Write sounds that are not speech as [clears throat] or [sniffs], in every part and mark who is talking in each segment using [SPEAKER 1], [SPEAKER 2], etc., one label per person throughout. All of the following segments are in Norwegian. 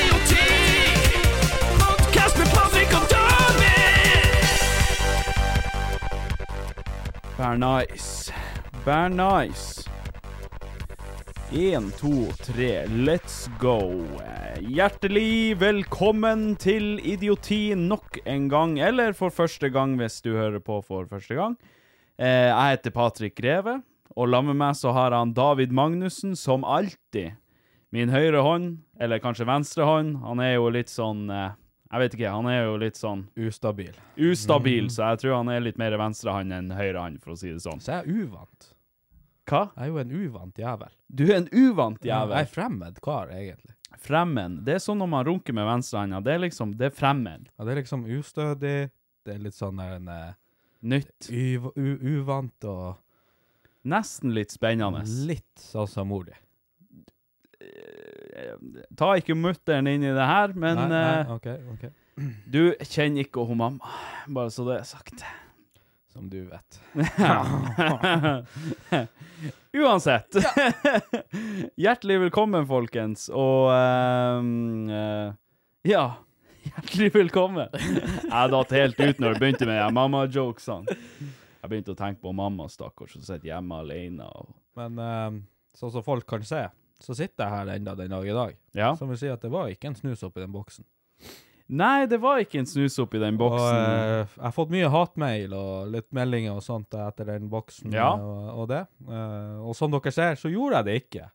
[SPEAKER 1] Idiotik! Podcast med Patrick og David!
[SPEAKER 2] Vær nice. Vær nice. Én, to, tre, let's go. Hjertelig velkommen til Idioti nok en gang, eller for første gang hvis du hører på for første gang. Eh, Jeg heter Patrick Greve, og sammen med meg så har han David Magnussen, som alltid. Min høyre hånd, eller kanskje venstre hånd, han er jo litt sånn eh, Jeg vet ikke, han er jo litt sånn
[SPEAKER 3] ustabil. Mm.
[SPEAKER 2] ustabil, så jeg tror han er litt mer venstrehånd enn høyrehånd, for å si det sånn.
[SPEAKER 3] Så jeg er uvant.
[SPEAKER 2] Hva?
[SPEAKER 3] Jeg er jo en uvant jævel.
[SPEAKER 2] Du er en uvant jævel.
[SPEAKER 3] Jeg er fremmed kar, egentlig.
[SPEAKER 2] Fremmed. Det er sånn når man runker med venstrehanda. Det er liksom Det er fremmed.
[SPEAKER 3] Ja, det er liksom ustødig, det er litt sånn der en eh,
[SPEAKER 2] Nytt.
[SPEAKER 3] uv u uvant og
[SPEAKER 2] Nesten litt spennende.
[SPEAKER 3] litt sånn som mor di.
[SPEAKER 2] Ta ikke mutter'n inn i det her, men
[SPEAKER 3] Nei, nei,
[SPEAKER 2] eh,
[SPEAKER 3] OK, OK.
[SPEAKER 2] du kjenner ikke hun mamma, bare så det er sagt.
[SPEAKER 3] Som du vet.
[SPEAKER 2] [laughs] Uansett. [laughs] Hjertelig velkommen, folkens, og ehm, eh, Ja. [laughs] Hjertelig velkommen. Jeg datt helt ut når jeg begynte med de mamma-jokesene. Jeg begynte å tenke på mamma, stakkar, som sitter hjemme alene. Og...
[SPEAKER 3] Men eh, sånn som folk kan se, så sitter jeg her enda den dag i dag.
[SPEAKER 2] Ja.
[SPEAKER 3] Som vil si at det var ikke en snus oppi den boksen.
[SPEAKER 2] Nei, det var ikke en snus oppi den
[SPEAKER 3] Og
[SPEAKER 2] boksen.
[SPEAKER 3] eh, jeg har fått mye hatmail og litt meldinger og sånt etter den boksen
[SPEAKER 2] Ja.
[SPEAKER 3] og, og det. Eh, og som dere ser, så gjorde jeg det ikke.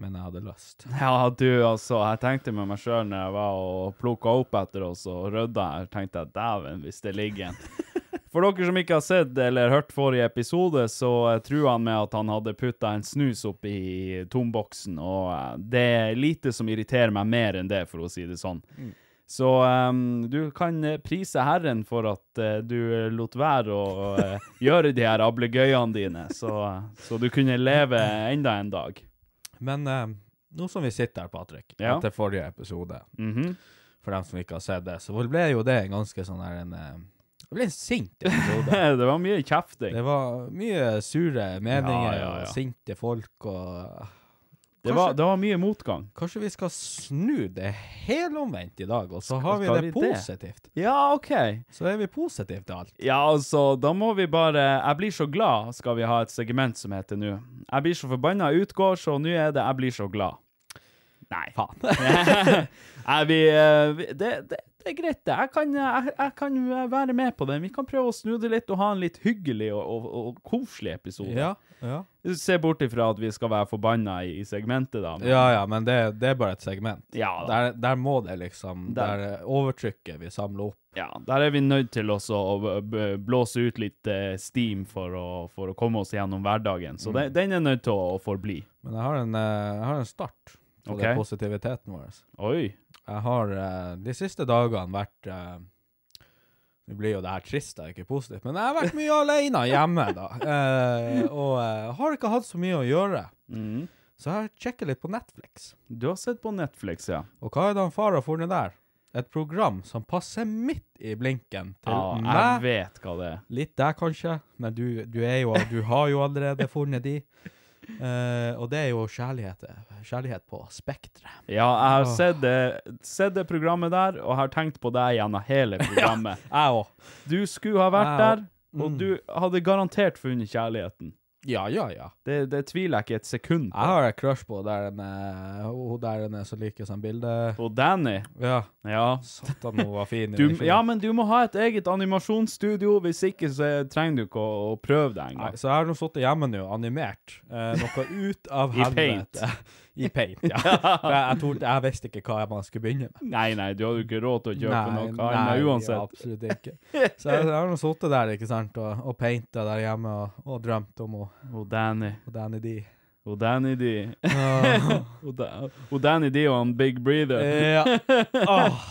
[SPEAKER 3] Men jeg hadde lyst.
[SPEAKER 2] Ja, du, altså. Jeg tenkte med meg sjøl når jeg var og plukka opp etter oss og rydda her, tenkte jeg dæven, hvis det ligger en. For dere som ikke har sett eller hørt forrige episode, så eh, truer han med at han hadde putta en snus oppi tomboksen, og eh, det er lite som irriterer meg mer enn det, for å si det sånn. Så eh, du kan eh, prise Herren for at eh, du lot være å eh, gjøre de her ablegøyene dine, så, så du kunne leve enda en dag.
[SPEAKER 3] Men eh, nå som vi sitter her, Patrick,
[SPEAKER 2] Ja.
[SPEAKER 3] etter forrige episode,
[SPEAKER 2] Mhm.
[SPEAKER 3] for dem som ikke har sett det, så ble jo det en ganske sånn her en eh, Det ble en sint episode.
[SPEAKER 2] [laughs] det var mye kjefting.
[SPEAKER 3] det var mye sure meninger
[SPEAKER 2] Ja, ja, ja.
[SPEAKER 3] og sinte folk og ah,
[SPEAKER 2] Det var, det var mye motgang.
[SPEAKER 3] Kanskje vi skal snu det helomvendt i dag, og så har vi
[SPEAKER 2] skal
[SPEAKER 3] det
[SPEAKER 2] vi det?
[SPEAKER 3] positivt.
[SPEAKER 2] Ja, OK.
[SPEAKER 3] Så er vi positive til alt.
[SPEAKER 2] Ja, altså, da må vi bare Jeg blir så glad, skal vi ha et segment som heter nå. Jeg blir så forbanna utgår, så nå er det Jeg blir så glad. Nei. [laughs]
[SPEAKER 3] [laughs]
[SPEAKER 2] Faen. er vi, eh, vi- det, det, det er greit, det. Jeg kan, jeg, jeg kan være med på den. Vi kan prøve å snu det litt og ha en litt hyggelig og, og, og koselig episode.
[SPEAKER 3] Ja, ja.
[SPEAKER 2] Se bort ifra at vi skal være forbanna i, i segmentet, da. men-
[SPEAKER 3] Ja, ja, men det, det er bare et segment.
[SPEAKER 2] Ja, da.
[SPEAKER 3] Der, der må det liksom
[SPEAKER 2] Der.
[SPEAKER 3] Der, overtrykket vi samler opp.
[SPEAKER 2] Ja, der er vi nødt til også å b- b- blåse ut litt eh, steam for å, for å komme oss gjennom hverdagen. Så den, den er nødt til å forbli.
[SPEAKER 3] Men jeg har en, eh, jeg har en start på
[SPEAKER 2] Ok.
[SPEAKER 3] den positiviteten vår.
[SPEAKER 2] Oi.
[SPEAKER 3] Jeg har eh, de siste dagene vært eh, Nå blir jo det her trist, da, ikke positivt, men jeg har vært mye alene hjemme, da. Eh, og eh, har ikke hatt så mye å gjøre.
[SPEAKER 2] Mm.
[SPEAKER 3] Så jeg har sjekket litt på Netflix.
[SPEAKER 2] Du har sett på Netflix, ja.
[SPEAKER 3] Og hva er det han far har funnet der? Et program som passer midt i blinken til
[SPEAKER 2] Ja, Ah, jeg
[SPEAKER 3] meg.
[SPEAKER 2] vet hva det er.
[SPEAKER 3] Litt der, kanskje, men du, du, er jo, du har jo allerede funnet de. Eh, og det er jo kjærlighet, kjærlighet på spektret.
[SPEAKER 2] Ja, jeg har sett det, sett det programmet der, og har tenkt på deg gjennom [laughs] hele programmet.
[SPEAKER 3] Jeg òg.
[SPEAKER 2] Du skulle ha vært
[SPEAKER 3] Ja.
[SPEAKER 2] der, og du hadde garantert funnet kjærligheten.
[SPEAKER 3] Ja, ja, ja.
[SPEAKER 2] Det, det tviler jeg ikke et sekund
[SPEAKER 3] Jeg
[SPEAKER 2] på.
[SPEAKER 3] har et crush på der en, eh, hun der en som liker sånn bilde.
[SPEAKER 2] Og Danny,
[SPEAKER 3] Ja.
[SPEAKER 2] ja.
[SPEAKER 3] Satan, hun var [laughs] fin. i
[SPEAKER 2] Du,
[SPEAKER 3] den kjolen.
[SPEAKER 2] ja, men du må ha et eget animasjonsstudio, hvis ikke så trenger du ikke å, å prøve deg
[SPEAKER 3] Nei,
[SPEAKER 2] engang.
[SPEAKER 3] så jeg har nå sittet hjemme nå, animert eh, noe ut av [laughs]
[SPEAKER 2] I paint.
[SPEAKER 3] helvete. I paint. [laughs] ja. For jeg, jeg, torde, jeg visste ikke hva man skulle begynne med.
[SPEAKER 2] Nei, nei, du hadde jo ikke råd til å kjøpe noe
[SPEAKER 3] nei,
[SPEAKER 2] annet uansett.
[SPEAKER 3] absolutt
[SPEAKER 2] [laughs]
[SPEAKER 3] ikke. Så jeg, jeg har nå sittet der ikke sant, og, og painta der hjemme og, og drømt om hun
[SPEAKER 2] Og Danny,
[SPEAKER 3] og Danny
[SPEAKER 2] [laughs]
[SPEAKER 3] D.
[SPEAKER 2] og Danny D. og, da, og Danny D og han Big Breather.
[SPEAKER 3] Ja. Åh,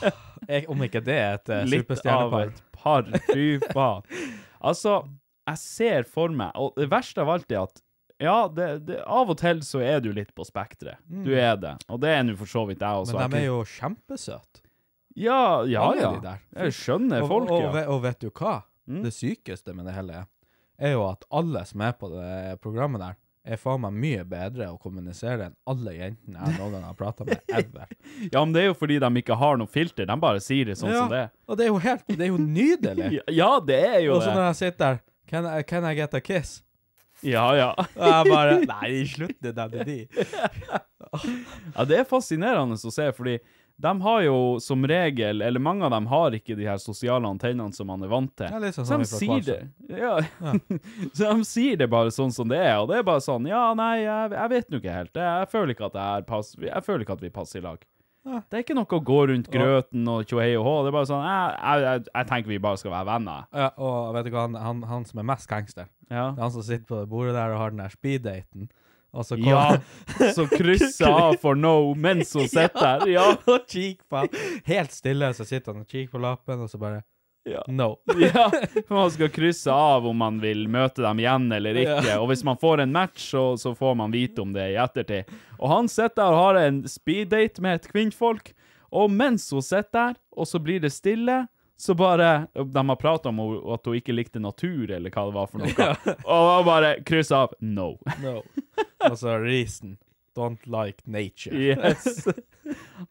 [SPEAKER 3] jeg, om ikke det er et eh,
[SPEAKER 2] Litt av
[SPEAKER 3] superstjernepar.
[SPEAKER 2] et par. Fy faen. Altså, jeg ser for meg, og det verste av alt er at ja, det, det, av og til så er du litt på spekteret. Du er det. Og det er nå for så vidt jeg også.
[SPEAKER 3] Mm. Men de
[SPEAKER 2] Jeg kunne-
[SPEAKER 3] er jo kjempesøte.
[SPEAKER 2] Ja, ja.
[SPEAKER 3] Alle
[SPEAKER 2] ja.
[SPEAKER 3] de der.
[SPEAKER 2] Jeg skjønner
[SPEAKER 3] Og-
[SPEAKER 2] folk,
[SPEAKER 3] og,
[SPEAKER 2] ja. Mm.
[SPEAKER 3] ve- Og vet du hva? Det sykeste med det hele er jo at alle som er på det programmet der, er faen meg mye bedre å kommunisere enn alle jentene jeg noen gang har prata med ever.
[SPEAKER 2] Ja, men det er jo fordi de ikke har noe filter. De bare sier det sånn som det er.
[SPEAKER 3] Og det er jo helt Det er
[SPEAKER 2] [laughs]
[SPEAKER 3] jo nydelig.
[SPEAKER 2] Ja, Ja, det er jo
[SPEAKER 3] Og så
[SPEAKER 2] det.
[SPEAKER 3] når jeg sitter der Can I, can I get a kiss?
[SPEAKER 2] Ja, ja.
[SPEAKER 3] Og jeg
[SPEAKER 2] [laughs]
[SPEAKER 3] bare Nei, slutt det der med de.
[SPEAKER 2] ja. Det er fascinerende å se, fordi de har jo som regel, eller mange av dem har ikke de her sosiale antennene som man er vant til.
[SPEAKER 3] Ja, litt sånn
[SPEAKER 2] så
[SPEAKER 3] som
[SPEAKER 2] de
[SPEAKER 3] vi fra
[SPEAKER 2] sier det. Ja. [laughs] så de sier det bare sånn som det er, og det er bare sånn, ja, nei, jeg, jeg vet nå ikke helt. Jeg, jeg føler ikke at det er pass, jeg føler ikke at vi passer i lag. Det er ikke noe å gå rundt grøten og tjohei og hå, det er bare sånn, jeg, jeg, jeg, jeg tenker vi bare skal være venner.
[SPEAKER 3] Ja, og vet du hva, han, han, han som er mest gangster,
[SPEAKER 2] Ja.
[SPEAKER 3] det er han som sitter på det bordet der og har den der speeddaten, og så
[SPEAKER 2] [laughs]
[SPEAKER 3] [laughs]
[SPEAKER 2] Ja, så krysset av for no mens hun sitter der. Ja.
[SPEAKER 3] og kikker på han. Helt stille, så sitter han og kikker på lappen, og så bare
[SPEAKER 2] Ja.
[SPEAKER 3] No.
[SPEAKER 2] [laughs] ja. Man skal krysse av om man vil møte dem igjen eller ikke. Og hvis man får en match, så, så får man vite om det i ettertid. Og han sitter der og har en speeddate med et kvinnfolk, og mens hun sitter der, og så blir det stille, så bare De har prata om ho- at hun ikke likte natur, eller hva det var for noe. Og hun bare kryss av. No.
[SPEAKER 3] No. Altså reason. Don't like nature.
[SPEAKER 2] Yes. [laughs]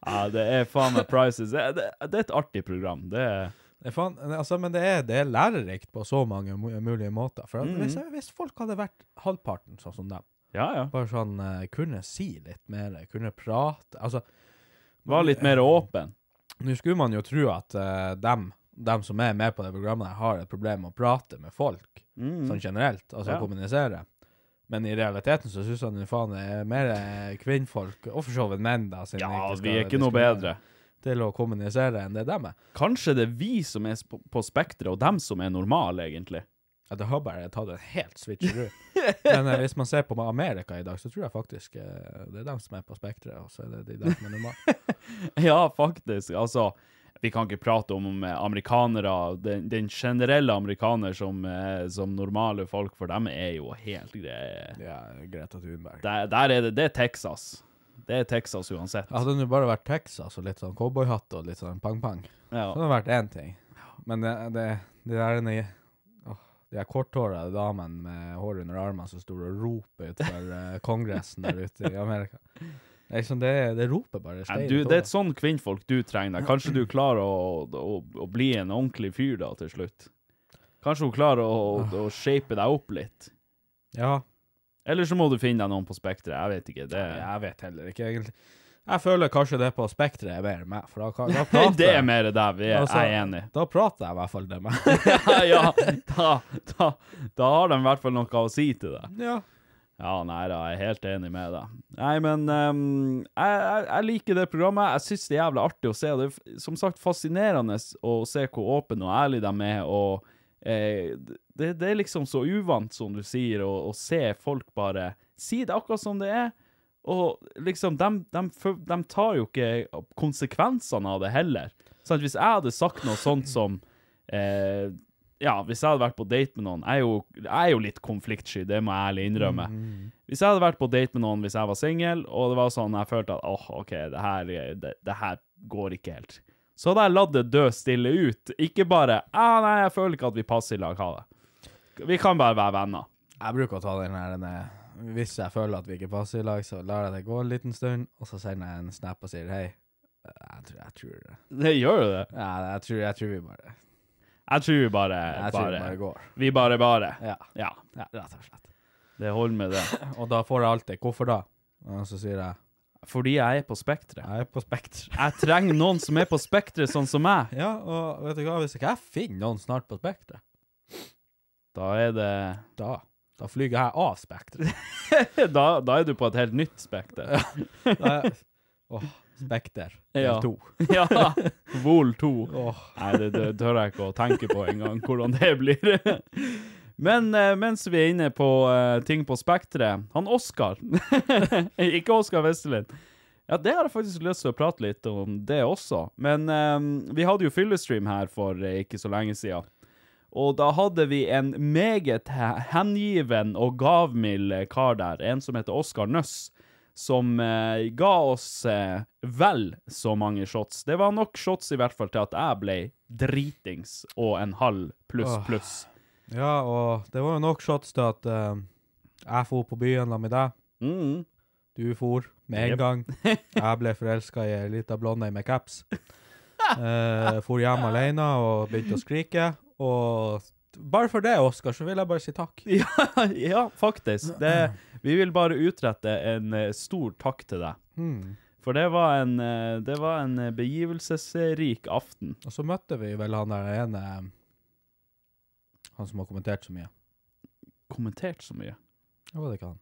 [SPEAKER 2] Ja, det er faen meg prices. Det, det, det er et artig program. Det er
[SPEAKER 3] Det er faen- altså, men det er, det er lærerikt på så mange mu- mulige måter. For at
[SPEAKER 2] Mm.
[SPEAKER 3] hvis, hvis folk hadde vært halvparten sånn som dem,
[SPEAKER 2] Ja, ja.
[SPEAKER 3] bare sånn eh, kunne si litt mer, kunne prate Altså,
[SPEAKER 2] Var litt mer åpen.
[SPEAKER 3] nå skulle man jo tro at eh, dem, dem som er med på det programmet, her, har et problem med å prate med folk, sånn generelt, altså
[SPEAKER 2] Mm. Ja.
[SPEAKER 3] kommunisere. Men i realiteten så syns han jo faen det er mer eh, kvinnfolk, og for så vidt menn, da. siden
[SPEAKER 2] Ja,
[SPEAKER 3] jeg
[SPEAKER 2] vi
[SPEAKER 3] skal
[SPEAKER 2] er ikke noe
[SPEAKER 3] diskriminere,
[SPEAKER 2] bedre.
[SPEAKER 3] Til å kommunisere enn det dem er.
[SPEAKER 2] Kanskje det er vi som er sp- på spekteret, og dem som er normale, egentlig. [laughs]
[SPEAKER 3] Ja, det har bare tatt en helt switcheroo. Men eh, hvis man ser på Amerika i dag, så tror jeg faktisk eh, det er dem som er på spekteret, og så er det de der som er
[SPEAKER 2] [laughs]
[SPEAKER 3] normale.
[SPEAKER 2] Ja, faktisk. Altså, vi kan ikke prate om eh, amerikanere. Den, den generelle amerikaner som, eh, som normale folk, for dem er jo helt greie.
[SPEAKER 3] ja, Greta Thunberg.
[SPEAKER 2] Der, der er det Det er Texas. Det er Texas uansett.
[SPEAKER 3] Hadde det nå bare vært Texas og litt sånn cowboyhatt og litt sånn pang-pang, så
[SPEAKER 2] Ja.
[SPEAKER 3] hadde det vært én ting. Men det, det, det der ene åh, de der korthåra damene med hår under armene som står og roper utenfor
[SPEAKER 2] [laughs]
[SPEAKER 3] eh, Kongressen der ute i Amerika. Det, er liksom, det, det roper bare
[SPEAKER 2] Nei, Du,
[SPEAKER 3] stein ut
[SPEAKER 2] det er
[SPEAKER 3] hodet.
[SPEAKER 2] et sånn kvinnfolk du trenger. deg. Kanskje du klarer å, å, å bli en ordentlig fyr da, til slutt. Kanskje hun klarer å, å, å shape deg opp litt.
[SPEAKER 3] Ja,
[SPEAKER 2] Eller så må du finne deg noen på Spekteret. Jeg vet ikke. Det,
[SPEAKER 3] Jeg vet heller ikke, egentlig. Jeg føler kanskje det på spektret er mer enn meg, for da, kan- da
[SPEAKER 2] Nei,
[SPEAKER 3] prater
[SPEAKER 2] [laughs] det er
[SPEAKER 3] jeg.
[SPEAKER 2] mer der vi er.
[SPEAKER 3] Altså,
[SPEAKER 2] jeg er enig. [laughs]
[SPEAKER 3] Da prater jeg i hvert fall det med. [laughs]
[SPEAKER 2] ja, ja da, da, da har de i hvert fall noe å si til deg.
[SPEAKER 3] ja.
[SPEAKER 2] Ja, nei da, jeg er helt enig med deg. Nei, men ehm, jeg, jeg, jeg liker det programmet. Jeg syns det er jævlig artig å se. og Det er f- som sagt fascinerende å se hvor åpen og ærlig de er. og eh, det, det er liksom så uvant, som du sier, å, å se folk bare si det akkurat som det er. Og liksom, de, de, fø- de Sånn tar jo ikke konsekvensene av det heller. Sant? Hvis jeg hadde sagt noe sånt som eh, Ja, hvis jeg hadde vært på date med noen Jeg er jo, jeg er jo litt konfliktsky, det må jeg ærlig innrømme. Hvis jeg hadde vært på date med noen hvis jeg var singel, og det var sånn jeg følte at åh, OK, det her, det, det her går ikke helt, så hadde jeg latt det dø stille ut. Ikke bare ah, 'Nei, jeg føler ikke at vi passer i lag, ha det'. Vi kan bare være venner. [laughs]
[SPEAKER 3] Jeg bruker å ta den her den er, Hvis jeg føler at vi ikke passer i lag, så lar jeg det gå en liten stund, og så sender jeg en snap og sier hei. Jeg tror, jeg tror det.
[SPEAKER 2] Det gjør jo det.
[SPEAKER 3] Ja, jeg tror, jeg tror vi bare
[SPEAKER 2] Jeg tror vi bare,
[SPEAKER 3] Jeg tror
[SPEAKER 2] bare,
[SPEAKER 3] vi bare går.
[SPEAKER 2] Vi bare, bare.
[SPEAKER 3] Ja.
[SPEAKER 2] Ja.
[SPEAKER 3] ja, rett og slett.
[SPEAKER 2] Det holder med det.
[SPEAKER 3] Og da får jeg alltid 'hvorfor da?' Og så sier jeg
[SPEAKER 2] Fordi jeg er på spektret.
[SPEAKER 3] 'jeg er på Spekter'.
[SPEAKER 2] Jeg trenger noen som er på spektret, sånn som meg.
[SPEAKER 3] [laughs] Ja, og vet du hva, hvis ikke jeg finner noen snart på Spekter,
[SPEAKER 2] Da er det [laughs]
[SPEAKER 3] da, da flyger jeg av Spekter. [laughs]
[SPEAKER 2] da, da er du på et helt nytt spekter.
[SPEAKER 3] Da er- Åh, Spekter del
[SPEAKER 2] Ja.
[SPEAKER 3] to.
[SPEAKER 2] Ja.
[SPEAKER 3] [laughs]
[SPEAKER 2] Vol 2.
[SPEAKER 3] Åh.
[SPEAKER 2] Nei, det, det tør jeg ikke å tenke på engang, hvordan det blir. Men eh, mens vi er inne på eh, ting på spektret Han Oskar [laughs] Ikke Oskar Westerlin. Ja, det har jeg faktisk lyst til å prate litt om, det også. Men eh, vi hadde jo fyllestream her for eh, ikke så lenge siden. Og da hadde vi en meget he- hengiven og gavmild eh, kar der, en som heter Oskar Nøss, som eh, ga oss eh, vel så mange shots. Det var nok shots i hvert fall til at jeg ble dritings og en halv pluss
[SPEAKER 3] Åh.
[SPEAKER 2] pluss.
[SPEAKER 3] Ja, og det var jo nok shots til at eh, jeg for på byen da med deg.
[SPEAKER 2] Mm.
[SPEAKER 3] Du for med en
[SPEAKER 2] Jep. [laughs]
[SPEAKER 3] gang. Jeg ble forelska i ei lita blonde med caps. Uh, for hjem alene og begynte å skrike. Og bare for det, Oskar, så vil jeg bare si takk.
[SPEAKER 2] [laughs] Ja, ja, faktisk. Det, vi vil bare utrette en eh, stor takk til deg.
[SPEAKER 3] Hmm.
[SPEAKER 2] For det var en, eh, det var en eh, begivelsesrik aften.
[SPEAKER 3] Og så møtte vi vel han der ene eh, Han som har kommentert så mye.
[SPEAKER 2] Kommentert så mye.
[SPEAKER 3] Ja, var det ikke han?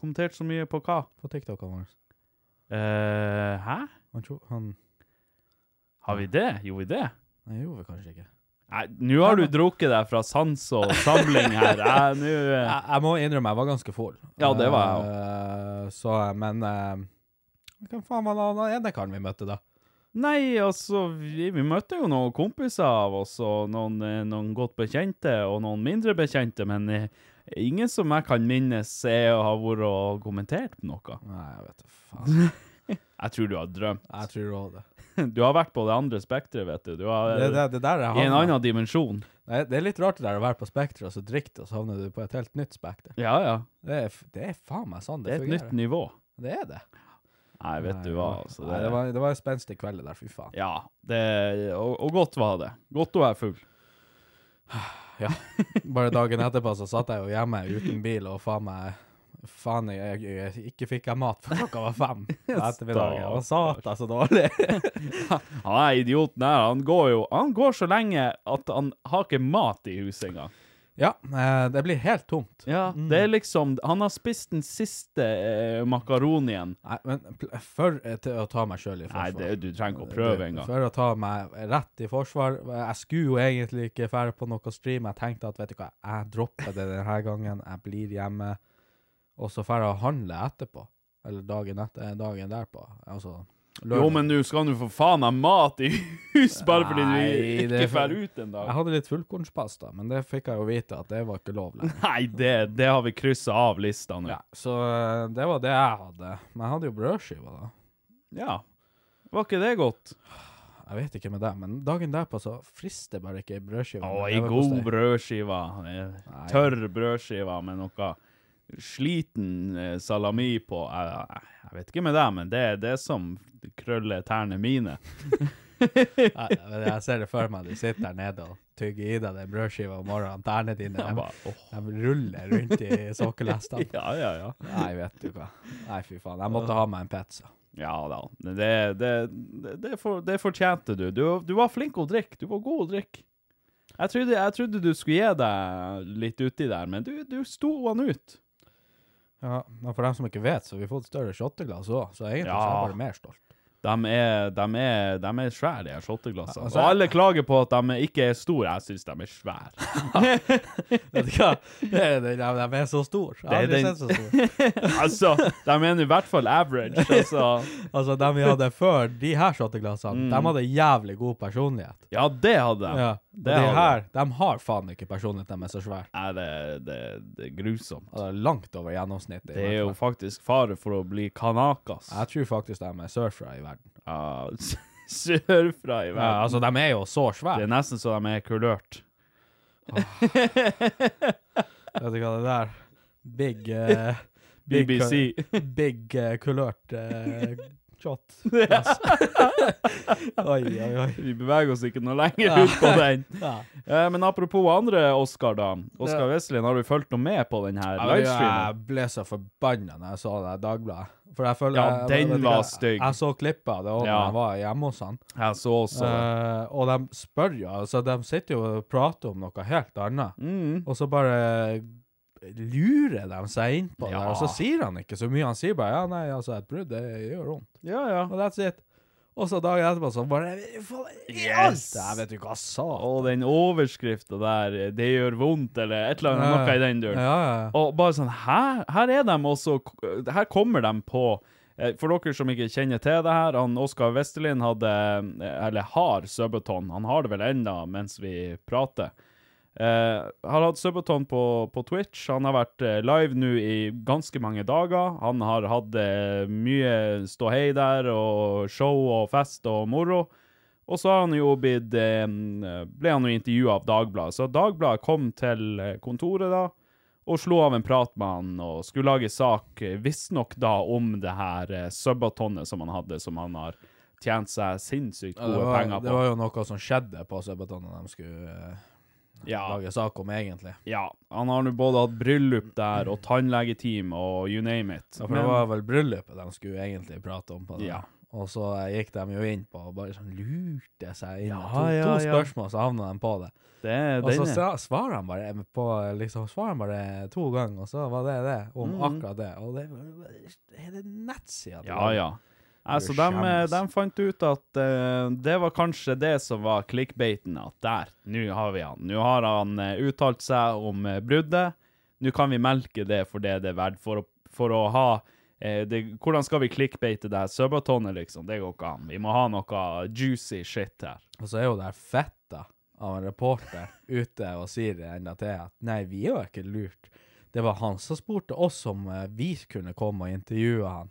[SPEAKER 2] Kommentert så mye på hva?
[SPEAKER 3] På TikTok han var.
[SPEAKER 2] Eh, hæ?
[SPEAKER 3] Han, tro- han
[SPEAKER 2] Har vi det? Gjorde vi det?
[SPEAKER 3] Nei, det gjorde vi kanskje ikke.
[SPEAKER 2] Nei, nå har du drukket deg fra sans og samling her. Jeg, nå, eh,
[SPEAKER 3] Jeg, jeg må innrømme, jeg var ganske full.
[SPEAKER 2] Ja, det var jeg
[SPEAKER 3] Eh, Så, men eh, Hvem faen var den andre ene karen vi møtte, da?
[SPEAKER 2] Nei, altså, vi, vi møtte jo noen kompiser av oss, og noen, eh, noen godt bekjente, og noen mindre bekjente, men eh, ingen som jeg kan minnes er å ha vært og kommentert på noe.
[SPEAKER 3] Nei, jeg vet da
[SPEAKER 2] [laughs]
[SPEAKER 3] faen.
[SPEAKER 2] Jeg tror du har drømt. [laughs]
[SPEAKER 3] Jeg tror også det.
[SPEAKER 2] Du har vært på det andre spektret, vet du. Du har
[SPEAKER 3] Det, det, det der er
[SPEAKER 2] i en
[SPEAKER 3] havnet.
[SPEAKER 2] annen dimensjon.
[SPEAKER 3] Nei, det er litt rart det der å være på Spekter, og så drikke det, og så havner du på et helt nytt Spekter.
[SPEAKER 2] Ja, ja.
[SPEAKER 3] Det er, f- det er faen meg sånn
[SPEAKER 2] Det
[SPEAKER 3] det,
[SPEAKER 2] er et nytt nivå.
[SPEAKER 3] Det er det.
[SPEAKER 2] Nei, vet du hva, altså.
[SPEAKER 3] Nei, det, var, det var en spenstig kveld det der, fy faen.
[SPEAKER 2] Ja, det, og, og godt var det. Godt å være full.
[SPEAKER 3] Bare dagen etterpå så satt jeg jo hjemme uten bil, og faen meg Faen, jeg, jeg, jeg, ikke fikk jeg mat før klokka var fem
[SPEAKER 2] [laughs]
[SPEAKER 3] på ettermiddagen. Og satan, så dårlig.
[SPEAKER 2] Han er idioten her, han går jo Han går så lenge at han har ikke mat i huset engang.
[SPEAKER 3] Ja, eh, det blir helt tomt.
[SPEAKER 2] Ja, det er liksom Han har spist den siste eh, makaronien.
[SPEAKER 3] Nei, men pl- for eh, til å ta meg sjøl i
[SPEAKER 2] Nei,
[SPEAKER 3] forsvar
[SPEAKER 2] det, du trenger ikke å prøve
[SPEAKER 3] Det-
[SPEAKER 2] engang.
[SPEAKER 3] For å ta meg rett i forsvar. eh, Jeg skulle jo egentlig ikke fære på noe stream. Jeg tenkte at vet du hva, jeg dropper det denne gangen. Jeg blir hjemme. Og så drar jeg og handler etterpå. Eller dagen, etter, eh, dagen derpå. Altså
[SPEAKER 2] Jo, men nå skal du for faen ha mat i [laughs] hus, bare fordi
[SPEAKER 3] Nei,
[SPEAKER 2] du
[SPEAKER 3] det er
[SPEAKER 2] ikke drar
[SPEAKER 3] for-
[SPEAKER 2] ut en
[SPEAKER 3] Jeg
[SPEAKER 2] dag.
[SPEAKER 3] hadde litt fullkornspasta, men det fikk jeg jo vite at det var ikke lov lenger.
[SPEAKER 2] Nei, det, det har vi kryssa av lista nå.
[SPEAKER 3] Ja, så eh, det var det jeg hadde. Men jeg hadde jo brødskiver, da.
[SPEAKER 2] Ja. Var ikke det godt?
[SPEAKER 3] Jeg vet ikke med deg, men dagen derpå så frister bare ikke ei brødskive.
[SPEAKER 2] Å,
[SPEAKER 3] med
[SPEAKER 2] ei god
[SPEAKER 3] leverpostei.
[SPEAKER 2] brødskive. Eh, Tørr brødskive med noe sliten eh, salami på. Jeg, jeg vet ikke med deg, men det er det som krøller tærne mine.
[SPEAKER 3] Nei, men Jeg ser det for meg, du sitter der nede og tygger i deg den brødskiva om morgenen. Tærne dine
[SPEAKER 2] Jeg
[SPEAKER 3] de,
[SPEAKER 2] bare, åh,
[SPEAKER 3] de ruller rundt i [laughs] sokkelestene.
[SPEAKER 2] [laughs] ja, ja, ja.
[SPEAKER 3] Nei, vet du hva. Nei, fy faen. Jeg måtte ha meg en pizza.
[SPEAKER 2] Ja da. men Det, det, det, det, for, det fortjente du. du. Du var flink å drikke. Du var god å drikke. Jeg trodde, jeg trodde du skulle gi deg litt uti der, men du, du sto han ut.
[SPEAKER 3] Ja, men For dem som ikke vet, så har vi fått større shotteglass òg, så egentlig så er jeg
[SPEAKER 2] Ja.
[SPEAKER 3] bare mer stolt.
[SPEAKER 2] De er, de er, de er svære, de her shotteglassene.
[SPEAKER 3] Altså,
[SPEAKER 2] og
[SPEAKER 3] jeg-
[SPEAKER 2] alle klager på at de ikke er store. Jeg syns de er
[SPEAKER 3] [laughs]
[SPEAKER 2] svære.
[SPEAKER 3] [laughs] Vet du hva? Det er, de, de er så store. Jeg har
[SPEAKER 2] Det er
[SPEAKER 3] aldri
[SPEAKER 2] den-
[SPEAKER 3] sett så store.
[SPEAKER 2] altså, de mener i hvert fall average. Altså,
[SPEAKER 3] Altså, de vi hadde før, de her [laughs] shotteglassene, de hadde jævlig god personlighet.
[SPEAKER 2] ja, det hadde de.
[SPEAKER 3] Ja. Og
[SPEAKER 2] det
[SPEAKER 3] de
[SPEAKER 2] hadde
[SPEAKER 3] her, de har faen ikke personlighet, de er så svære.
[SPEAKER 2] Nei, det, det, det er grusomt.
[SPEAKER 3] Altså, langt over gjennomsnittet. i
[SPEAKER 2] Det er
[SPEAKER 3] hvert
[SPEAKER 2] jo faktisk fare for å bli kanakas.
[SPEAKER 3] fall. Jeg tror faktisk de er surfere i verden.
[SPEAKER 2] Ja, [laughs] Sørfra i
[SPEAKER 3] Ja,
[SPEAKER 2] verden.
[SPEAKER 3] altså, de er jo så
[SPEAKER 2] Det
[SPEAKER 3] svære.
[SPEAKER 2] er nesten så de er kulørt.
[SPEAKER 3] Vet du hva det der? Big...
[SPEAKER 2] [laughs]
[SPEAKER 3] eh, big
[SPEAKER 2] BBC.
[SPEAKER 3] col- Big eh, kulørt
[SPEAKER 2] [laughs]
[SPEAKER 3] eh, shot. [laughs] Oi, oi, oi.
[SPEAKER 2] Vi beveger oss ikke noe lenger
[SPEAKER 3] Ja.
[SPEAKER 2] ut på den.
[SPEAKER 3] [laughs] Ja.
[SPEAKER 2] Eh, men apropos andre Oscar, da. Oscar Wesselin, har du fulgt noe med på den her
[SPEAKER 3] Ja, men
[SPEAKER 2] livestreamen?
[SPEAKER 3] Jeg ble så forbanna når jeg så det der Dagbladet. For jeg føler
[SPEAKER 2] Ja,
[SPEAKER 3] jeg-
[SPEAKER 2] den
[SPEAKER 3] vet du
[SPEAKER 2] var
[SPEAKER 3] hva,
[SPEAKER 2] stygg.
[SPEAKER 3] Jeg så klippet av det også
[SPEAKER 2] Ja.
[SPEAKER 3] når jeg var hjemme hos han.
[SPEAKER 2] Jeg så også det.
[SPEAKER 3] Eh, og de spør jo altså De sitter jo og prater om noe helt annet.
[SPEAKER 2] Mm.
[SPEAKER 3] Og så bare lurer de seg inn på det,
[SPEAKER 2] Ja.
[SPEAKER 3] der, og så sier han ikke så mye. Han sier bare ja, nei, altså, et brudd det gjør vondt.
[SPEAKER 2] Ja, ja.
[SPEAKER 3] Og that's it. Og så dagen etterpå så bare faen, i
[SPEAKER 2] Yes!
[SPEAKER 3] alt! Jeg vet jo hva jeg sa.
[SPEAKER 2] Og den overskrifta der, 'Det gjør vondt', eller et eller annet,
[SPEAKER 3] Ja,
[SPEAKER 2] noe i den duren.
[SPEAKER 3] ja, ja. ja.
[SPEAKER 2] Og bare sånn Hæ? Her er de også Her kommer de på eh, For dere som ikke kjenner til det her, han Oskar Westerlin hadde eh, Eller har subaton. Han har det vel ennå mens vi prater. Eh, har hatt subaton på, på Twitch. Han har vært eh, live nå i ganske mange dager. Han har hatt eh, mye ståhei der, og show og fest og moro. Og så har han jo blitt, eh, ble han jo intervjua av Dagbladet. Så Dagbladet kom til eh, kontoret da, og slo av en prat med han, og skulle lage sak, eh, visstnok da, om det her eh, subatonet som han hadde, som han har tjent seg sinnssykt
[SPEAKER 3] Ja, det,
[SPEAKER 2] gode
[SPEAKER 3] var,
[SPEAKER 2] penger
[SPEAKER 3] det
[SPEAKER 2] på.
[SPEAKER 3] var jo noe som skjedde på Sebatonen de skulle eh,
[SPEAKER 2] Ja.
[SPEAKER 3] lage sak om, egentlig.
[SPEAKER 2] ja. Han har nå både hatt bryllup der, og tannlegeteam, og you name it.
[SPEAKER 3] Ja, for det var vel bryllupet de skulle egentlig prate om. på det.
[SPEAKER 2] Ja.
[SPEAKER 3] Og så eh, gikk de jo inn på og bare sånn lurte seg inn.
[SPEAKER 2] Ja,
[SPEAKER 3] to,
[SPEAKER 2] ja,
[SPEAKER 3] to
[SPEAKER 2] ja.
[SPEAKER 3] spørsmål, så havna de på det.
[SPEAKER 2] det, er
[SPEAKER 3] Og så
[SPEAKER 2] denne.
[SPEAKER 3] sa- svarer han bare eh, på liksom, svarer han bare to ganger, og så var det det. Om akkurat det. Og det er- er det nettsida til
[SPEAKER 2] Mm. Ja,
[SPEAKER 3] det?
[SPEAKER 2] ja. Altså,
[SPEAKER 3] Det er
[SPEAKER 2] de,
[SPEAKER 3] skjemmende.
[SPEAKER 2] de fant ut at eh, det var kanskje det som var clickbaiten, at der, nå har vi han. Nå har han eh, uttalt seg om eh, bruddet. Nå kan vi melke det for det det er verdt, for å, for å ha eh, det, Hvordan skal vi clickbaite det her subatonet, liksom? Det går ikke an. Vi må ha noe juicy shit her.
[SPEAKER 3] Og så er jo der fetta av en reporter [laughs] ute og sier det enda til at nei, vi er jo ikke lurt. Det var han som spurte oss om eh, vi kunne komme og intervjue han.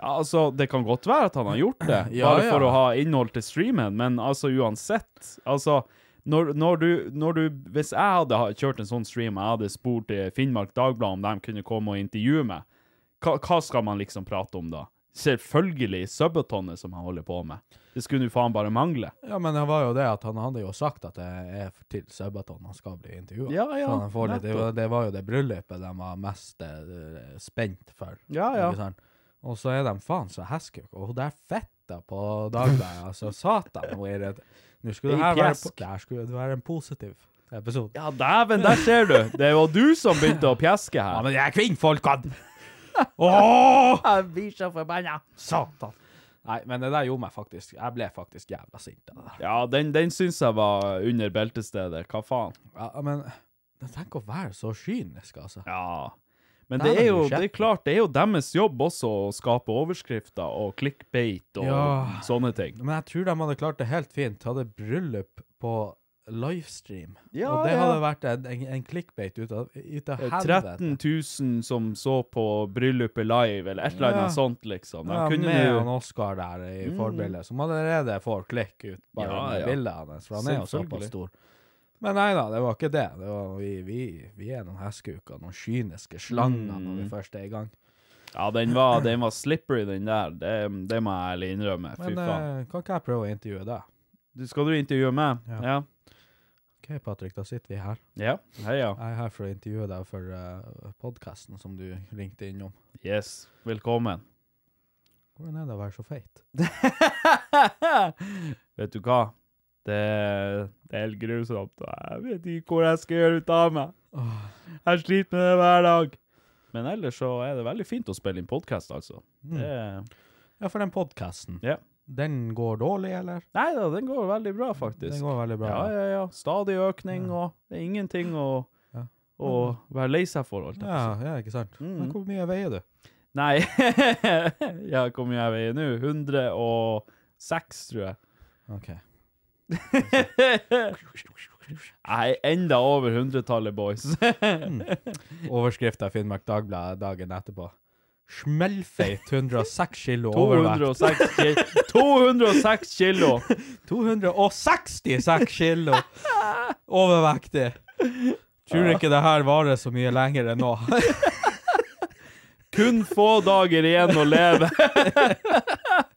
[SPEAKER 2] Ja, altså, det kan godt være at han har gjort det,
[SPEAKER 3] Ja,
[SPEAKER 2] bare for
[SPEAKER 3] ja.
[SPEAKER 2] å ha innhold til streamen, men altså, uansett, altså, når, når, du, når du, hvis jeg hadde ha- kjørt en sånn stream, og jeg hadde spurt eh, Finnmark Dagblad om de kunne komme og intervjue meg, hva, hva skal man liksom prate om da? Selvfølgelig subbatonet som han holder på med. Det skulle jo faen bare mangle.
[SPEAKER 3] Ja, men det var jo det at han hadde jo sagt at det er til Sabaton han skal bli intervjua.
[SPEAKER 2] Ja, ja,
[SPEAKER 3] så han får litt, det,
[SPEAKER 2] nettopp.
[SPEAKER 3] var- det var jo det bryllupet de var mest eh, spent for.
[SPEAKER 2] Ja, ja.
[SPEAKER 3] Ikke sant? Og så er de faen så heskuke, og hun der fetta på
[SPEAKER 2] [laughs]
[SPEAKER 3] Dagbladet, altså satan hun er redd. Nå skulle det
[SPEAKER 2] Ei
[SPEAKER 3] her være,
[SPEAKER 2] pjesk.
[SPEAKER 3] po- det her skulle være en positiv episode.
[SPEAKER 2] Ja, dæven, der ser du. [laughs] Det var du som begynte å pjeske her.
[SPEAKER 3] men jeg
[SPEAKER 2] [laughs]
[SPEAKER 3] er kvinnfolkene!
[SPEAKER 2] Åh! Jeg blir så forbanna.
[SPEAKER 3] Satan! Nei, men det der gjorde meg faktisk Jeg ble faktisk jævla sint av det der.
[SPEAKER 2] Ja, den, den syns jeg var under beltestedet. Hva faen?
[SPEAKER 3] Ja, men tenk å være så kynisk, altså.
[SPEAKER 2] Ja. Men
[SPEAKER 3] Der
[SPEAKER 2] det er
[SPEAKER 3] er
[SPEAKER 2] jo
[SPEAKER 3] du
[SPEAKER 2] det er
[SPEAKER 3] skjerpet.
[SPEAKER 2] klart, det er jo deres jobb også å skape overskrifter og clickbait og
[SPEAKER 3] Ja.
[SPEAKER 2] sånne ting.
[SPEAKER 3] Men jeg tror de hadde klart det helt fint. Hadde bryllup på livestream.
[SPEAKER 2] Ja,
[SPEAKER 3] og det
[SPEAKER 2] ja.
[SPEAKER 3] hadde vært en, en, en clickbait ut av, ut av
[SPEAKER 2] Eh,
[SPEAKER 3] helvete.
[SPEAKER 2] 13 000 som så på bryllupet live, eller et eller annet
[SPEAKER 3] Ja.
[SPEAKER 2] sånt, liksom. De
[SPEAKER 3] Ja,
[SPEAKER 2] kunne
[SPEAKER 3] med
[SPEAKER 2] jo
[SPEAKER 3] han Oscar der i
[SPEAKER 2] Mm.
[SPEAKER 3] forbildet, som allerede får klikk ut bare
[SPEAKER 2] Ja,
[SPEAKER 3] med
[SPEAKER 2] ja.
[SPEAKER 3] bildet hans, for han er jo
[SPEAKER 2] Selvfølgelig.
[SPEAKER 3] såpass stor. Men nei da, det var ikke det. det var, vi, vi, vi er noen heskuker, noen kyniske slanger når vi
[SPEAKER 2] Mm.
[SPEAKER 3] først er i gang.
[SPEAKER 2] Ja, den var, den var slippery, den der. Det, det må jeg ærlig innrømme. Fy
[SPEAKER 3] Men
[SPEAKER 2] faen.
[SPEAKER 3] eh, kan ikke jeg prøve å intervjue deg?
[SPEAKER 2] Du, skal du intervjue meg?
[SPEAKER 3] Ja.
[SPEAKER 2] Ja.
[SPEAKER 3] OK, Patrick, da sitter vi her.
[SPEAKER 2] Ja, heia.
[SPEAKER 3] Jeg er her for å intervjue deg for uh, podkasten som du ringte innom.
[SPEAKER 2] Yes, velkommen.
[SPEAKER 3] Hvordan er det å være så feit?
[SPEAKER 2] [laughs] Vet du hva? Det, det er helt grusomt. og Jeg vet ikke hvor jeg skal gjøre ut av meg. Jeg sliter med det hver dag. Men
[SPEAKER 3] Mm.
[SPEAKER 2] ellers så er det veldig fint å spille inn podkast, altså. Det,
[SPEAKER 3] Ja, for den podkasten.
[SPEAKER 2] ja.
[SPEAKER 3] Den går dårlig, eller?
[SPEAKER 2] Nei da, den går veldig bra, faktisk.
[SPEAKER 3] Den går veldig bra.
[SPEAKER 2] Ja, ja, ja. Stadig økning, og det er ingenting å,
[SPEAKER 3] Ja.
[SPEAKER 2] å være lei seg for. Holdt jeg på å si.
[SPEAKER 3] Ja, ja, ikke sant.
[SPEAKER 2] Mm.
[SPEAKER 3] Men hvor mye veier du?
[SPEAKER 2] Nei. [laughs] ja, hvor mye jeg veier nå? 106, tror jeg.
[SPEAKER 3] Ok.
[SPEAKER 2] Jeg er enda over hundretallet, boys.
[SPEAKER 3] Overskrift av Finnmark Dagblad dagen etterpå. Smellfeit 106
[SPEAKER 2] [laughs]
[SPEAKER 3] kilo overvekt.
[SPEAKER 2] 206 kilo. 206 kilo.
[SPEAKER 3] 266 kilo
[SPEAKER 2] [laughs]
[SPEAKER 3] overvektig! Tror ikke det her varer så mye lenger enn nå.
[SPEAKER 2] Kun få dager igjen å leve.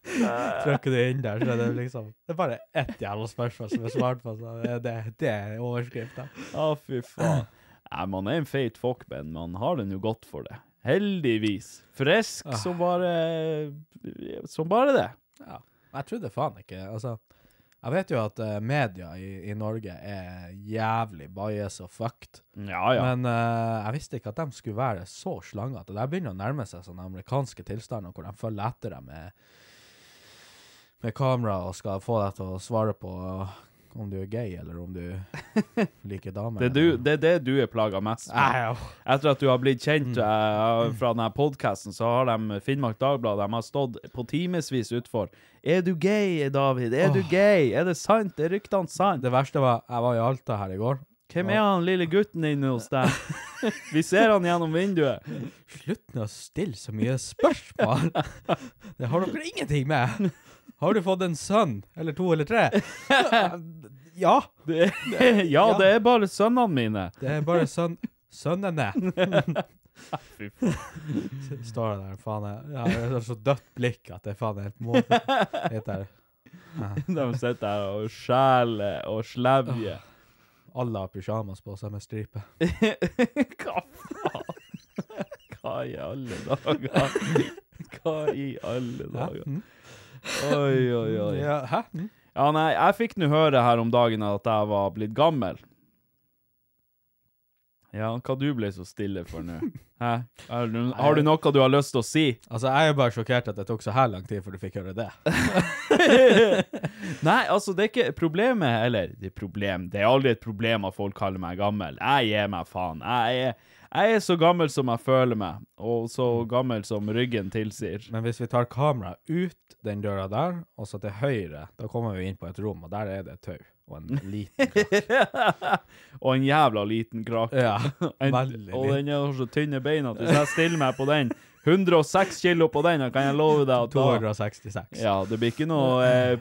[SPEAKER 3] Trykker du inn der, så er det liksom Det er bare ett jævla spørsmål som er svart på. Så det, det, det er overskrifta.
[SPEAKER 2] Å, fy faen. Nei, man er en feit fuck, men man har den jo godt for det. Heldigvis. Frisk som bare Som bare det.
[SPEAKER 3] Ja. Jeg trodde faen ikke Altså, jeg vet jo at eh, media i, i Norge er jævlig bias og fucked,
[SPEAKER 2] Ja, ja.
[SPEAKER 3] men eh, jeg visste ikke at de skulle være så slangete. Det der begynner å nærme seg sånne amerikanske tilstander hvor de følger etter deg med, med kamera og skal få deg til å svare på eh, om du er gay, eller
[SPEAKER 2] [laughs]
[SPEAKER 3] om du liker damer.
[SPEAKER 2] det, er du, det er det du er plaga mest med.
[SPEAKER 3] Nei, ja.
[SPEAKER 2] Etter at du har blitt kjent eh, fra denne podkasten, så har de Finnmark Dagblad de har stått på timevis utfor. Er du gay, David? Er du gay? Er det sant? Er ryktene sant?
[SPEAKER 3] Det verste var jeg var i Alta her i går.
[SPEAKER 2] Hvem er han lille gutten inne hos [laughs] deg? Vi ser han gjennom vinduet.
[SPEAKER 3] Slutt med å stille så mye [laughs] spørsmål! Det har dere ingenting med! Har du fått en sønn? Eller to eller tre? [laughs] Ja!
[SPEAKER 2] Det, [laughs] ja, det er bare sønnene mine.
[SPEAKER 3] Det er bare sønn... [laughs] Sønnene!
[SPEAKER 2] Fy faen.
[SPEAKER 3] [laughs] Står det der, faen. jeg- Jeg har så dødt blikk at det faen er helt måte. Heter
[SPEAKER 2] De sitter her og skjæler og slevjer.
[SPEAKER 3] alle har pyjamas på seg med stripe.
[SPEAKER 2] [laughs] Hva faen? Hva i alle dager? Hva i alle dager? Oi, oi, oi.
[SPEAKER 3] Mm? Ja, hæ? Mm.
[SPEAKER 2] Ja, nei, jeg fikk nå høre her om dagen at jeg var blitt gammel. Ja, hva du ble så stille for nå? Hæ? Har du, har du noe du har lyst til å si?
[SPEAKER 3] Altså, jeg er jo bare sjokkert at det tok så her lang tid før du fikk høre det.
[SPEAKER 2] Nei, altså, det er ikke problemet Eller, det er problem Det er aldri et problem at folk kaller meg gammel Jeg gir meg faen Jeg er, jeg er så gammel som jeg føler meg Og så gammel som ryggen tilsier [laughs]
[SPEAKER 3] Men hvis vi tar kameraet ut den døra der, og så til høyre, da kommer vi inn på et rom, og der er det et tau
[SPEAKER 2] [laughs]
[SPEAKER 3] og en liten
[SPEAKER 2] Og en jævla liten krak
[SPEAKER 3] Ja,
[SPEAKER 2] [laughs] en,
[SPEAKER 3] veldig
[SPEAKER 2] Og den har så tynne bein at hvis jeg stiller meg på den 106 kilo på den da Kan jeg love deg at da
[SPEAKER 3] 266.
[SPEAKER 2] Ja, det blir ikke noe eh,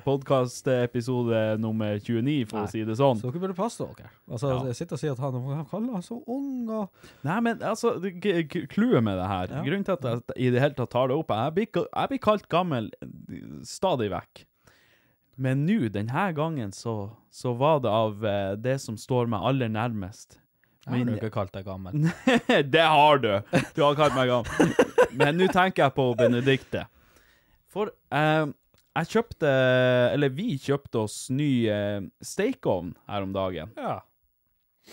[SPEAKER 2] podcast-episode nummer 29 For
[SPEAKER 3] Nei.
[SPEAKER 2] å si det sånn
[SPEAKER 3] Så dere burde passe dere. Altså,
[SPEAKER 2] Ja.
[SPEAKER 3] jeg sitter og sier at han, han kaller han så ung og
[SPEAKER 2] Nei, men altså, det- k- k- clouet med det her Grunnen til at jeg i det hele tatt tar det opp er Jeg blir, ka- jeg blir kalt gammel eh, stadig vekk. Men nå, denne gangen, så, så var det av eh, det som står meg aller nærmest.
[SPEAKER 3] Jeg har
[SPEAKER 2] Min-
[SPEAKER 3] jo ikke kalt deg gammel.
[SPEAKER 2] [laughs] det har du! Du har kalt meg gammel. Men nå tenker jeg på Benedikte. For eh, jeg kjøpte Eller vi kjøpte oss ny eh, stekeovn her om dagen.
[SPEAKER 3] Ja.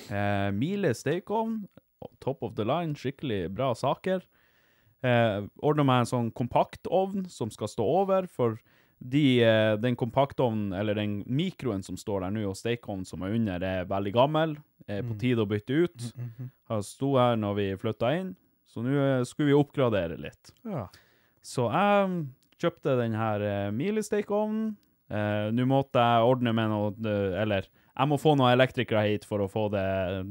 [SPEAKER 2] Eh, Miele stekeovn, top of the line, skikkelig bra saker. Eh, Ordna meg en sånn kompaktovn som skal stå over, for de, eh, den kompaktovnen, eller den mikroen som står der nå, og stekeovnen som er under, er veldig gammel. Er på tide å bytte ut. Har sto her når vi flytta inn, så nå eh, skulle vi oppgradere litt.
[SPEAKER 3] ja.
[SPEAKER 2] Så jeg kjøpte den her eh, milestekeovnen. Eh, Nå måtte jeg ordne med noe eh, Eller jeg må få noen elektrikere hit for å få det eh,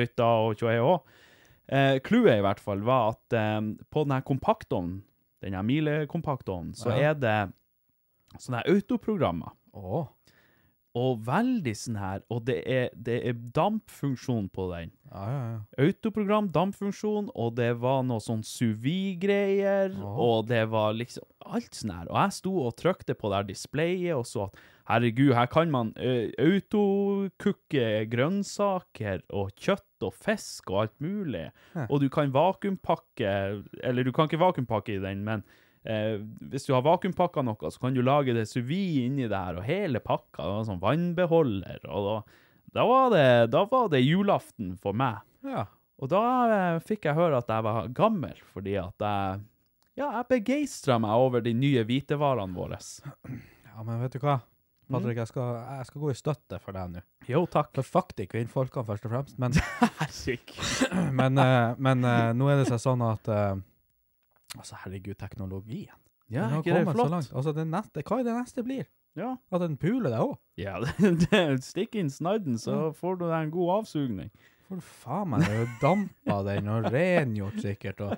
[SPEAKER 2] bytta og tjoe òg. Clouet i hvert fall var at eh, på den her kompaktovnen, den her milekompaktovnen, så
[SPEAKER 3] Ja.
[SPEAKER 2] er det sånne her autoprogrammer.
[SPEAKER 3] Å.
[SPEAKER 2] Og veldig sånn her Og det er, det er dampfunksjon på den
[SPEAKER 3] Ja, ja, ja.
[SPEAKER 2] autoprogram, dampfunksjon, og det var noe sånn sous-vide-greier, og det var liksom alt sånn her. Og jeg sto og trykte på det her displayet og så at herregud, her kan man eh, autokukke grønnsaker og kjøtt og fisk og alt mulig. Og du kan vakuumpakke, eller du kan ikke vakuumpakke i den, men eh, hvis du har vakuumpakka noe, så kan du lage det sous-vide inni det her, og hele pakka, det var sånn vannbeholder, og da, da, var det, da var det julaften for meg.
[SPEAKER 3] ja.
[SPEAKER 2] Og da eh, fikk jeg høre at jeg var gammel, fordi at jeg Ja, jeg begeistra meg over de nye hvitevarene våre.
[SPEAKER 3] Ja, men vet du hva?
[SPEAKER 2] Mm.
[SPEAKER 3] Patrick, jeg, skal, jeg skal gå i støtte for deg nå.
[SPEAKER 2] Jo, takk.
[SPEAKER 3] For fuck de kvinnfolkene, først og fremst. Men,
[SPEAKER 2] [laughs] Herregud.
[SPEAKER 3] [clears throat] men, eh, men eh, nå er det seg sånn at eh, Altså, herregud, teknologien.
[SPEAKER 2] Ja,
[SPEAKER 3] Den har
[SPEAKER 2] ikke det er
[SPEAKER 3] kommet så
[SPEAKER 2] flott?
[SPEAKER 3] langt. Altså, det neste, hva er det neste blir?
[SPEAKER 2] Ja.
[SPEAKER 3] At den puler deg òg?
[SPEAKER 2] ja [laughs] det, det, stikk inn snadden, så får du deg en god avsugning.
[SPEAKER 3] For faen meg, du dampa den og rengjort sikkert, og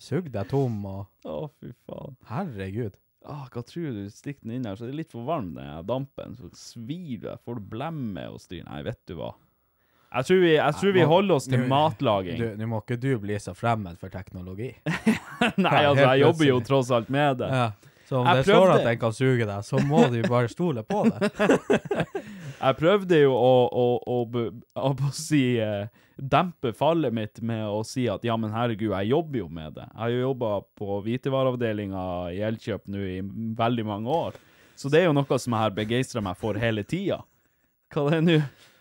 [SPEAKER 3] sugd deg tom og
[SPEAKER 2] Å, fy faen.
[SPEAKER 3] Herregud.
[SPEAKER 2] Ah, hva tror du? Stikk den inn her, så det er litt for varm, den her dampen. Så svir du, får du blemme og styr. Nei, vet du hva. Jeg tror vi, jeg tror vi holder oss til
[SPEAKER 3] Nå-
[SPEAKER 2] matlaging.
[SPEAKER 3] Du, nå må ikke du bli så fremmed for teknologi.
[SPEAKER 2] [laughs] Nei, altså, jeg jobber jo tross alt med det.
[SPEAKER 3] Ja. Så om
[SPEAKER 2] Jeg
[SPEAKER 3] det står
[SPEAKER 2] prøvde.
[SPEAKER 3] at den kan suge deg, så må du bare stole på det.
[SPEAKER 2] Jeg prøvde jo å, å, å, be- [laughs] å, på å si eh, dempe fallet mitt med å si at ja, men herregud, jeg jobber jo med det. Jeg har jo jobba på hvitevareavdelinga i Elkjøp nå i veldig mange år. Så det er jo noe som jeg har begeistra meg for hele tida. Hva det er nå? [laughs]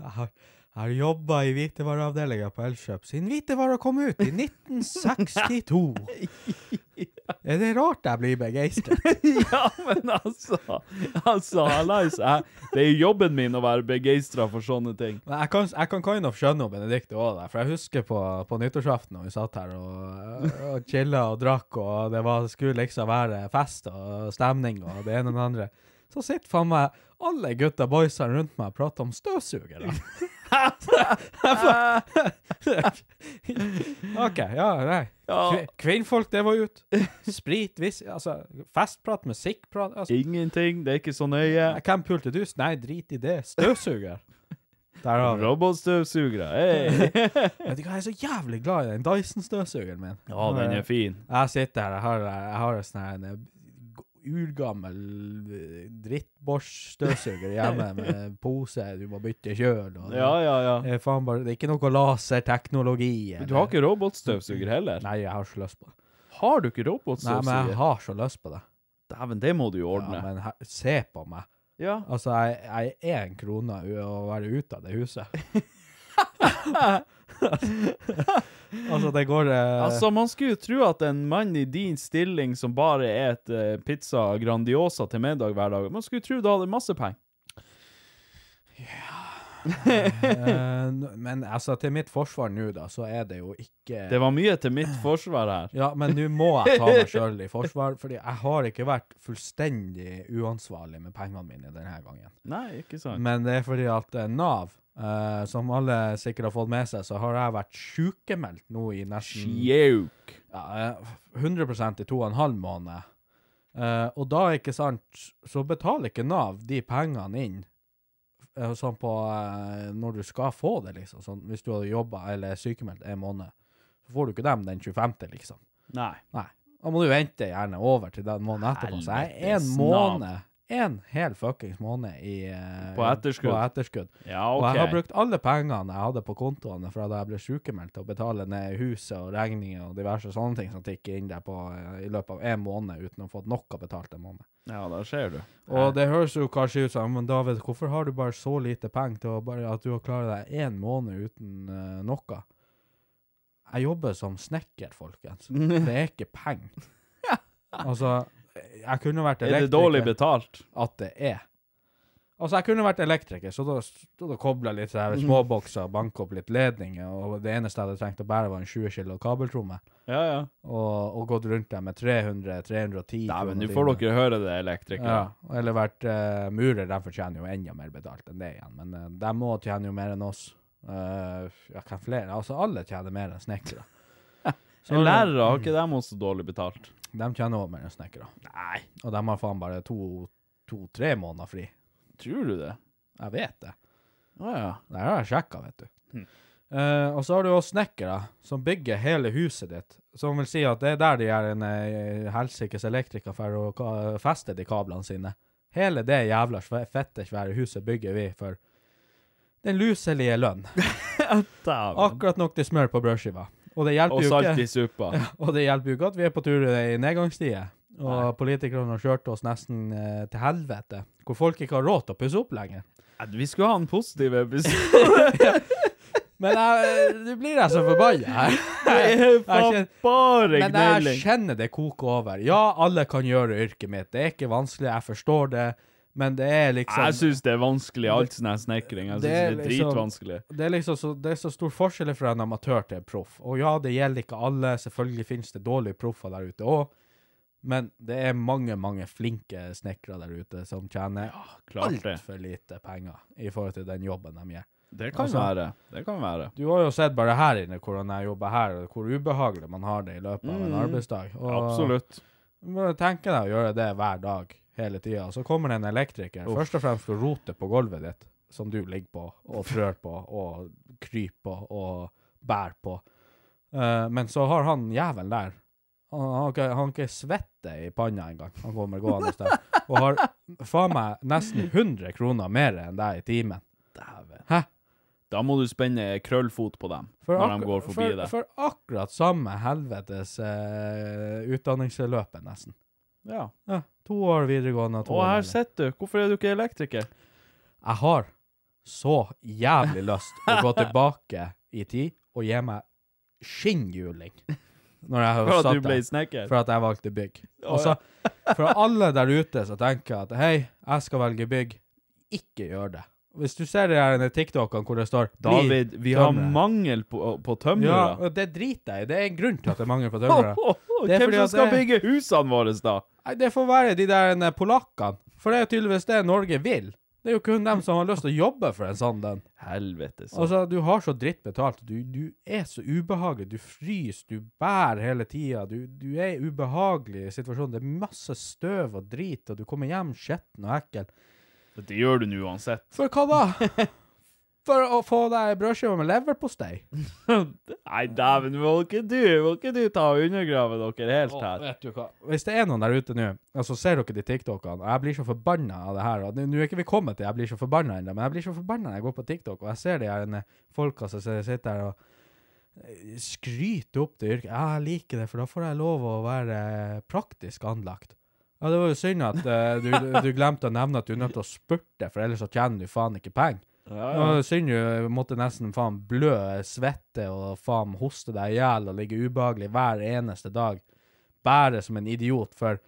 [SPEAKER 3] Jeg har, jeg har jobba i hvitevareavdelinga på Elkjøp siden hvitevara kom ut i 1962. Er det rart jeg blir begeistret?
[SPEAKER 2] Ja, men altså Altså, hallais. jeg- Det er jo jobben min å være begeistra for sånne ting.
[SPEAKER 3] Men jeg kan, jeg kan kind of skjønne hun Benedicte òg, for jeg husker på, på nyttårsaften da hun satt her og, og chilla og drakk, og det var, skulle liksom være fest og stemning og det ene og det andre. Så sitter faen meg alle gutta boysene rundt meg og prater om støvsugere. [laughs] OK, ja, nei.
[SPEAKER 2] Ja.
[SPEAKER 3] Kvi- Kvinnfolk, det var ut. Sprit, viss, altså festprat, musikkprat altså,
[SPEAKER 2] Ingenting, det er ikke så nøye.
[SPEAKER 3] Hvem pulte du? Nei, drit i det. Støvsuger. Der har vi
[SPEAKER 2] Robotstøvsugere, hei!
[SPEAKER 3] Vet du hva, jeg er så jævlig glad i den Dyson-støvsugeren min.
[SPEAKER 2] Ja, den er fin.
[SPEAKER 3] Jeg sitter her, jeg har, jeg har en sånn her en, eh, urgammel eh, drittborsstøvsuger
[SPEAKER 2] [laughs]
[SPEAKER 3] hjemme med pose, du må bytte kjøl og
[SPEAKER 2] Ja, ja, ja.
[SPEAKER 3] Det er faen bare, det er ikke noe laserteknologi.
[SPEAKER 2] Du har ikke robotstøvsuger heller?
[SPEAKER 3] Nei, jeg har så lyst på det.
[SPEAKER 2] Har du ikke
[SPEAKER 3] Nei, men jeg
[SPEAKER 2] robotstøvsuger?
[SPEAKER 3] har så lyst på det.
[SPEAKER 2] Dæven, det må du jo
[SPEAKER 3] Ja,
[SPEAKER 2] ordne.
[SPEAKER 3] men her, se på meg.
[SPEAKER 2] Ja.
[SPEAKER 3] Altså, jeg, jeg er en krone u- å være ute av det
[SPEAKER 2] [laughs]
[SPEAKER 3] huset. [laughs] altså, det går... eh,
[SPEAKER 2] Altså, man skulle jo tro at en mann i din stilling som bare et eh, pizza Grandiosa til middag hver dag, man skulle tro du hadde masse penger.
[SPEAKER 3] Eh, n- men altså, til mitt forsvar nå, da, så er det jo ikke
[SPEAKER 2] Det var mye til mitt forsvar her.
[SPEAKER 3] Ja, men nå må jeg ta meg sjøl i forsvar, fordi jeg har ikke vært fullstendig uansvarlig med pengene mine denne gangen.
[SPEAKER 2] Nei, ikke sant?
[SPEAKER 3] Men det er fordi at eh, Nav, eh, som alle sikkert har fått med seg, så har jeg vært sjukemeldt nå i
[SPEAKER 2] Mm.
[SPEAKER 3] nesten
[SPEAKER 2] Sjauk.
[SPEAKER 3] ja, eh, 100 i to og en halv måned. Eh, og da, ikke sant, så betaler ikke Nav de pengene inn eh, sånn på eh, når du skal få det, liksom. Sånn, hvis du hadde jobba eller er sykemeldt en måned, så får du ikke dem den 25., liksom.
[SPEAKER 2] Nei.
[SPEAKER 3] Nei. Da må du vente gjerne over til den måneden etterpå. Så jeg er en
[SPEAKER 2] Helvetes
[SPEAKER 3] måned, en hel fuckings måned i eh,
[SPEAKER 2] På etterskudd.
[SPEAKER 3] På etterskudd.
[SPEAKER 2] Ja,
[SPEAKER 3] Og jeg har
[SPEAKER 2] OK.
[SPEAKER 3] brukt alle pengene jeg hadde på kontoene fra da jeg ble sykemeldt, til å betale ned huset og regninger og diverse sånne ting som tikket inn der på, eh, i løpet av en måned uten å ha fått noe betalt en måned.
[SPEAKER 2] Ja, der ser du.
[SPEAKER 3] Og det høres jo kanskje ut som Men David, hvorfor har du bare så lite penger til å bare at du har klart deg én måned uten eh, noe? Jeg jobber som snekker,
[SPEAKER 2] [laughs]
[SPEAKER 3] folkens. Det er ikke penger. Altså, jeg kunne vært
[SPEAKER 2] Er
[SPEAKER 3] elektriker
[SPEAKER 2] det dårlig betalt?
[SPEAKER 3] at det er. Altså, jeg kunne vært elektriker, så da, så da kobla litt sånne
[SPEAKER 2] Mm.
[SPEAKER 3] småbokser, banka opp litt ledninger, og det eneste jeg hadde trengt å bære, var en 20 kilo kabeltromme,
[SPEAKER 2] Ja, ja.
[SPEAKER 3] og, og gått rundt der med 300-310
[SPEAKER 2] Dæven, nå får dere høre det, elektrikere.
[SPEAKER 3] Ja, eller vært eh, murer, de fortjener jo enda mer betalt enn det igjen, men eh, de må tjene jo mer enn oss. Eh, ja, hvem flere? Altså, alle tjener mer enn
[SPEAKER 2] [laughs]
[SPEAKER 3] snekkere. Så
[SPEAKER 2] Men Lærere, har ikke dem også dårlig betalt?
[SPEAKER 3] De tjener også mer enn snekkere.
[SPEAKER 2] Nei,
[SPEAKER 3] Og de har faen bare to-tre måneder fri.
[SPEAKER 2] tror du det?
[SPEAKER 3] Jeg vet det.
[SPEAKER 2] Å ja.
[SPEAKER 3] Det her har jeg sjekka, vet du. Eh, og så har du også snekkere som bygger hele huset ditt. Som vil si at det er der de er en eh, helsikes elektriker for å ka- feste de kablene sine. Hele det jævla sve- fette svære huset bygger vi for den luselige lønn.
[SPEAKER 2] Dæven.
[SPEAKER 3] Akkurat nok til smør på brødskiva. Og det hjelper
[SPEAKER 2] Og
[SPEAKER 3] jo
[SPEAKER 2] salt i
[SPEAKER 3] ikke.
[SPEAKER 2] suppa.
[SPEAKER 3] [laughs] Og det hjelper jo ikke at vi er på tur i nedgangstider. Og politikerne har kjørt oss nesten eh, til helvete. Hvor folk ikke har råd til å pusse opp lenger.
[SPEAKER 2] Nei, Vi skulle ha en positiv episode.
[SPEAKER 3] Men jeg, nå blir jeg så forbanna
[SPEAKER 2] [laughs]
[SPEAKER 3] her. Jeg kjenner-
[SPEAKER 2] Bare
[SPEAKER 3] Men jeg
[SPEAKER 2] gnelling.
[SPEAKER 3] kjenner det koker over. Ja, alle kan gjøre yrket mitt. Det er ikke vanskelig, jeg forstår det. Men det er liksom
[SPEAKER 2] Jeg syns det er vanskelig, alt sånn her snekring. Jeg syns
[SPEAKER 3] Det
[SPEAKER 2] det
[SPEAKER 3] er
[SPEAKER 2] er dritvanskelig.
[SPEAKER 3] Det er liksom så, det er så stor forskjell fra en amatør til en proff. Og ja, det gjelder ikke alle. Selvfølgelig finnes det dårlige proffer der ute òg. Men det er mange, mange flinke snekkere der ute som tjener
[SPEAKER 2] Klart det.
[SPEAKER 3] altfor lite penger i forhold til den jobben de gjør.
[SPEAKER 2] Det kan være. Det kan være.
[SPEAKER 3] Du har jo sett bare her inne hvordan jeg jobber her, og hvor ubehagelig man har det i løpet av en arbeidsdag. Og
[SPEAKER 2] Mm. Absolutt.
[SPEAKER 3] Bare tenk deg å gjøre det hver dag, hele tida. Så kommer det en elektriker, først og fremst og roter på gulvet ditt, som du ligger på og frør på og kryper på og bærer på. Eh, men så har han jævelen der Han han har ikke, han har ikke svette i panna engang. Han kommer gående der og har faen meg nesten 100 kroner mer enn deg i timen. Hæ?
[SPEAKER 2] Da må du spenne krøllfot på dem når
[SPEAKER 3] akkur-
[SPEAKER 2] de går forbi
[SPEAKER 3] for,
[SPEAKER 2] deg.
[SPEAKER 3] for akkurat samme helvetes eh, utdanningsløpet, nesten.
[SPEAKER 2] Ja.
[SPEAKER 3] Ja, to år videregående og to
[SPEAKER 2] Og
[SPEAKER 3] år
[SPEAKER 2] her
[SPEAKER 3] videre.
[SPEAKER 2] sitter du. Hvorfor er du ikke elektriker?
[SPEAKER 3] Jeg har så jævlig lyst å gå tilbake i tid og gi meg skinnhjuling. Når jeg har
[SPEAKER 2] For at
[SPEAKER 3] satt
[SPEAKER 2] du ble
[SPEAKER 3] der.
[SPEAKER 2] snekker?
[SPEAKER 3] For at jeg valgte bygg. Og så,
[SPEAKER 2] [laughs]
[SPEAKER 3] for alle der ute som tenker at hei, jeg skal velge bygg, ikke gjør det. Hvis du ser de her TikTokene hvor det står «Bli
[SPEAKER 2] David, vi har
[SPEAKER 3] tømrer».
[SPEAKER 2] mangel på, på
[SPEAKER 3] Ja,
[SPEAKER 2] tømrere.
[SPEAKER 3] og det driter jeg i. Det er en grunn til at det er mangel på
[SPEAKER 2] Ho,
[SPEAKER 3] tømrere.
[SPEAKER 2] [laughs] ho, ho,
[SPEAKER 3] Det er
[SPEAKER 2] Hvem
[SPEAKER 3] fordi
[SPEAKER 2] som
[SPEAKER 3] at
[SPEAKER 2] skal
[SPEAKER 3] det-
[SPEAKER 2] bygge husene våre, da?
[SPEAKER 3] Nei, det får være de der eh, polakkene. For det er jo tydeligvis det Norge vil. Det er jo kun dem som har lyst til å jobbe for en sånn den.
[SPEAKER 2] Helvete, så.
[SPEAKER 3] Altså, du har så dritt betalt. Du, du er så ubehagelig. Du fryser, du bærer hele tida. Du, du er i ubehagelig situasjon. Det er masse støv og drit, og du kommer hjem skitten og ekkel.
[SPEAKER 2] Dette gjør du nå uansett. [laughs]
[SPEAKER 3] For hva [laughs] da? For å få deg brødskive med leverpostei?
[SPEAKER 2] Nei, dæven, må ikke du må ikke du ta og undergrave dere helt her?
[SPEAKER 3] vet du hva? Hvis det er noen der ute nå, altså ser dere de TikTokene, og jeg blir så forbanna av det her, og nå- nå er ikke vi kommet til jeg blir så forbanna ennå, men jeg blir så forbanna når jeg går på TikTok, og jeg ser de her eh, folka som s- sitter der og eh, skryter opp det yrket. Ja, jeg liker det, for da får jeg lov å være eh, praktisk anlagt. Ja, det var jo synd at eh, du, du glemte å nevne at du er nødt til å spurte, for ellers så tjener du faen ikke penger. Det var jo synd du måtte nesten faen blø, svette og faen hoste deg i hjel og ligge ubehagelig hver eneste dag. Bære som en idiot for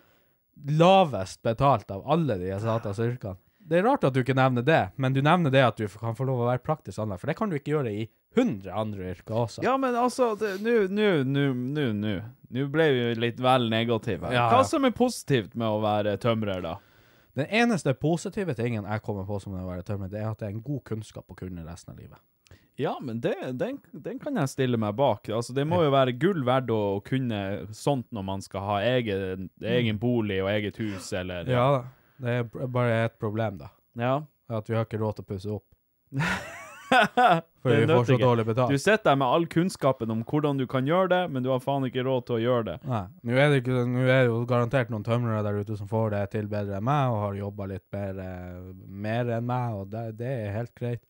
[SPEAKER 3] lavest betalt av alle de satans yrkene. Det er rart at du ikke nevner det, men du nevner det at du f- kan få lov å være praktisk anlagt, for det kan du ikke gjøre i 100 andre yrker også.
[SPEAKER 2] Ja, men altså, det- nå, nå, nå, nå, nå. Nå ble vi litt vel negative. her.
[SPEAKER 3] Ja, ja.
[SPEAKER 2] Hva som er positivt med å være tømrer, da?
[SPEAKER 3] Den eneste positive tingen jeg kommer på som å være tømmer, det er at det er en god kunnskap å kunne resten av livet.
[SPEAKER 2] Ja, men det, den, den kan jeg stille meg bak. Altså, det må jo være gull verdt å, å kunne sånt når man skal ha egen, egen bolig og eget hus, eller
[SPEAKER 3] Ja da. Det er b- bare et problem, da.
[SPEAKER 2] [laughs] Ja.
[SPEAKER 3] At vi har ikke råd til å pusse opp.
[SPEAKER 2] Det
[SPEAKER 3] Fordi vi får så
[SPEAKER 2] nytter ikke.
[SPEAKER 3] dårlig betalt.
[SPEAKER 2] Du sitter der med all kunnskapen om hvordan du kan gjøre det, men du har faen ikke råd til å gjøre det.
[SPEAKER 3] Nei. Nå er, det ikke, nå er det jo garantert noen tømrere der ute som får det til bedre enn meg, og har jobba litt mer, eh, mer enn meg, og det, det er helt greit.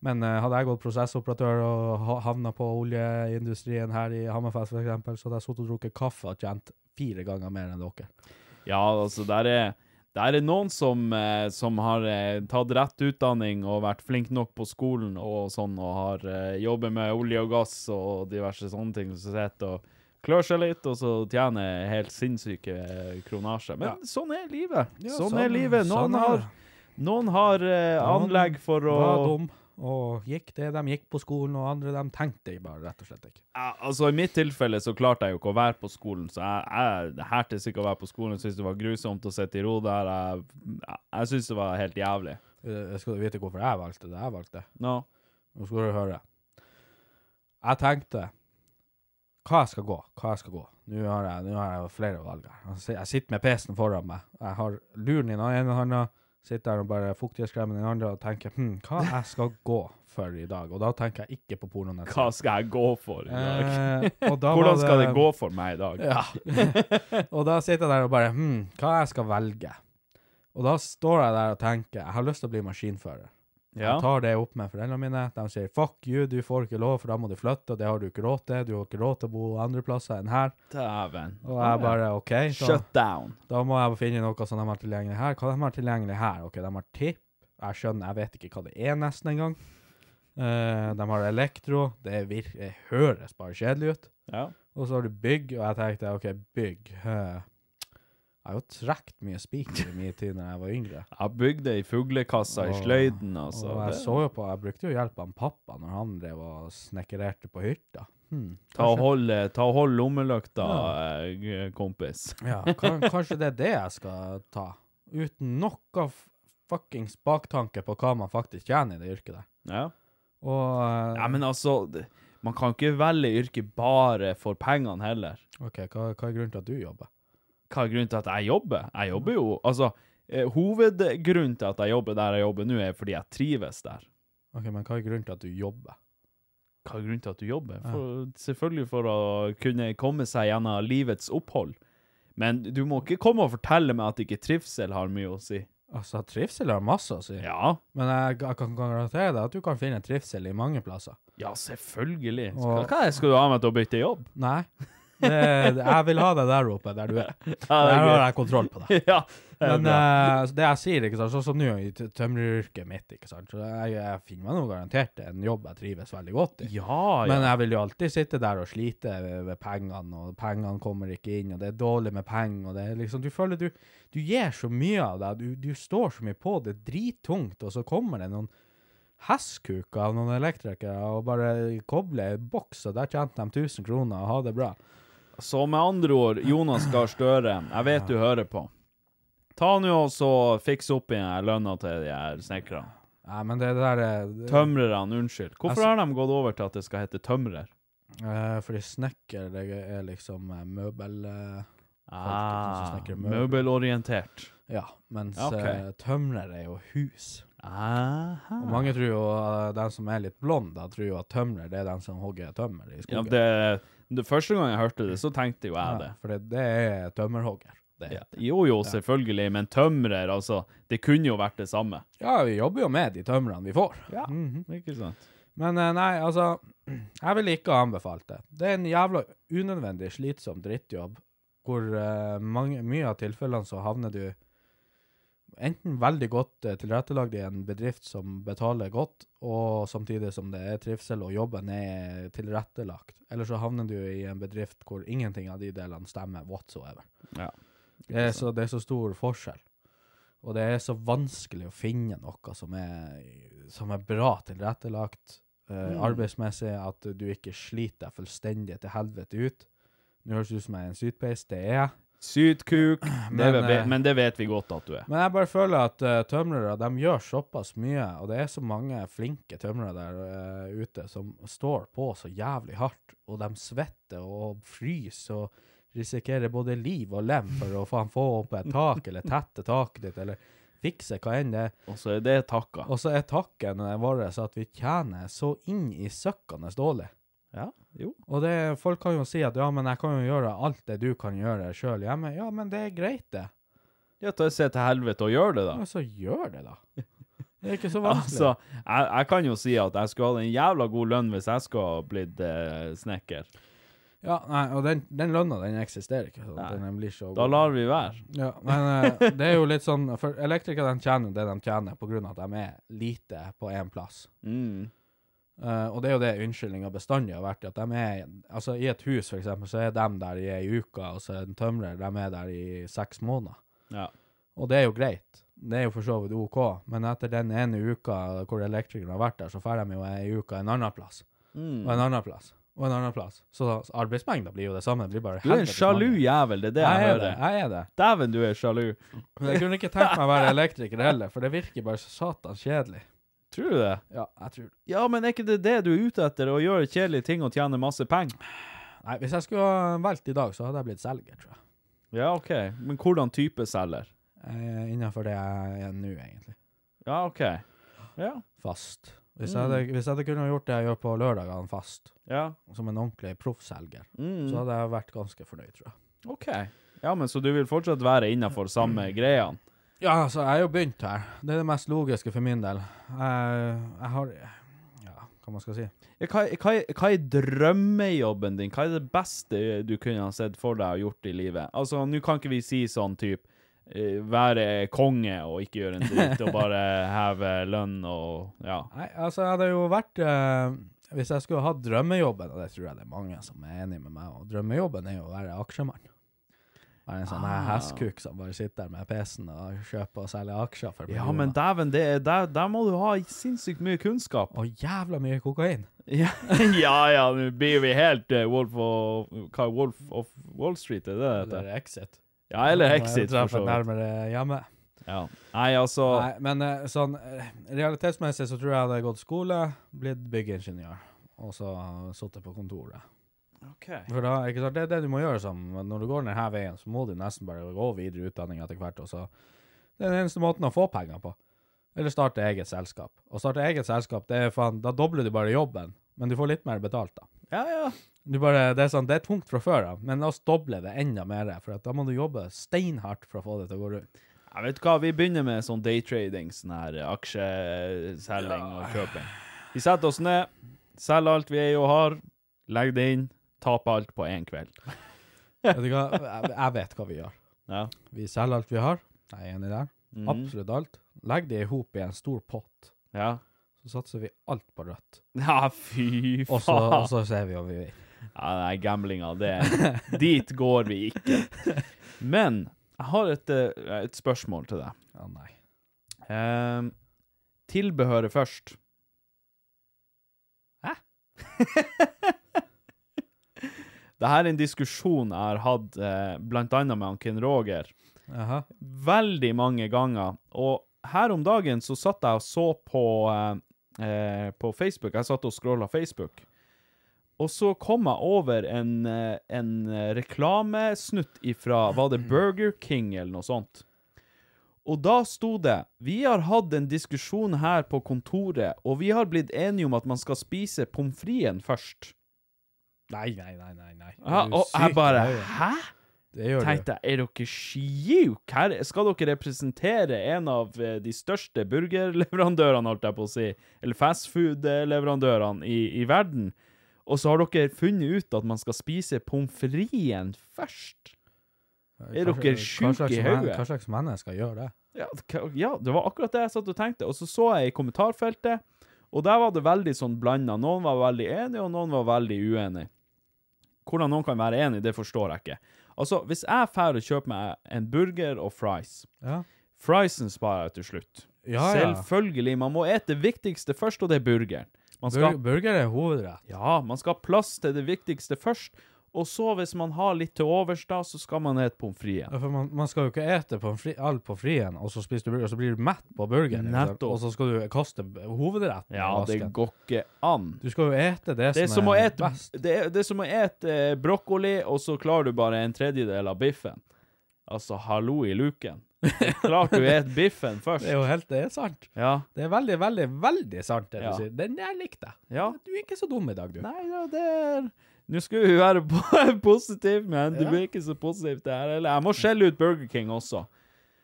[SPEAKER 3] Men eh, hadde jeg gått prosessoperatør og ha- havna på oljeindustrien her i Hammerfest f.eks., så hadde jeg sittet og drukket kaffe og tjent fire ganger mer enn dere.
[SPEAKER 2] Ja, altså, der er, der er noen som, eh, som har eh, tatt rett utdanning og vært flink nok på skolen og sånn, og har eh, jobbet med olje og gass og diverse sånne ting, så sitter og klør seg litt, og så tjener helt sinnssyke eh, kronasje. Men sånn er livet. sånn, er livet. Noen har, noen har eh,
[SPEAKER 3] Noen
[SPEAKER 2] anlegg for å
[SPEAKER 3] Var dum og gikk det de gikk på skolen, og andre de tenkte bare rett og slett ikke.
[SPEAKER 2] Ja, altså I mitt tilfelle så klarte jeg jo ikke å være på skolen, så jeg, jeg hertes ikke å være på skolen. Jeg syntes det var grusomt å sitte i ro der. Jeg, jeg- jeg syntes det var helt jævlig.
[SPEAKER 3] Eh, Skal du vite hvorfor jeg valgte det jeg valgte?
[SPEAKER 2] No.
[SPEAKER 3] Nå skal du høre. Jeg tenkte hva jeg skal gå, hva jeg skal gå. Nå har jeg, nå har jeg flere valg her. Jeg sit- Jeg sitter med PC-en foran meg. Jeg har luren i den ene hånda, sitter der og bare fuktighetskremen i den andre og tenker hm, hva jeg skal gå for i dag. Og da tenker jeg ikke på pornonett.
[SPEAKER 2] Hva skal jeg gå for i dag? [laughs]
[SPEAKER 3] Eh, og da var
[SPEAKER 2] Hvordan skal det gå for meg i dag?
[SPEAKER 3] Ja. og da sitter jeg der og bare hm, hva jeg skal velge? Og da står jeg der og tenker jeg har lyst til å bli maskinfører. Jeg
[SPEAKER 2] Ja.
[SPEAKER 3] tar det opp med foreldrene mine. De sier 'fuck you, du får ikke lov, for da må du flytte', og det har du ikke råd til. Du har ikke råd til å bo andre plasser enn her.
[SPEAKER 2] Dæven.
[SPEAKER 3] Og jeg bare OK, så,
[SPEAKER 2] Shut down.
[SPEAKER 3] da må jeg finne noe som de har tilgjengelig her. Hva de har tilgjengelig her? OK, de har tipp. Jeg skjønner, jeg vet ikke hva det er nesten engang. Eh, de har elektro. Det, vir det høres bare kjedelig ut.
[SPEAKER 2] Ja.
[SPEAKER 3] Og så har du bygg, og jeg tenkte OK, bygg eh, Jeg har jo trukket mye spiker i min tid når jeg var
[SPEAKER 2] [laughs]
[SPEAKER 3] yngre.
[SPEAKER 2] Jeg bygde ei fuglekasse i
[SPEAKER 3] Og-
[SPEAKER 2] sløyden, altså.
[SPEAKER 3] og jeg
[SPEAKER 2] Det-
[SPEAKER 3] så jo på, jeg brukte jo hjelp av pappa når han drev og snekkererte på hytta. Hmm,
[SPEAKER 2] Ta og hold, eh, ta og hold lommelykta,
[SPEAKER 3] Ja.
[SPEAKER 2] eh, g- kompis.
[SPEAKER 3] Ja, kan, kanskje det er det jeg skal ta. Uten noe f- fuckings baktanke på hva man faktisk tjener i det yrket der.
[SPEAKER 2] Ja.
[SPEAKER 3] Og eh,
[SPEAKER 2] ja, men altså det- Man kan ikke velge yrke bare for pengene heller.
[SPEAKER 3] OK, hva, hva er grunnen til at du jobber?
[SPEAKER 2] Hva er grunnen til at jeg jobber? Jeg jobber jo Altså, eh, hovedgrunnen til at jeg jobber der jeg jobber nå, er fordi jeg trives der.
[SPEAKER 3] OK, men hva er grunnen til at du jobber?
[SPEAKER 2] Hva er grunnen til at du jobber? For, selvfølgelig for å kunne komme seg gjennom livets opphold. Men du må ikke komme og fortelle meg at ikke trivsel har mye å si.
[SPEAKER 3] Altså, trivsel har masse altså. å si,
[SPEAKER 2] Ja,
[SPEAKER 3] men jeg, jeg kan garantere deg at du kan finne trivsel i mange plasser.
[SPEAKER 2] ja selvfølgelig. Skal,
[SPEAKER 3] Og-
[SPEAKER 2] hva er det skal du ha meg til å bytte jobb?
[SPEAKER 3] Nei. Det, det- jeg vil ha deg der oppe, der du er.
[SPEAKER 2] [laughs] Ja,
[SPEAKER 3] Der
[SPEAKER 2] det er
[SPEAKER 3] har
[SPEAKER 2] greit.
[SPEAKER 3] jeg kontroll på deg.
[SPEAKER 2] [laughs] [laughs] ja, det er
[SPEAKER 3] Men
[SPEAKER 2] bra.
[SPEAKER 3] eh, så det jeg sier, ikke sant, sånn som nå i tø- tømreryrket mitt, ikke sant, så jeg, jeg finner meg noe garantert en jobb jeg trives veldig godt i.
[SPEAKER 2] Ah, ja,
[SPEAKER 3] Men
[SPEAKER 2] ja.
[SPEAKER 3] jeg vil jo alltid sitte der og slite ved, ved pengene, og pengene kommer ikke inn, og det er dårlig med penger, og det er liksom, du føler du, du gir så mye av deg, du, du står så mye på, det er drittungt, og så kommer det noen hesskuker av noen elektrikere, og bare kobler i boks, og der tjente de 1000 kroner, og ha det bra.
[SPEAKER 2] Så med andre ord, Jonas Gahr Støre, jeg vet du hører på. Ta nå og så fiks opp igjen lønna til de her snekkerne.
[SPEAKER 3] Nei, men det der er...
[SPEAKER 2] Tømrerne, unnskyld. Hvorfor
[SPEAKER 3] Altså-
[SPEAKER 2] har de gått over til at det skal hete tømrer?
[SPEAKER 3] Eh, fordi snekker det er liksom eh, møbel... eh, som
[SPEAKER 2] Ah,
[SPEAKER 3] snakker om møbler.
[SPEAKER 2] møbelorientert.
[SPEAKER 3] ja, mens
[SPEAKER 2] Ja, ok.
[SPEAKER 3] eh, tømrer er jo hus.
[SPEAKER 2] Aha.
[SPEAKER 3] Og mange tror jo, eh, den som er litt blond, da, tror jo at tømrer det er den som hogger tømmer i
[SPEAKER 2] Ja,
[SPEAKER 3] skogen.
[SPEAKER 2] det, det første gang jeg hørte det, så tenkte jo jeg det.
[SPEAKER 3] for det, det er tømmerhogger. Det.
[SPEAKER 2] Ja. Jo jo, selvfølgelig, men tømrer, altså. Det kunne jo vært det samme.
[SPEAKER 3] Ja, vi jobber jo med de tømrene vi får.
[SPEAKER 2] Ja,
[SPEAKER 3] Mhm.
[SPEAKER 2] ikke sant?
[SPEAKER 3] Men eh, nei, altså, [clears throat] jeg ville ikke ha anbefalt det. Det er en jævla unødvendig slitsom drittjobb, hvor eh, mange, mye av tilfellene så havner du enten veldig godt eh, tilrettelagd i en bedrift som betaler godt, og samtidig som det er trivsel og jobben er tilrettelagt, eller så havner du i en bedrift hvor ingenting av de delene stemmer whatsoever.
[SPEAKER 2] Ja.
[SPEAKER 3] Det er så, det er så stor forskjell. Og det er så vanskelig å finne noe som er, som er bra tilrettelagt eh, arbeidsmessig, at du ikke sliter deg fullstendig til helvete ut. Nå høres det ut som jeg er en sytpeis, det er jeg.
[SPEAKER 2] Syt kuk,
[SPEAKER 3] Men,
[SPEAKER 2] det,
[SPEAKER 3] eh,
[SPEAKER 2] vet- men det vet vi godt at du er.
[SPEAKER 3] Men jeg bare føler at eh, tømrere de gjør såpass mye, og det er så mange flinke tømrere der eh, ute som står på så jævlig hardt, og de svetter og fryser og risikerer både liv og lem for å faen få opp et tak, eller tette taket ditt, eller fikse hva enn det er.
[SPEAKER 2] Og så er det takka.
[SPEAKER 3] Og så er takken vår at vi tjener så inn i søkkende dårlig.
[SPEAKER 2] Ja, jo.
[SPEAKER 3] Og det, folk kan jo si at ja, men jeg kan jo gjøre alt det du kan gjøre sjøl hjemme. Ja, men det er greit, det.
[SPEAKER 2] Ja, ta Se til helvete og gjør det, da.
[SPEAKER 3] Ja, så gjør det, da. Det er ikke
[SPEAKER 2] [laughs]
[SPEAKER 3] så vanskelig.
[SPEAKER 2] Altså, jeg, jeg kan jo si at jeg skulle hatt en jævla god lønn hvis jeg skulle ha blitt eh, snekker.
[SPEAKER 3] Ja, nei, og den, den lønna, den eksisterer ikke. Så
[SPEAKER 2] Nei.
[SPEAKER 3] den blir så
[SPEAKER 2] Da
[SPEAKER 3] god.
[SPEAKER 2] lar vi være.
[SPEAKER 3] Ja, men eh, det er jo litt sånn For elektrikere de tjener jo det de tjener på grunn av at de er lite på én plass.
[SPEAKER 2] Mm.
[SPEAKER 3] Eh, og det er jo det unnskyldninga bestandig har vært. At de er, altså I et hus, for eksempel, så er de der i ei uke, og så er en tømrer de er der i seks måneder.
[SPEAKER 2] Ja.
[SPEAKER 3] Og det er jo greit. Det er jo for så vidt OK. Men etter den ene uka hvor elektrikeren har vært der, så drar de jo ei uke en annen plass.
[SPEAKER 2] Mm.
[SPEAKER 3] Og en annen plass. Og en annen plass. Så da- så arbeidsmengda blir jo det samme. Det blir bare
[SPEAKER 2] Du er en
[SPEAKER 3] helvetes
[SPEAKER 2] sjalu
[SPEAKER 3] mange.
[SPEAKER 2] jævel, det er det jeg,
[SPEAKER 3] Jeg er det.
[SPEAKER 2] hører.
[SPEAKER 3] Jeg er det.
[SPEAKER 2] Dæven, du er sjalu.
[SPEAKER 3] Men jeg kunne ikke tenkt meg å være elektriker heller, for det virker bare så satans kjedelig.
[SPEAKER 2] Tror du det?
[SPEAKER 3] Ja, jeg tror det.
[SPEAKER 2] Ja, men er ikke det det du er ute etter? Å gjøre kjedelige ting og tjene masse penger?
[SPEAKER 3] Nei, hvis jeg skulle ha valgt i dag, så hadde jeg blitt selger, tror jeg.
[SPEAKER 2] Ja, OK. Men hvordan type selger?
[SPEAKER 3] Eh, innenfor det jeg er nå, egentlig.
[SPEAKER 2] Ja, OK. Ja.
[SPEAKER 3] Fast. Hvis, jeg hadde, hvis jeg hadde kunnet gjort det jeg gjør på lørdagene fast,
[SPEAKER 2] Ja.
[SPEAKER 3] som en ordentlig proffselger, så
[SPEAKER 2] Mm.
[SPEAKER 3] hadde jeg vært ganske fornøyd, tror jeg.
[SPEAKER 2] OK. Ja, men så du vil fortsatt være innafor samme greiene?
[SPEAKER 3] Ja, altså, jeg har jo begynt her. Det er det mest logiske for min del. Jeg, jeg har Ja, hva man skal si?
[SPEAKER 2] Ja, Hva, hva, hva er drømmejobben din? Hva er det beste du kunne ha sett for deg og gjort i livet? Altså, nå kan ikke vi si sånn type eh, være konge og ikke gjøre en dritt, og bare [laughs] heve lønn og ja.
[SPEAKER 3] Nei, altså, jeg hadde jo vært eh, Hvis jeg skulle hatt drømmejobben, og det tror jeg det er mange som er enig med meg og drømmejobben er jo å være aksjemann. Være en sånn her
[SPEAKER 2] Ah.
[SPEAKER 3] hestkuk som bare sitter der med PC-en og kjøper og selger aksjer for
[SPEAKER 2] Ja, men
[SPEAKER 3] millioner.
[SPEAKER 2] dæven, det er- der, der må du ha sinnssykt mye kunnskap.
[SPEAKER 3] Og jævla mye kokain!
[SPEAKER 2] Ja, [laughs] ja, ja nå blir vi helt eh, Wolf of Hva er Wolf of Wall Street, er det det heter?
[SPEAKER 3] Eller Exit.
[SPEAKER 2] Ja, eller Exit, for så vidt.
[SPEAKER 3] Nærmere hjemme.
[SPEAKER 2] Ja. Nei, altså
[SPEAKER 3] Nei, men eh, sånn eh, realitetsmessig så tror jeg jeg hadde gått skole, blitt byggeingeniør, og så sittet på kontoret. For da, ikke sant, Det er det du må gjøre. Som, når du går denne veien, så må du nesten bare gå videre i utdanning etter hvert. og så Det er den eneste måten å få penger på. Eller starte eget selskap. Å starte eget selskap, det er faen, da dobler du bare jobben, men du får litt mer betalt, da.
[SPEAKER 2] Ja, ja.
[SPEAKER 3] Du bare, det, er sånn, det er tungt fra før av, men la oss doble det enda mer, for at da må du jobbe steinhardt for å få det til å gå rundt.
[SPEAKER 2] Jeg vet hva, vi begynner med sånn daytrading, sånn her eh, aksjeselging og kjøping. Vi setter oss ned, selger alt vi eier og har, legger det inn, taper alt på én kveld.
[SPEAKER 3] Vet du hva? Jeg, jeg vet hva vi gjør.
[SPEAKER 2] Ja.
[SPEAKER 3] Vi selger alt vi har. Jeg er enig der.
[SPEAKER 2] Mhm.
[SPEAKER 3] Absolutt alt. Legg det i hop i en stor pott.
[SPEAKER 2] Ja. [laughs]
[SPEAKER 3] Så satser vi alt på rødt.
[SPEAKER 2] ja, fy
[SPEAKER 3] Og [laughs] så, og
[SPEAKER 2] faen.
[SPEAKER 3] så ser vi om vi vil.
[SPEAKER 2] Ja, nei, gamblinga, det Dit går vi ikke. [laughs] Men jeg har et, eh, et spørsmål til deg.
[SPEAKER 3] Ja, nei.
[SPEAKER 2] Ehm, tilbehøret først. [laughs] Hæ? Dette er en diskusjon jeg har hatt eh, blant annet med han Ken Roger
[SPEAKER 3] Jaha.
[SPEAKER 2] veldig mange ganger. Og her om dagen så satt jeg og så på, eh, eh, på Facebook. Jeg satt og scrolla Facebook. Og så kom jeg over en, eh, en eh, reklamesnutt ifra Var det Burger King eller noe sånt? Og da sto det Vi har hatt en diskusjon her på kontoret, og vi har blitt enige om at man skal spise pommes fritesen først.
[SPEAKER 3] Nei, nei, nei, nei. nei.
[SPEAKER 2] Ja,
[SPEAKER 3] Er du
[SPEAKER 2] og
[SPEAKER 3] syk
[SPEAKER 2] jeg
[SPEAKER 3] i
[SPEAKER 2] bare
[SPEAKER 3] hodet?
[SPEAKER 2] Hæ?
[SPEAKER 3] Det gjør
[SPEAKER 2] tenkte jeg, er dere sjuke her? Skal dere representere en av eh, de største burgerleverandørene, holdt jeg på å si, eller fastfood-leverandørene i, i verden, og så har dere funnet ut at man skal spise pommes fritesen først?
[SPEAKER 3] du.
[SPEAKER 2] er
[SPEAKER 3] Hva
[SPEAKER 2] dere
[SPEAKER 3] slags-
[SPEAKER 2] syke i
[SPEAKER 3] hva slags men-
[SPEAKER 2] hodet?
[SPEAKER 3] Hva slags mennesker gjør det?
[SPEAKER 2] Ja, k- ja, det var akkurat det jeg satt og tenkte. Og så så jeg i kommentarfeltet, og der var det veldig sånn blanda. Noen var veldig enige, og noen var veldig uenige. Hvordan noen kan være enige, det forstår jeg ikke. Altså, hvis jeg drar og kjøper meg en burger og fries
[SPEAKER 3] Ja.
[SPEAKER 2] Friesen sparer jeg til slutt.
[SPEAKER 3] Ja, ja.
[SPEAKER 2] Selvfølgelig. Man må ete det viktigste først, og det er burgeren. Man skal
[SPEAKER 3] Bur burger er hovedrett.
[SPEAKER 2] ja, man skal ha plass til det viktigste først, og så, hvis man har litt til overs, da, så skal man ete pommes frites.
[SPEAKER 3] Ja, For man, man skal jo ikke ete på fri, alt på frien, og så spiser du burger, og så blir du mett på burgeren. ikke sant?
[SPEAKER 2] Nettopp.
[SPEAKER 3] Og så skal du kaste b- hovedretten
[SPEAKER 2] Ja,
[SPEAKER 3] i
[SPEAKER 2] det
[SPEAKER 3] vasken.
[SPEAKER 2] går ikke an.
[SPEAKER 3] Du skal jo ete det,
[SPEAKER 2] Det er som å
[SPEAKER 3] er
[SPEAKER 2] et,
[SPEAKER 3] best.
[SPEAKER 2] det er, det er som å et eh, brokkoli, og så klarer du bare en tredjedel av biffen. Altså, hallo i
[SPEAKER 3] [laughs]
[SPEAKER 2] luken. Klart du et biffen først.
[SPEAKER 3] Det er jo helt det er sant.
[SPEAKER 2] Ja.
[SPEAKER 3] Det er veldig, veldig, veldig sant, det
[SPEAKER 2] Ja.
[SPEAKER 3] du sier. Den der likte jeg.
[SPEAKER 2] Ja.
[SPEAKER 3] Du er ikke så dum i dag, du.
[SPEAKER 2] Nei, ja, det er Nå skal vi være [laughs] po- positiv, men det
[SPEAKER 3] Ja.
[SPEAKER 2] blir ikke så positivt det her. Eller jeg må skjelle ut Burger King også.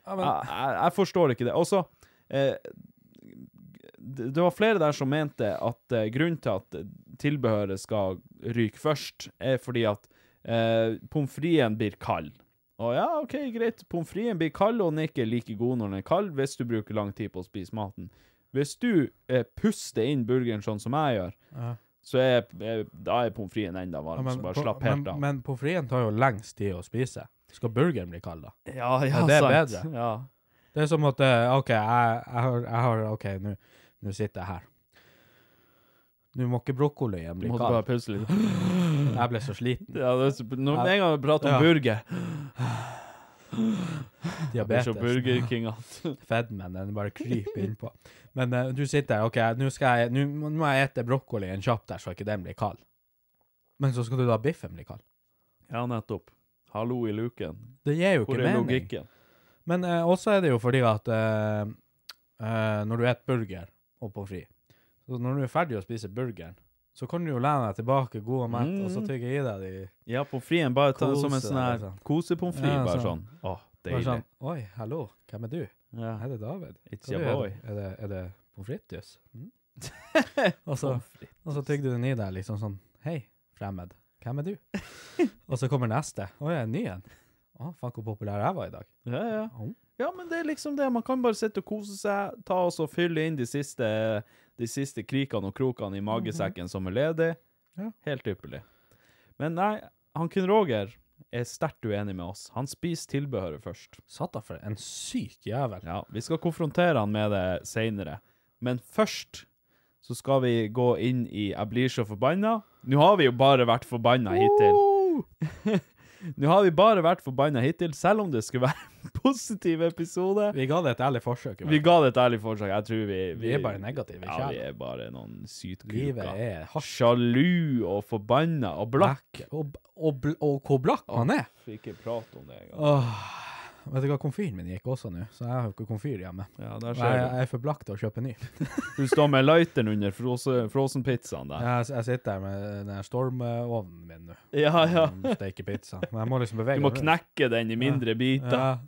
[SPEAKER 3] Ja, men,
[SPEAKER 2] Jeg, jeg, jeg forstår ikke det. Også, eh, det det var flere der som mente at eh, grunnen til at tilbehøret skal ryke først, er fordi at eh, pommes fritesen blir kald. Å ja, OK, greit. Pommes fritesen blir kald, og den er ikke like god når den er kald hvis du bruker lang tid på å spise maten. Hvis du eh, puster inn burgeren sånn som jeg gjør,
[SPEAKER 3] Ja.
[SPEAKER 2] så er, eh, da er pommes fritesen enda
[SPEAKER 3] ja,
[SPEAKER 2] varm,
[SPEAKER 3] men,
[SPEAKER 2] så bare
[SPEAKER 3] på-
[SPEAKER 2] slapp
[SPEAKER 3] men,
[SPEAKER 2] helt av.
[SPEAKER 3] men på frien tar jo lengst tid å spise. Skal burgeren bli kald, da?
[SPEAKER 2] ja, ja,
[SPEAKER 3] det er
[SPEAKER 2] sant.
[SPEAKER 3] bedre.
[SPEAKER 2] Ja.
[SPEAKER 3] Det er som at eh, OK, jeg, jeg, har, jeg har OK, nå nå sitter jeg her. Nå må ikke brokkolien bli
[SPEAKER 2] Måtte bare
[SPEAKER 3] kald.
[SPEAKER 2] puste litt.
[SPEAKER 3] Jeg ble så
[SPEAKER 2] [laughs]
[SPEAKER 3] sliten.
[SPEAKER 2] Ja, det er, så- når
[SPEAKER 3] Ja.
[SPEAKER 2] med en gang vi prater om
[SPEAKER 3] Ja.
[SPEAKER 2] burger Jeg blir så
[SPEAKER 3] Diabetes.
[SPEAKER 2] Burger King altså. at
[SPEAKER 3] [laughs] Fedmen, den bare kryper innpå. Men eh, du sitter der, OK, nå skal jeg Nå må- nå må jeg ete brokkolien kjapt der, så ikke den blir kald. Men så skal du la biffen bli kald.
[SPEAKER 2] Ja, nettopp. Hallo i luken.
[SPEAKER 3] Det gir jo
[SPEAKER 2] Hvor
[SPEAKER 3] ikke
[SPEAKER 2] er
[SPEAKER 3] mening.
[SPEAKER 2] logikken?
[SPEAKER 3] Men eh, også er det jo fordi at eh, eh, når du et burger og pommes frites, så når du er ferdig å spise burgeren, så kan du jo lene deg tilbake, god og mett, og så
[SPEAKER 2] Mm.
[SPEAKER 3] tygge i deg de
[SPEAKER 2] Ja, pommes fritesen. Bare ta det som en
[SPEAKER 3] Kose
[SPEAKER 2] sånn
[SPEAKER 3] deg,
[SPEAKER 2] her
[SPEAKER 3] liksom.
[SPEAKER 2] kosepommes frites.
[SPEAKER 3] Ja,
[SPEAKER 2] bare sånn.
[SPEAKER 3] sånn.
[SPEAKER 2] Åh,
[SPEAKER 3] Bare
[SPEAKER 2] deilig.
[SPEAKER 3] sånn Oi, hallo, hvem er du?
[SPEAKER 2] Ja.
[SPEAKER 3] Er det David?
[SPEAKER 2] It's
[SPEAKER 3] Hva
[SPEAKER 2] your
[SPEAKER 3] du, er
[SPEAKER 2] boy.
[SPEAKER 3] det- Er det, er det pommes frites? Mm.
[SPEAKER 2] [laughs]
[SPEAKER 3] og, så,
[SPEAKER 2] Pommes frites.
[SPEAKER 3] og så tygde du den i deg
[SPEAKER 2] [laughs]
[SPEAKER 3] liksom sånn Hei, fremmed, hvem er du? og så kommer neste. Å, jeg er ny en. Å, faen hvor populær jeg var i dag.
[SPEAKER 2] Ja, ja.
[SPEAKER 3] Au.
[SPEAKER 2] ja, men det er liksom det. Man kan bare sitte og kose seg, ta oss og fylle inn de siste, de siste krikene og krokene i magesekken som er ledig.
[SPEAKER 3] Mhm. Ja.
[SPEAKER 2] Helt ypperlig. Men nei, han Kun Roger er sterkt uenig med oss. Han spiser tilbehøret først.
[SPEAKER 3] Satan, for en syk jævel.
[SPEAKER 2] Ja, vi skal konfrontere han med det seinere. Men først så skal vi gå inn i 'Jeg blir så forbanna'. Nå har vi jo bare vært forbanna hittil. Nå har vi bare vært forbanna hittil, selv om det skulle være [laughs] en positiv episode.
[SPEAKER 3] Vi ga det et ærlig forsøk. i hvert
[SPEAKER 2] Vi ga det et ærlig forsøk. Jeg tror vi
[SPEAKER 3] Vi er bare negative,
[SPEAKER 2] Ja,
[SPEAKER 3] ikke sant?
[SPEAKER 2] vi er bare noen
[SPEAKER 3] fall. Livet
[SPEAKER 2] sytkuker.
[SPEAKER 3] er hardt.
[SPEAKER 2] Sjalu og forbanna og blakk.
[SPEAKER 3] Og, og, bl- og hvor blakk han er.
[SPEAKER 2] Ikke prat om det engang.
[SPEAKER 3] Åh. Vet du hva, komfyren min gikk også nå, så jeg har jo ikke komfyr hjemme.
[SPEAKER 2] Ja, der
[SPEAKER 3] Og
[SPEAKER 2] ser
[SPEAKER 3] Jeg,
[SPEAKER 2] du.
[SPEAKER 3] jeg er for blakk til å kjøpe ny.
[SPEAKER 2] Du står med lighteren under frose- frosenpizzaen der.
[SPEAKER 3] Jeg, jeg sitter her med den her stormovnen min nå.
[SPEAKER 2] Ja, ja.
[SPEAKER 3] og Steker pizza. Men jeg må liksom bevege
[SPEAKER 2] Du må
[SPEAKER 3] meg rundt.
[SPEAKER 2] knekke den i mindre biter.
[SPEAKER 3] Ja.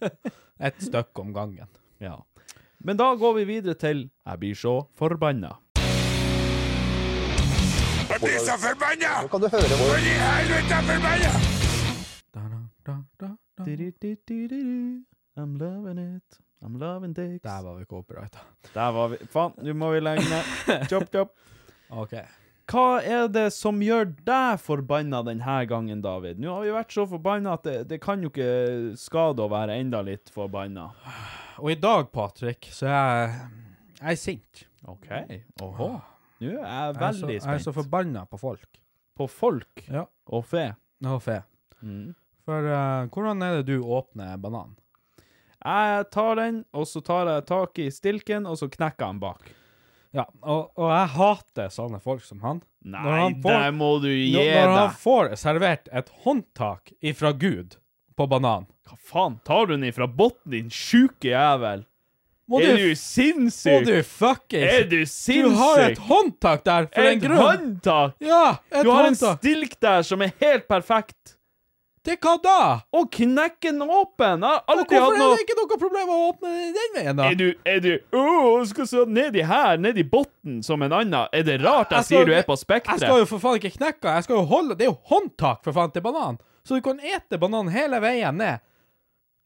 [SPEAKER 3] Et stykk om gangen.
[SPEAKER 2] Ja. Men da går vi videre til Jeg blir så forbanna.
[SPEAKER 3] Da, da, da, da, da.
[SPEAKER 2] Du-du-du-du-du. I'm loving it. I'm loving dicks.
[SPEAKER 3] Der var vi copyrighta.
[SPEAKER 2] Der var vi. Faen, nå må vi legge ned.
[SPEAKER 3] [laughs]
[SPEAKER 2] Chop, chop.
[SPEAKER 3] OK.
[SPEAKER 2] Hva er det som gjør deg forbanna denne gangen, David? Nå har vi vært så forbanna at det, det kan jo ikke skade å være enda litt forbanna.
[SPEAKER 3] Og i dag, Patrick, så er jeg, jeg er sint.
[SPEAKER 2] OK. Åhå. Nå er jeg
[SPEAKER 3] Jeg er så-
[SPEAKER 2] veldig
[SPEAKER 3] Jeg er
[SPEAKER 2] spent.
[SPEAKER 3] så forbanna på folk.
[SPEAKER 2] På folk
[SPEAKER 3] Ja.
[SPEAKER 2] og fe.
[SPEAKER 3] Nå, fe.
[SPEAKER 2] Mm.
[SPEAKER 3] For eh, hvordan er det du åpner banan?
[SPEAKER 2] Jeg tar den, og så tar jeg tak i stilken, og så knekker jeg den bak.
[SPEAKER 3] Ja, og, og jeg hater sånne folk som han. Når
[SPEAKER 2] Nei,
[SPEAKER 3] han får-
[SPEAKER 2] det må du gi
[SPEAKER 3] Når- Når han
[SPEAKER 2] deg!
[SPEAKER 3] får servert et håndtak ifra Gud på banan
[SPEAKER 2] Hva faen? Tar du den ifra botten, din sjuke jævel?
[SPEAKER 3] Må
[SPEAKER 2] er
[SPEAKER 3] du,
[SPEAKER 2] du
[SPEAKER 3] må
[SPEAKER 2] sinnssyk?
[SPEAKER 3] du
[SPEAKER 2] er
[SPEAKER 3] fuckings
[SPEAKER 2] du
[SPEAKER 3] Du
[SPEAKER 2] sinnssyk?
[SPEAKER 3] har et håndtak der for en
[SPEAKER 2] Et
[SPEAKER 3] grunn!
[SPEAKER 2] håndtak!
[SPEAKER 3] Ja, et
[SPEAKER 2] Du har en
[SPEAKER 3] håndtak.
[SPEAKER 2] stilk der som er helt perfekt.
[SPEAKER 3] Til hva da?
[SPEAKER 2] Og knekken åpen! Jeg har alltid
[SPEAKER 3] Hvorfor
[SPEAKER 2] hatt
[SPEAKER 3] er det
[SPEAKER 2] noe
[SPEAKER 3] ikke noe problem å åpne den den veien, da?
[SPEAKER 2] Er du Er du Åh, skal så nedi her, nedi botten, som en annen? Er det rart jeg,
[SPEAKER 3] skal
[SPEAKER 2] sier du
[SPEAKER 3] ikke-
[SPEAKER 2] er på
[SPEAKER 3] Jeg skal
[SPEAKER 2] Spekteret?
[SPEAKER 3] jo for faen ikke knekke den. Jeg skal jo holde Det er jo håndtak, for faen, til banan. Så du kan ete banan hele veien ned.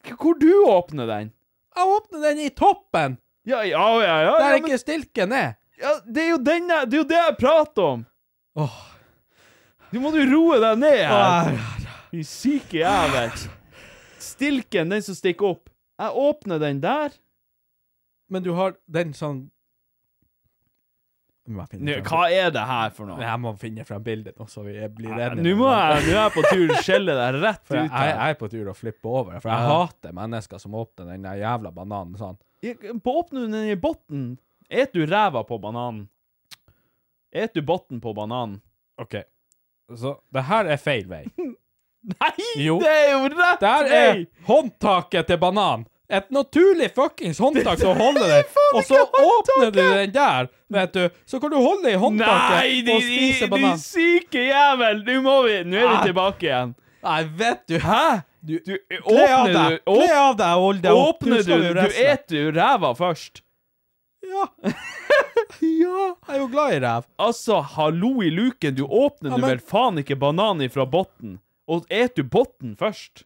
[SPEAKER 2] Hvor du åpner den?
[SPEAKER 3] Jeg åpner den i toppen,
[SPEAKER 2] Ja, ja, ja, ja,
[SPEAKER 3] der
[SPEAKER 2] ja, men,
[SPEAKER 3] ikke stilken er.
[SPEAKER 2] ja Det er jo den jeg Det er jo det jeg prater om!
[SPEAKER 3] Åh.
[SPEAKER 2] Du må du roe deg ned her!
[SPEAKER 3] Åh,
[SPEAKER 2] Du syke jævel. Stilken, den som stikker opp. Jeg åpner den der.
[SPEAKER 3] Men du har den sånn Nå må jeg
[SPEAKER 2] Nå,
[SPEAKER 3] finne
[SPEAKER 2] hva
[SPEAKER 3] fram-
[SPEAKER 2] er det her for noe?
[SPEAKER 3] Jeg må finne fram bildet nå, så vi blir
[SPEAKER 2] Nei,
[SPEAKER 3] redde.
[SPEAKER 2] Nå må jeg, nå er jeg på tur å skjelle deg rett
[SPEAKER 3] For jeg,
[SPEAKER 2] ut
[SPEAKER 3] jeg,
[SPEAKER 2] her.
[SPEAKER 3] er på tur å flippe over, for jeg
[SPEAKER 2] Ja.
[SPEAKER 3] hater mennesker som åpner den der jævla bananen sånn.
[SPEAKER 2] På åpner du den i botten? Et du ræva på bananen? Et du botten på bananen?
[SPEAKER 3] OK, så det her er feil vei.
[SPEAKER 2] [laughs] Nei,
[SPEAKER 3] Jo.
[SPEAKER 2] det er jo rett
[SPEAKER 3] Der er
[SPEAKER 2] vei!
[SPEAKER 3] håndtaket til banan. Et naturlig fuckings håndtak som holder
[SPEAKER 2] Det er
[SPEAKER 3] deg,
[SPEAKER 2] faen
[SPEAKER 3] og så
[SPEAKER 2] ikke håndtaket!
[SPEAKER 3] åpner du den der, vet du. Så kan du holde i
[SPEAKER 2] Nei,
[SPEAKER 3] håndtaket
[SPEAKER 2] de,
[SPEAKER 3] og
[SPEAKER 2] de,
[SPEAKER 3] spise
[SPEAKER 2] de
[SPEAKER 3] banan.
[SPEAKER 2] syke jævel! Nå må vi Nå er vi
[SPEAKER 3] Ah.
[SPEAKER 2] tilbake igjen.
[SPEAKER 3] Nei, vet du
[SPEAKER 2] Hæ?
[SPEAKER 3] Du,
[SPEAKER 2] Du,
[SPEAKER 3] kle av
[SPEAKER 2] åpner
[SPEAKER 3] deg!
[SPEAKER 2] du
[SPEAKER 3] Kle
[SPEAKER 2] åp-
[SPEAKER 3] av deg og hold deg opp!
[SPEAKER 2] Åpner du
[SPEAKER 3] skal jo
[SPEAKER 2] Du
[SPEAKER 3] reise deg.
[SPEAKER 2] eter jo ræva først.
[SPEAKER 3] Ja. [laughs] ja. Jeg er jo glad i ræv.
[SPEAKER 2] Altså, hallo i luken, du åpner
[SPEAKER 3] Ja,
[SPEAKER 2] du
[SPEAKER 3] men-
[SPEAKER 2] vel faen ikke bananen fra botten? Og et du botten først?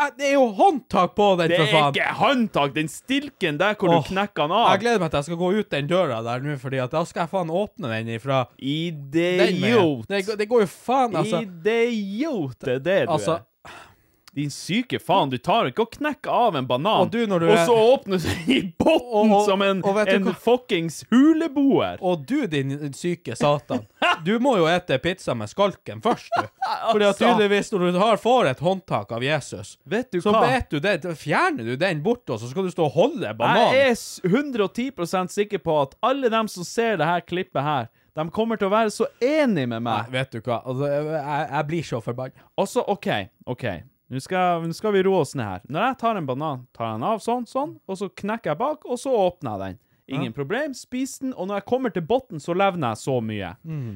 [SPEAKER 3] Eh, Det er jo håndtak på den,
[SPEAKER 2] Det
[SPEAKER 3] for
[SPEAKER 2] er
[SPEAKER 3] faen!
[SPEAKER 2] ikke håndtak, den stilken der hvor
[SPEAKER 3] Åh,
[SPEAKER 2] du knekker den
[SPEAKER 3] Jeg
[SPEAKER 2] av.
[SPEAKER 3] gleder meg til jeg skal gå ut den døra der nå, fordi at da skal jeg faen åpne den ifra den veien.
[SPEAKER 2] Idiot.
[SPEAKER 3] Det, går- det går jo faen, altså.
[SPEAKER 2] Idiot det er det du
[SPEAKER 3] Altså,
[SPEAKER 2] er. Din syke faen, du tar ikke og knekker av en banan,
[SPEAKER 3] Og du når du
[SPEAKER 2] og
[SPEAKER 3] er-
[SPEAKER 2] så åpner du [laughs] den i botten
[SPEAKER 3] Og- og-
[SPEAKER 2] som en,
[SPEAKER 3] og vet du
[SPEAKER 2] en
[SPEAKER 3] hva?
[SPEAKER 2] fuckings huleboer.
[SPEAKER 3] Og du, din syke satan. Du må jo ete pizza med skalken først, du. Fordi at tydeligvis når du har, får et håndtak av Jesus,
[SPEAKER 2] Vet Altså. du
[SPEAKER 3] så
[SPEAKER 2] hva?
[SPEAKER 3] bet du det, fjerner du den bort, og så skal du stå og holde
[SPEAKER 2] Jeg
[SPEAKER 3] bananen.
[SPEAKER 2] er s- 110 sikker på at alle dem som ser det her klippet her, de kommer til å være så enig med
[SPEAKER 3] Nei,
[SPEAKER 2] meg.
[SPEAKER 3] vet du hva, altså, jeg, jeg blir så forbanna.
[SPEAKER 2] Altså, OK, OK. Nå skal, nå skal vi roe oss ned her. Når jeg tar en banan, tar jeg den av sånn, sånn, og så knekker jeg bak, og så åpner jeg den. Ingen problem, spis den, og når jeg kommer til botten, så levner jeg så mye.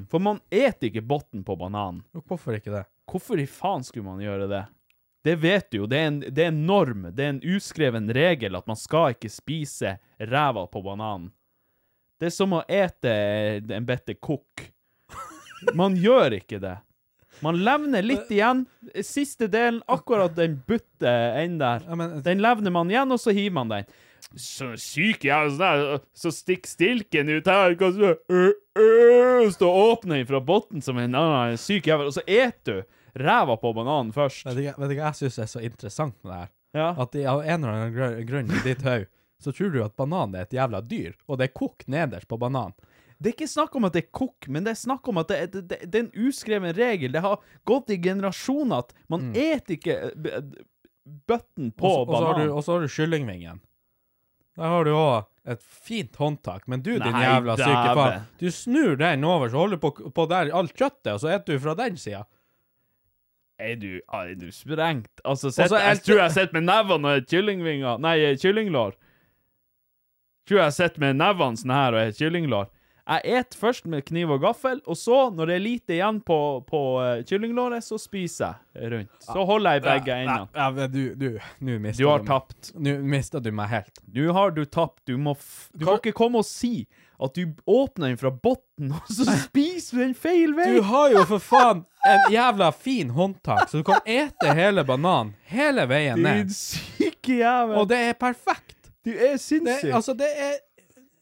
[SPEAKER 2] For man eter ikke botten på bananen.
[SPEAKER 3] Hvorfor ikke det?
[SPEAKER 2] Hvorfor i faen skulle man gjøre det? Det vet du jo, det er en, det er en norm, det er en uskreven regel at man skal ikke spise ræva på bananen. Det er som å ete en bitte kokk. Man gjør ikke det. Man levner litt igjen. Siste delen, akkurat den butte enden der.
[SPEAKER 3] Ja, men-
[SPEAKER 2] Den levner man igjen, og så hiver man den. Så syk jeg er, sånn der, så stikk stilken ut her, hva så, øh, øh, så åpner den fra botten som en annen syk jævel, og så et du ræva på bananen først.
[SPEAKER 3] Vet du hva vet du hva jeg syns er så interessant med det her?
[SPEAKER 2] Ja.
[SPEAKER 3] At i, av en eller annen grø- grunn i ditt hode, så tror du at banan er et jævla dyr, og det er kokt nederst på banan.
[SPEAKER 2] Det er ikke snakk om at det er kokk, men det er snakk om at det, det, det, det er en uskreven regel. Det har gått i generasjoner at man et ikke eh, b- b- bøtten på
[SPEAKER 3] Mm. Og så- og så har
[SPEAKER 2] banan.
[SPEAKER 3] du- Og så har du kyllingvingen. Der har du òg et fint håndtak, men du, din
[SPEAKER 2] Nei,
[SPEAKER 3] jævla syke
[SPEAKER 2] dæven.
[SPEAKER 3] faen, du snur den over, så holder du på, på der alt kjøttet, og så eter du fra den sida.
[SPEAKER 2] Er du, ah, er du sprengt? Altså, sett,
[SPEAKER 3] så er
[SPEAKER 2] jeg
[SPEAKER 3] det-
[SPEAKER 2] tror jeg sitter med nevene og er kyllingvinger Nei, eh, kyllinglår. Tror jeg sitter med nevene sånn her og er kyllinglår. Jeg et først med kniv og gaffel, og så, når det er lite igjen på, på eh, kyllinglåret, så spiser jeg rundt. Så holder jeg i begge endene.
[SPEAKER 3] Ja, men du, du, nå mister
[SPEAKER 2] Du har
[SPEAKER 3] meg.
[SPEAKER 2] tapt.
[SPEAKER 3] Nå mista du meg helt.
[SPEAKER 2] Nå har du tapt. Du må f Du kan
[SPEAKER 3] Hva-
[SPEAKER 2] ikke komme og si at du åpner den fra bunnen, [laughs] og så spiser du den feil vei!
[SPEAKER 3] Du har jo for faen en jævla fin håndtak, så du kan ete hele bananen hele veien
[SPEAKER 2] Din
[SPEAKER 3] ned.
[SPEAKER 2] syke jævel!
[SPEAKER 3] Og det er perfekt.
[SPEAKER 2] du er
[SPEAKER 3] Det,
[SPEAKER 2] sinnssyk!
[SPEAKER 3] altså, det er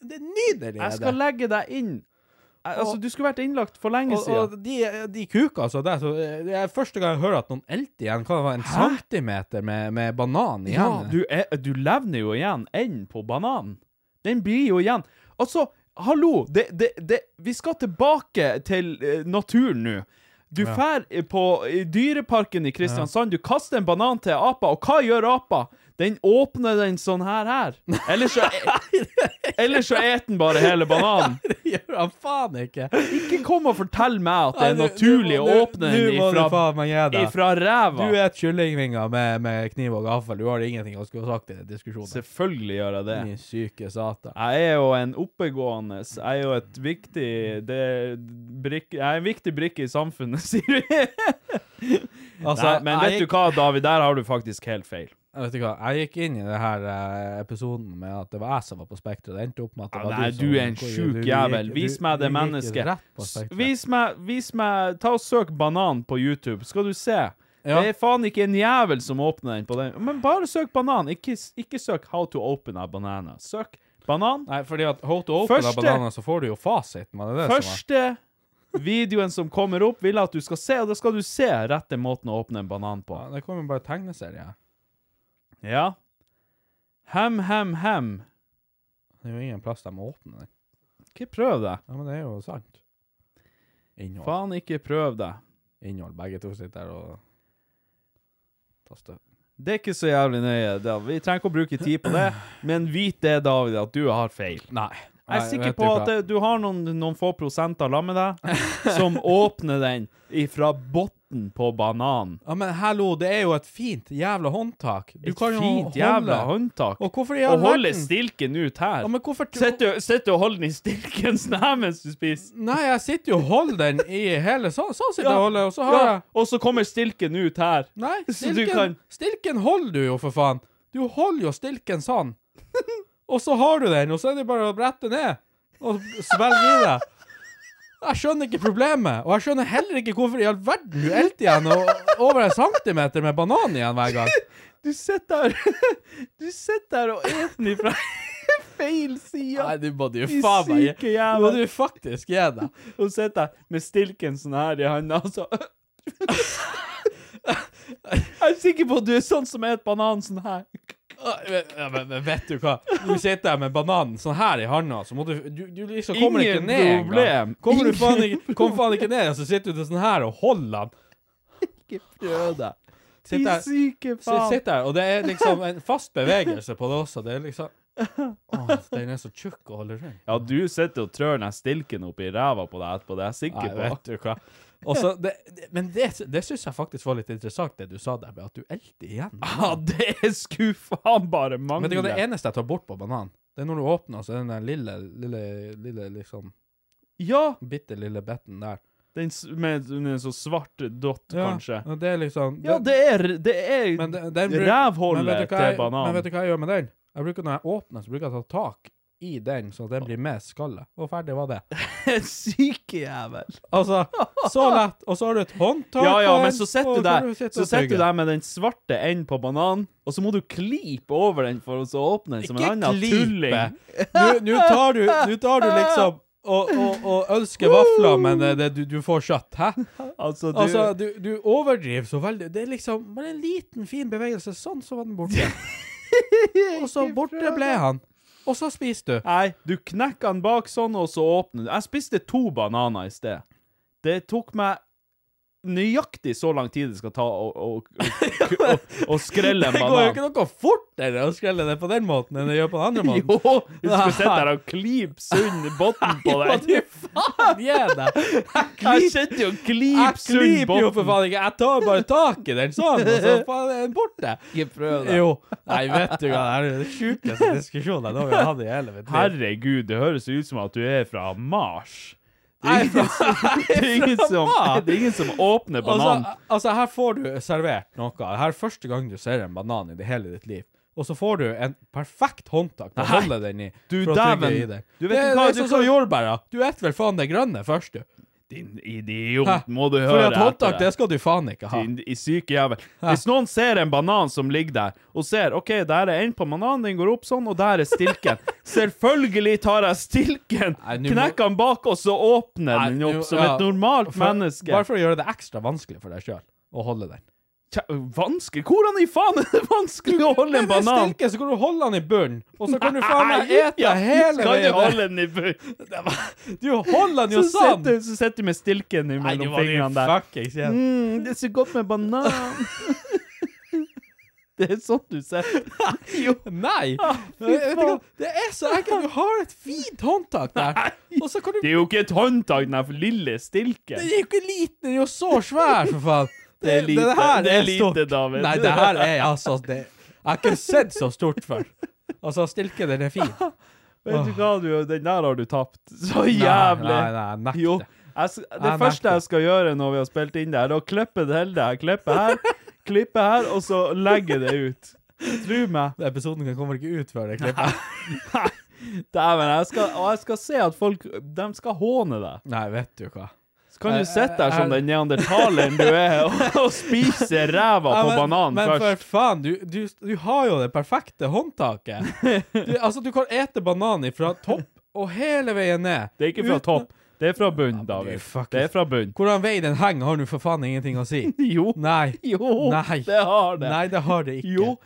[SPEAKER 3] Det er nydelig. er
[SPEAKER 2] jeg skal
[SPEAKER 3] det.
[SPEAKER 2] legge deg inn. Jeg, altså,
[SPEAKER 3] Og-
[SPEAKER 2] du skulle vært innlagt for lenge
[SPEAKER 3] Og, og
[SPEAKER 2] siden.
[SPEAKER 3] de, de kuka altså der, så eh, det er første gang jeg hører at noen elte igjen. Hva var det, en centimeter med, med banan
[SPEAKER 2] Ja,
[SPEAKER 3] igjen? [laughs]
[SPEAKER 2] du, er, du levner jo igjen enden på bananen. Den blir jo igjen Altså, hallo! Det, det, det, vi skal tilbake til eh, naturen nå. Du drar på i dyreparken i Kristiansand, du kaster en banan til apa, og hva gjør apa? Den åpner den sånn her her. Eller så,
[SPEAKER 3] [laughs]
[SPEAKER 2] eller så eter den bare hele bananen.
[SPEAKER 3] det gjør han faen ikke!
[SPEAKER 2] Ikke kom og fortell meg at det er
[SPEAKER 3] Nei, nå-
[SPEAKER 2] naturlig
[SPEAKER 3] nå-
[SPEAKER 2] å
[SPEAKER 3] nå-
[SPEAKER 2] åpne
[SPEAKER 3] nå
[SPEAKER 2] den
[SPEAKER 3] må du
[SPEAKER 2] ifra,
[SPEAKER 3] faen meg gi deg.
[SPEAKER 2] ifra ræva.
[SPEAKER 3] Du er et kyllingvinger med, med kniv og gaffel. Du har ingenting å skulle ha sagt i den diskusjonen.
[SPEAKER 2] Selvfølgelig gjør jeg det.
[SPEAKER 3] Din syke satan.
[SPEAKER 2] Jeg er jo en oppegående Jeg er jo et viktig det, brikke, Jeg er en viktig brikke i samfunnet, [laughs] sier du.
[SPEAKER 3] Altså,
[SPEAKER 2] Nei, men vet
[SPEAKER 3] jeg,
[SPEAKER 2] du hva, David? Der har du faktisk helt feil.
[SPEAKER 3] Vet du hva? Jeg gikk inn i det her eh, episoden med at det var jeg som var på Spektrum. Det endte opp med at det
[SPEAKER 2] Ja,
[SPEAKER 3] var
[SPEAKER 2] Nei,
[SPEAKER 3] du som
[SPEAKER 2] du er en
[SPEAKER 3] Du-
[SPEAKER 2] sjuk
[SPEAKER 3] du gikk-
[SPEAKER 2] jævel. Vis
[SPEAKER 3] du-
[SPEAKER 2] meg det
[SPEAKER 3] du gikk
[SPEAKER 2] mennesket.
[SPEAKER 3] rett på Spektrum.
[SPEAKER 2] Vis meg, vis meg Ta og søk banan på YouTube, skal du se.
[SPEAKER 3] Ja.
[SPEAKER 2] Det er faen ikke en jævel som åpner den på den. Men bare søk banan. Ikke, ikke søk 'How to open a banana'. Søk banan.
[SPEAKER 3] Nei, fordi at How to open
[SPEAKER 2] Første-
[SPEAKER 3] av bananer, så får du jo fasiten. Var det det som var?
[SPEAKER 2] Første videoen som kommer opp, vil jeg at du skal se, og da skal du se rette måten å åpne en banan på.
[SPEAKER 3] Ja, det kommer bare tegneserier.
[SPEAKER 2] Ja. Hem, hem, hem.
[SPEAKER 3] Det er jo ingen plass de må åpne den.
[SPEAKER 2] Ikke prøv deg.
[SPEAKER 3] Ja, men det er jo sant. Innhold.
[SPEAKER 2] Faen, ikke prøv deg.
[SPEAKER 3] Innhold. Begge to sitter der og tar støv.
[SPEAKER 2] Det er ikke så jævlig nøye. Da. Vi trenger ikke å bruke tid på det, men vit det, David, at du har feil.
[SPEAKER 3] Nei.
[SPEAKER 2] Jeg er sikker på at det, du har noen, noen få prosenter sammen med
[SPEAKER 3] [laughs]
[SPEAKER 2] deg som åpner den ifra bunnen på bananen.
[SPEAKER 3] Ja, men hallo, det er jo et fint jævla håndtak. Du
[SPEAKER 2] Et
[SPEAKER 3] kan jo
[SPEAKER 2] fint
[SPEAKER 3] holde-
[SPEAKER 2] jævla håndtak.
[SPEAKER 3] Og hvorfor i
[SPEAKER 2] Å
[SPEAKER 3] all
[SPEAKER 2] holde
[SPEAKER 3] verden?
[SPEAKER 2] stilken ut her.
[SPEAKER 3] Ja, men hvorfor
[SPEAKER 2] Sitter du- sitter du og holder den i stilken [laughs] sånn her mens du spiser?
[SPEAKER 3] Nei, jeg sitter jo og holder den i hele Sånn så sitter jeg og holder, og så har
[SPEAKER 2] Ja,
[SPEAKER 3] jeg
[SPEAKER 2] og så kommer stilken ut her.
[SPEAKER 3] Nei,
[SPEAKER 2] Så du
[SPEAKER 3] stilken,
[SPEAKER 2] kan-
[SPEAKER 3] stilken holder du jo, for faen. Du holder jo stilken sånn. [laughs] Og så har du den, og så er det bare å brette ned og svelge i deg. Jeg skjønner ikke problemet, og jeg skjønner heller ikke hvorfor i all verden du elte igjen og, over en centimeter med banan igjen hver gang.
[SPEAKER 2] Du sitter der [laughs] Du sitter der og eter den ifra [laughs] feil side.
[SPEAKER 3] du må jo
[SPEAKER 2] Din syke jævel.
[SPEAKER 3] du faktisk gi deg.
[SPEAKER 2] Og sitter der med stilken sånn her i handa, og så [laughs] Jeg er sikker på at du er sånn som et banan sånn her.
[SPEAKER 3] Ja, men, men vet du hva? Du sitter der med bananen sånn her i handa, så må du Du, du liksom kommer
[SPEAKER 2] Ingen
[SPEAKER 3] ikke ned engang.
[SPEAKER 2] problem.
[SPEAKER 3] Kommer
[SPEAKER 2] Ingen
[SPEAKER 3] du faen ikke, kom faen ikke ned, og så sitter du sånn her og holder den.
[SPEAKER 2] Ikke prøv deg.
[SPEAKER 3] Sitt
[SPEAKER 2] Din
[SPEAKER 3] der.
[SPEAKER 2] syke
[SPEAKER 3] Så jeg
[SPEAKER 2] faen.
[SPEAKER 3] sitter her, og det er liksom en fast bevegelse på det også. Det er
[SPEAKER 2] [laughs]
[SPEAKER 3] liksom Å, den er så tjukk å holde rundt.
[SPEAKER 2] Ja, du sitter og trør den stilken opp i ræva på deg etterpå, det er jeg
[SPEAKER 3] Nei,
[SPEAKER 2] sikker på.
[SPEAKER 3] vet du hva. Og så det, det- men det, det syns jeg faktisk var litt interessant, det du sa der med at du elter igjen.
[SPEAKER 2] Ja, det skulle faen bare
[SPEAKER 3] Men det,
[SPEAKER 2] mangle.
[SPEAKER 3] er jo det eneste jeg tar bort på banan, det er når du åpner, så er den der lille, lille, lille liksom
[SPEAKER 2] Ja,
[SPEAKER 3] Bitte lille betten der.
[SPEAKER 2] den s- med en sånn svart dott, kanskje.
[SPEAKER 3] og Det er liksom
[SPEAKER 2] Ja, det er, det er
[SPEAKER 3] men den- den bruk- men vet
[SPEAKER 2] rævhullet
[SPEAKER 3] du hva
[SPEAKER 2] til
[SPEAKER 3] jeg-
[SPEAKER 2] banan.
[SPEAKER 3] Men vet du hva jeg gjør med den? Jeg bruker Når jeg åpner, så bruker jeg å ta tak i den, så den blir med skallet. Og ferdig var det.
[SPEAKER 2] [laughs]
[SPEAKER 4] Syke jævel.
[SPEAKER 3] Altså, så lett. Og så har du et håndtak
[SPEAKER 2] Ja, ja,
[SPEAKER 3] på
[SPEAKER 2] men
[SPEAKER 3] den,
[SPEAKER 2] så sitter
[SPEAKER 3] og
[SPEAKER 2] du
[SPEAKER 3] kan
[SPEAKER 2] der
[SPEAKER 3] sitte
[SPEAKER 2] Så
[SPEAKER 3] og
[SPEAKER 2] sitter du
[SPEAKER 3] tygge.
[SPEAKER 2] der med den svarte enden på bananen, og så må du klipe over den for å så åpne den som en annen tulling.
[SPEAKER 3] Nå- Nå tar, du- nå tar du liksom og, og, og ønsker vafler, men eh, det, du, du får kjøtt. Hæ?
[SPEAKER 2] Altså, du,
[SPEAKER 3] Altså, du, du overdriver så veldig. Det er liksom bare en liten, fin bevegelse. Sånn, så var den borte. Og så borte ble han. Og så spiser du.
[SPEAKER 2] Nei, du knekker den bak sånn, og så åpner du. Jeg spiste to bananer i sted. Det tok meg nøyaktig så lang tid det skal ta å, å, å, å, å skrelle [laughs] en
[SPEAKER 3] Det går jo
[SPEAKER 2] banan.
[SPEAKER 3] ikke noe fortere å skrelle det på den måten enn det gjør på den andre måten.
[SPEAKER 2] Jo, du skulle [laughs] sitte der og klype sund båten på
[SPEAKER 3] Hva
[SPEAKER 2] deg.
[SPEAKER 3] du faen gjør deg?
[SPEAKER 2] [laughs] Jeg sitter jo og
[SPEAKER 3] Jeg
[SPEAKER 2] klyper sund
[SPEAKER 3] klyper jo for
[SPEAKER 2] båten.
[SPEAKER 3] faen ikke. Jeg tar bare tak i den sånn, og så faen er den borte.
[SPEAKER 4] Ikke prøv det.
[SPEAKER 3] Jo. Nei, vet du hva, det er den sjukeste diskusjonen jeg noen gang har hatt i hele mitt liv.
[SPEAKER 2] Herregud, det høres ut som at du er fra Mars. Det
[SPEAKER 3] Jeg
[SPEAKER 2] er [laughs]
[SPEAKER 3] er
[SPEAKER 2] ingen som, det er ingen som,
[SPEAKER 3] Mars.
[SPEAKER 2] det er ingen som åpner banan.
[SPEAKER 3] Altså, altså, her får du servert noe. Her er første gang du ser en banan i det hele ditt liv. Og så får du en perfekt håndtak til å
[SPEAKER 2] Nei.
[SPEAKER 3] holde den i.
[SPEAKER 2] Du
[SPEAKER 3] for å tygge
[SPEAKER 2] dæven.
[SPEAKER 3] i den.
[SPEAKER 2] Du vet
[SPEAKER 3] det,
[SPEAKER 2] ikke hva-
[SPEAKER 3] det er
[SPEAKER 2] du
[SPEAKER 3] sånn
[SPEAKER 2] kan-
[SPEAKER 3] som jordbæra. Du et vel faen det grønne først, du.
[SPEAKER 2] Din
[SPEAKER 3] Hæ?
[SPEAKER 2] idiot, må du
[SPEAKER 3] Fordi
[SPEAKER 2] høre
[SPEAKER 3] at håndtak,
[SPEAKER 2] etter
[SPEAKER 3] det skal du faen ikke ha.
[SPEAKER 2] i, i syke jævel. Hvis noen ser en banan som ligger der, og ser OK, der er en på bananen, den går opp sånn, og der er
[SPEAKER 3] [laughs]
[SPEAKER 2] stilken. Selvfølgelig tar jeg stilken,
[SPEAKER 3] Nei, nå må-
[SPEAKER 2] knekker den bak, og så åpner den
[SPEAKER 3] Nei,
[SPEAKER 2] opp
[SPEAKER 3] jo,
[SPEAKER 2] som
[SPEAKER 3] ja.
[SPEAKER 2] et normalt
[SPEAKER 3] For-
[SPEAKER 2] menneske.
[SPEAKER 3] Bare for å gjøre det ekstra vanskelig for deg sjøl å holde den.
[SPEAKER 2] Tja, Vanskelig? Hvordan i faen er det vanskelig å holde en banan?
[SPEAKER 3] Stilke, så kan du holde den i bunnen, og så kan du faen meg
[SPEAKER 2] Nei,
[SPEAKER 3] ete
[SPEAKER 2] ja,
[SPEAKER 3] hele
[SPEAKER 2] Skal du
[SPEAKER 3] veien.
[SPEAKER 2] holde den i bunnen?
[SPEAKER 3] Du holder den
[SPEAKER 2] Så
[SPEAKER 3] jo
[SPEAKER 2] sitter
[SPEAKER 3] sånn!
[SPEAKER 2] du- så sitter du med stilken
[SPEAKER 3] nå
[SPEAKER 2] mellom
[SPEAKER 3] var det jo
[SPEAKER 2] fingrene der.
[SPEAKER 3] fuckings igjen.
[SPEAKER 2] Mm, det er så godt med
[SPEAKER 3] [laughs]
[SPEAKER 2] banan. det er sånn du sitter.
[SPEAKER 3] Nei!
[SPEAKER 2] Mm. Ah, fy
[SPEAKER 3] Jeg vet ikke
[SPEAKER 2] faen.
[SPEAKER 3] hva- det er så ekkelt. Du har et fint håndtak der. Og så kan du
[SPEAKER 2] Det er jo ikke et håndtak, den her lille stilken.
[SPEAKER 3] Den er jo ikke liten, den er jo så svær, for faen.
[SPEAKER 2] [laughs] Det er lite.
[SPEAKER 3] her
[SPEAKER 2] Det er lite,
[SPEAKER 3] stort.
[SPEAKER 2] David.
[SPEAKER 3] Nei, det her er altså det, Jeg har ikke sett så stort før. Altså, stilken, den er fin.
[SPEAKER 2] [laughs] Vet du hva, du, den der har du tapt. [laughs] Så
[SPEAKER 3] Nei,
[SPEAKER 2] jævlig.
[SPEAKER 3] Nei, nei, jeg nekter.
[SPEAKER 2] Jo, jeg, s- det
[SPEAKER 3] Jeg
[SPEAKER 2] første
[SPEAKER 3] nekter.
[SPEAKER 2] jeg skal gjøre når vi har spilt inn det her, er å klippe det hele her. Klippe
[SPEAKER 3] [laughs]
[SPEAKER 2] her, klippe her, og så legge det ut. Tro meg.
[SPEAKER 3] Episoden kan- kommer ikke ut før det
[SPEAKER 2] [laughs]
[SPEAKER 3] klippet.
[SPEAKER 2] Dæven, jeg skal, og jeg skal se at folk De skal håne deg.
[SPEAKER 3] Nei, vet du hva.
[SPEAKER 2] Så kan du
[SPEAKER 3] Jeg-
[SPEAKER 2] sitte der som
[SPEAKER 3] jeg-
[SPEAKER 2] den neandertaleren du er, og, og spise ræva
[SPEAKER 3] Ja,
[SPEAKER 2] på
[SPEAKER 3] men-
[SPEAKER 2] bananen
[SPEAKER 3] men
[SPEAKER 2] først.
[SPEAKER 3] for faen, du, du, du har jo det perfekte håndtaket.
[SPEAKER 2] [laughs]
[SPEAKER 3] Du, altså, du kan ete banan fra topp og hele veien ned.
[SPEAKER 2] Det er ikke fra
[SPEAKER 3] Uten-
[SPEAKER 2] topp. Det er fra bunn,
[SPEAKER 3] men du
[SPEAKER 2] David.
[SPEAKER 3] fuckings-
[SPEAKER 2] Det er fra bunn.
[SPEAKER 3] Hvordan vei den henger, har nå for faen ingenting å si.
[SPEAKER 2] [laughs] Jo.
[SPEAKER 3] Nei.
[SPEAKER 2] Jo,
[SPEAKER 3] Nei.
[SPEAKER 2] det har det.
[SPEAKER 3] Nei, det har det ikke.
[SPEAKER 2] Jo,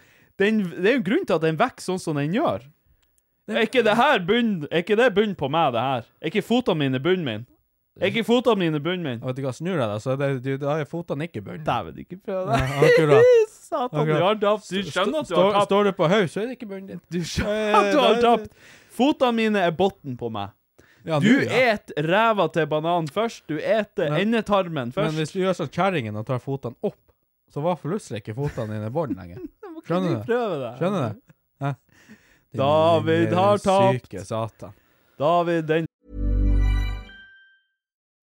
[SPEAKER 2] den, det er jo en grunn til at den vokser sånn som den gjør. Er ikke det her bunn, er ikke det bunn på meg, det her? Er ikke fotene mine bunnen min? Er ikke fotene mine bunnen min?
[SPEAKER 3] Og vet du hva, snur jeg deg, så er det, du, da er fotene ikke i bunnen.
[SPEAKER 2] Dæven, ikke prøv
[SPEAKER 3] Nei,
[SPEAKER 2] det.
[SPEAKER 3] Akkurat.
[SPEAKER 2] [laughs] Satan, du
[SPEAKER 3] Akkurat.
[SPEAKER 2] har tapt. Du skjønner at du
[SPEAKER 3] Står-
[SPEAKER 2] har tapt.
[SPEAKER 3] Står du på haug, så er det ikke bunnen din. Eh,
[SPEAKER 2] Du skjønner at du har tapt. Fotene mine er bunnen på meg.
[SPEAKER 3] Ja,
[SPEAKER 2] Du
[SPEAKER 3] nå, ja.
[SPEAKER 2] et ræva til bananen først. Du et
[SPEAKER 3] Men-
[SPEAKER 2] endetarmen
[SPEAKER 3] Men
[SPEAKER 2] først.
[SPEAKER 3] hvis du gjør sånn kjerringen og tar fotene opp, så var plutselig ikke fotene dine i bånd [laughs] lenger. Skjønner du?
[SPEAKER 2] Prøv det.
[SPEAKER 3] Skjønner du? Hæ? Din
[SPEAKER 2] David
[SPEAKER 3] lille
[SPEAKER 2] har tapt.
[SPEAKER 3] Syke satan.
[SPEAKER 2] David, den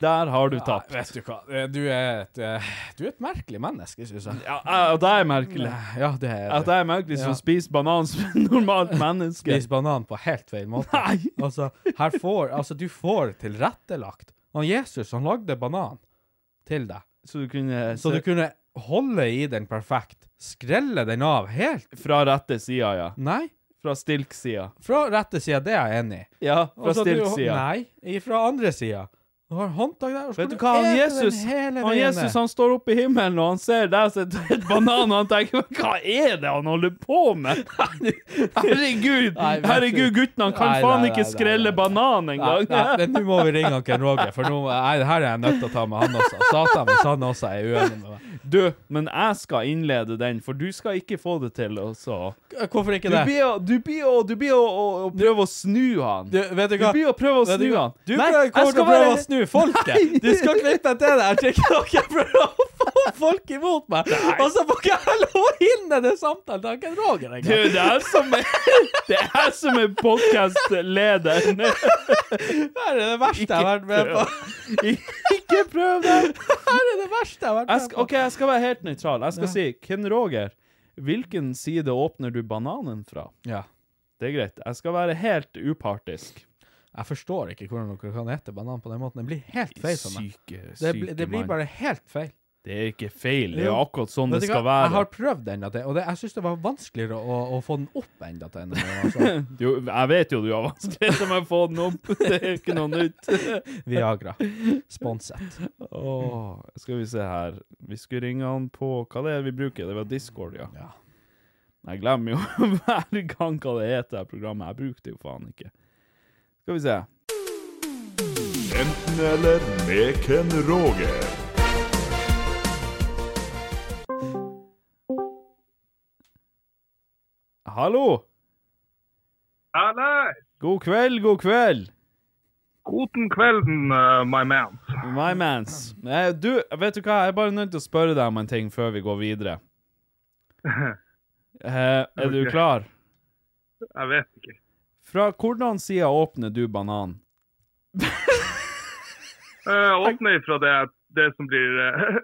[SPEAKER 2] der har du
[SPEAKER 3] Nei,
[SPEAKER 2] tapt.
[SPEAKER 3] vet du hva, Eh, du er et, eh, du er et merkelig menneske, synes jeg.
[SPEAKER 2] Ja, ja, det er merkelig.
[SPEAKER 3] Eh, Ja, det er
[SPEAKER 2] At jeg er merkelig som
[SPEAKER 3] Ja.
[SPEAKER 2] spiser banan som et
[SPEAKER 3] [laughs]
[SPEAKER 2] normalt menneske.
[SPEAKER 3] Spis banan på helt feil måte.
[SPEAKER 2] Nei.
[SPEAKER 3] [laughs] Altså, her får, altså, du får tilrettelagt. Og Jesus, han lagde banan til deg.
[SPEAKER 2] Så du kunne
[SPEAKER 3] Så du kunne holde i den perfekt. Skrelle den av helt.
[SPEAKER 2] Fra rette sida, ja.
[SPEAKER 3] Nei,
[SPEAKER 2] Fra Stilk-sida.
[SPEAKER 3] Fra rette sida, det er jeg enig i.
[SPEAKER 2] Ja, fra
[SPEAKER 3] Og så du-
[SPEAKER 2] Stilk-sida.
[SPEAKER 3] Nei, fra andre sida. Du har håndtak der. og så
[SPEAKER 2] Vet du
[SPEAKER 3] skal
[SPEAKER 2] hva, han
[SPEAKER 3] ete
[SPEAKER 2] Jesus,
[SPEAKER 3] den hele
[SPEAKER 2] han,
[SPEAKER 3] veien
[SPEAKER 2] Jesus
[SPEAKER 3] ned.
[SPEAKER 2] han står oppe i himmelen og han ser deg sitte et banan, og han tenker Hva er det han holder på [laughs] med?!
[SPEAKER 3] [laughs]
[SPEAKER 2] Herregud,
[SPEAKER 3] Nei, vet du.
[SPEAKER 2] herregud, gutten, han kan
[SPEAKER 3] Nei,
[SPEAKER 2] faen
[SPEAKER 3] nei,
[SPEAKER 2] ikke
[SPEAKER 3] nei, nei,
[SPEAKER 2] skrelle
[SPEAKER 3] nei.
[SPEAKER 2] banan
[SPEAKER 3] Nei,
[SPEAKER 2] engang!
[SPEAKER 3] nei, men Nå må vi ringe han Ken Roger, for nå, nei, det her er jeg nødt til å ta med han også. Satan hvis han også er uenig med meg.
[SPEAKER 2] [laughs] Du, men jeg skal innlede den, for du skal ikke få det til, altså.
[SPEAKER 3] Hvorfor ikke
[SPEAKER 2] Du
[SPEAKER 3] det?
[SPEAKER 2] blir å- du blir å du blir å- å- å prøve å snu han.
[SPEAKER 3] Du, vet du
[SPEAKER 2] Du
[SPEAKER 3] hva?
[SPEAKER 2] blir å prøve å
[SPEAKER 3] Vet
[SPEAKER 2] snu
[SPEAKER 3] hva?
[SPEAKER 2] han.
[SPEAKER 3] Du
[SPEAKER 2] Nei,
[SPEAKER 3] prøver,
[SPEAKER 2] jeg
[SPEAKER 3] kommer til
[SPEAKER 2] skal
[SPEAKER 3] å prøve
[SPEAKER 2] bare-
[SPEAKER 3] å snu folket! Du skal klippe til deg! Jeg tror ikke dere prøver å få folk imot meg! Og så får ikke jeg lov å hindre den samtalen til Ken Roger
[SPEAKER 2] Du,
[SPEAKER 3] engang!
[SPEAKER 2] det er som [laughs] er, det er som er podcastlederen.
[SPEAKER 3] Det er det verste jeg har vært med på!
[SPEAKER 2] Ikke prøv det!
[SPEAKER 3] Det er det verste jeg har vært
[SPEAKER 2] Jeg
[SPEAKER 3] med
[SPEAKER 2] skal,
[SPEAKER 3] på!
[SPEAKER 2] ok, jeg skal være helt nøytral. Jeg skal si, Ken Roger, hvilken side åpner du bananen fra?
[SPEAKER 3] Ja.
[SPEAKER 2] Det er greit. Jeg skal være helt upartisk.
[SPEAKER 3] Jeg forstår ikke hvordan dere kan ete banan på den måten. Det blir helt feil for meg.
[SPEAKER 2] Syke,
[SPEAKER 3] Det,
[SPEAKER 2] syke
[SPEAKER 3] blir- det blir
[SPEAKER 2] mann.
[SPEAKER 3] bare helt feil.
[SPEAKER 2] Det er ikke feil. Det er jo
[SPEAKER 3] Jo.
[SPEAKER 2] akkurat sånn
[SPEAKER 3] Vet
[SPEAKER 2] det
[SPEAKER 3] du
[SPEAKER 2] skal
[SPEAKER 3] hva? Jeg
[SPEAKER 2] være.
[SPEAKER 3] har prøvd den, at det- og det, jeg syns det var vanskeligere å, å få den opp enda til en.
[SPEAKER 2] [laughs]
[SPEAKER 3] Altså.
[SPEAKER 2] Du, jeg vet jo du har vanskeligheter med å få den opp. [laughs] Det er ikke noe nytt.
[SPEAKER 3] Viagra.
[SPEAKER 2] [laughs]
[SPEAKER 3] Sponset.
[SPEAKER 2] Åh, skal vi se her. Vi skulle ringe han på Hva det er vi bruker? Det var Discord, ja.
[SPEAKER 3] Ja.
[SPEAKER 2] Jeg glemmer jo [laughs] hver gang hva det heter, det programmet. Jeg bruker det jo faen ikke. Skal vi se.
[SPEAKER 5] Enten eller med Ken Roger.
[SPEAKER 2] Hallo!
[SPEAKER 6] Hallais!
[SPEAKER 2] God kveld, god kveld!
[SPEAKER 6] Guten kvelden, eh, my man.
[SPEAKER 2] My mans. Eh, Du, vet du hva? Jeg er bare nødt til å spørre deg om en ting før vi går
[SPEAKER 6] [laughs]
[SPEAKER 2] videre. Eh, er du
[SPEAKER 6] Ok.
[SPEAKER 2] klar?
[SPEAKER 6] Jeg vet ikke.
[SPEAKER 2] Fra hvordan side åpner du banan? [laughs]
[SPEAKER 6] Eh, åpne ifra det, det som blir [laughs] uh,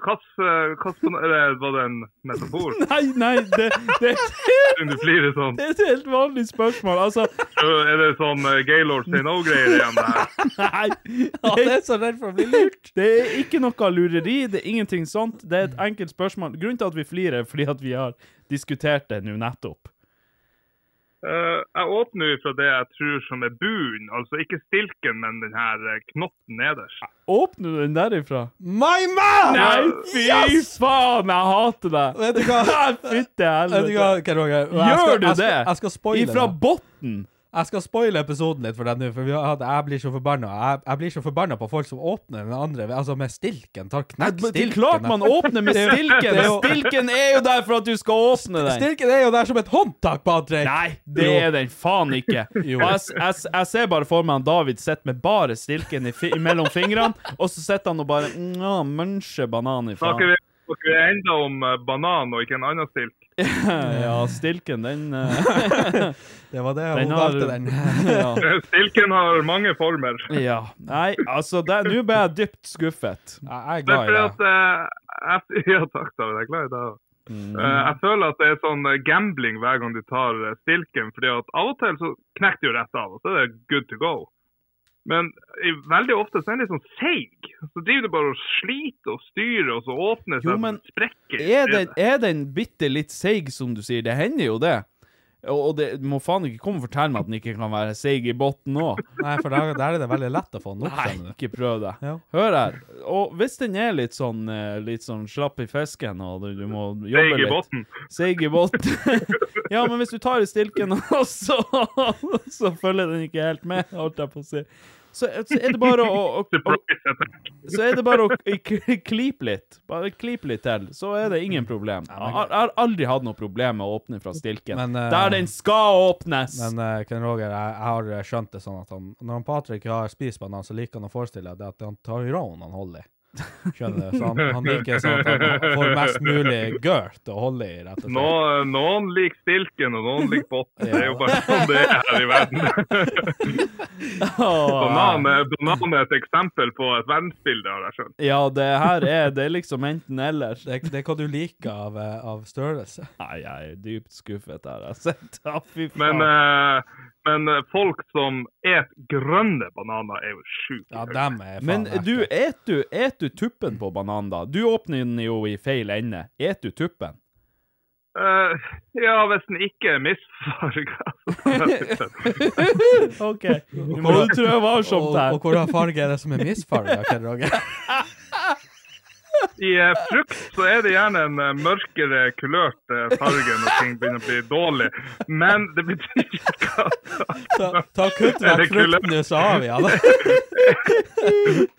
[SPEAKER 6] Kass... eh, kass på, eller var det en metafor?
[SPEAKER 2] Nei, nei, det, det,
[SPEAKER 6] [laughs] Siden Du flirer sånn.
[SPEAKER 2] det er et helt vanlig spørsmål. Altså,
[SPEAKER 6] Eh, er det sånn eh, Gaylord say no-greier igjen? det her?
[SPEAKER 2] [laughs] nei.
[SPEAKER 3] Han er så redd for å bli lurt!
[SPEAKER 2] Det er ikke noe lureri, det er ingenting sånt. Det er et enkelt spørsmål. Grunnen til at vi flirer, er fordi at vi har diskutert det nå nettopp.
[SPEAKER 6] Eh, jeg åpner ifra det jeg tror som er buen, altså ikke stilken, men den her eh, knotten nederst.
[SPEAKER 2] Åpner du den derifra?
[SPEAKER 3] My man!
[SPEAKER 2] Nei, fy faen, jeg hater deg!
[SPEAKER 3] Vet du
[SPEAKER 2] [laughs]
[SPEAKER 3] hva?
[SPEAKER 2] Fytte
[SPEAKER 3] Vet du
[SPEAKER 2] helvete.
[SPEAKER 3] hva, Ken Roger? Jeg
[SPEAKER 2] Gjør du
[SPEAKER 3] skal- jeg
[SPEAKER 2] det?
[SPEAKER 3] skal- Jeg skal spoile
[SPEAKER 2] Ifra
[SPEAKER 3] det.
[SPEAKER 2] botten?
[SPEAKER 3] Jeg skal spoile episoden litt for deg nå, for vi har, hatt- jeg blir så forbanna. Jeg, jeg blir så forbanna på folk som åpner den andre, altså med stilken. Tar knekk
[SPEAKER 2] Det er
[SPEAKER 3] stilken.
[SPEAKER 2] klart man åpner med stilken!
[SPEAKER 3] [laughs] det er jo-
[SPEAKER 2] Stilken er jo der for at du skal åpne den!
[SPEAKER 3] Stilken er jo der som et håndtak på Andrej!
[SPEAKER 2] Nei, det er den faen ikke.
[SPEAKER 3] [laughs]
[SPEAKER 2] Og jeg, jeg, jeg ser bare for meg han David sitter med bare stilken i fi, mellom fingrene, og så sitter han og bare mm, muncher banan i faen.
[SPEAKER 6] Snakker vi, snakker vi enda om eh, banan og ikke en annen stilk?
[SPEAKER 2] [laughs] Ja, stilken, den eh, [laughs]
[SPEAKER 3] Det var det
[SPEAKER 2] Den
[SPEAKER 3] hun
[SPEAKER 2] har-
[SPEAKER 3] valgte, den. [laughs]
[SPEAKER 2] ja.
[SPEAKER 6] Eh, Stilken har mange former.
[SPEAKER 2] ja. Nei, altså, det- nå ble jeg dypt skuffet.
[SPEAKER 3] Jeg jeg er
[SPEAKER 6] Det er
[SPEAKER 3] glad i
[SPEAKER 6] fordi
[SPEAKER 3] deg.
[SPEAKER 6] at eh, jeg, Ja, takk, David. Jeg er glad i deg.
[SPEAKER 3] Mm.
[SPEAKER 6] Eh, jeg føler at det er sånn eh, gambling hver gang du tar eh, stilken. fordi at Av og til så knekker det jo rett av, og så er det good to go. Men i, veldig ofte så er den litt sånn seig. Så driver du bare og sliter og styrer, og så åpner
[SPEAKER 2] Jo,
[SPEAKER 6] seg
[SPEAKER 2] men
[SPEAKER 6] sprekker. i
[SPEAKER 2] Er den,
[SPEAKER 6] stedet.
[SPEAKER 2] er den bitte litt seig, som du sier? Det hender jo det. Og og det du må faen ikke komme og fortelle meg at den ikke kan være seig i bunnen òg.
[SPEAKER 3] Nei, for der, der er det veldig lett å få den opp.
[SPEAKER 2] Nei,
[SPEAKER 3] skjønner du.
[SPEAKER 2] ikke prøv det.
[SPEAKER 3] Ja.
[SPEAKER 2] Hør her. Og hvis den er litt sånn, eh, litt sånn slapp i fisken, og du, du må
[SPEAKER 6] Seig
[SPEAKER 2] jobbe
[SPEAKER 6] i
[SPEAKER 2] litt
[SPEAKER 6] botten.
[SPEAKER 2] Seig i båt. [laughs] ja, men hvis du tar i stilken, [laughs] og så, så følger den ikke helt med, holdt jeg på å si. Så, så er det bare å, å, å
[SPEAKER 6] Surprise attack.
[SPEAKER 2] Så er det bare å k- klipe litt. Bare klipe litt til, så er det ingen problem. Jeg har- jeg har aldri hatt noe problem med å åpne fra stilken.
[SPEAKER 3] Men, eh,
[SPEAKER 2] Der den skal åpnes!
[SPEAKER 3] Men eh, Ken Roger, jeg, jeg har eh, skjønt det sånn at han, når han Patrick har spist banan, så liker han å forestille det at det er han Tyrone han holder i. Skjønner du? Så han, han liker sånn at
[SPEAKER 6] [laughs]
[SPEAKER 3] han får mest mulig girth å holde i, rett og
[SPEAKER 6] Nå,
[SPEAKER 3] slett.
[SPEAKER 6] noen liker stilken, og noen liker botten. [laughs] Det er jo bare sånn det er her i verden.
[SPEAKER 2] Åh.
[SPEAKER 6] Banan er, banan Eh, er et eksempel på et verdensbilde, har jeg skjønt.
[SPEAKER 2] [laughs] Ja, det her er det er liksom enten-eller.
[SPEAKER 3] Det, det er hva du liker av, eh, av størrelse.
[SPEAKER 2] Nei, jeg er dypt skuffet her. Jeg har sett [laughs] Ja, Fy
[SPEAKER 6] Men,
[SPEAKER 2] faen.
[SPEAKER 6] eh, men eh, folk som et grønne bananer, er jo sjuke.
[SPEAKER 3] Ja, dem er faen
[SPEAKER 2] Men
[SPEAKER 3] ekte.
[SPEAKER 2] du, et du, et du tuppen på banan, da? Du åpner den jo i feil ende. Et du tuppen?
[SPEAKER 6] Eh, ja, hvis den ikke er
[SPEAKER 2] [laughs]
[SPEAKER 6] misfarga.
[SPEAKER 2] OK. Du må
[SPEAKER 3] Hvor-
[SPEAKER 2] trø varsomt
[SPEAKER 3] og,
[SPEAKER 2] her.
[SPEAKER 3] og hvordan farge er det som er misfarga, Ken Roger?
[SPEAKER 6] [laughs] I eh, frukt så er det gjerne en eh, mørkere kulørt eh, farge når ting begynner å bli dårlig. Men det betyr ikke at
[SPEAKER 3] Ta, ta kutt
[SPEAKER 6] Er
[SPEAKER 3] vekk
[SPEAKER 6] det kulørt?
[SPEAKER 3] frukten, så har vi
[SPEAKER 6] [laughs]
[SPEAKER 3] den.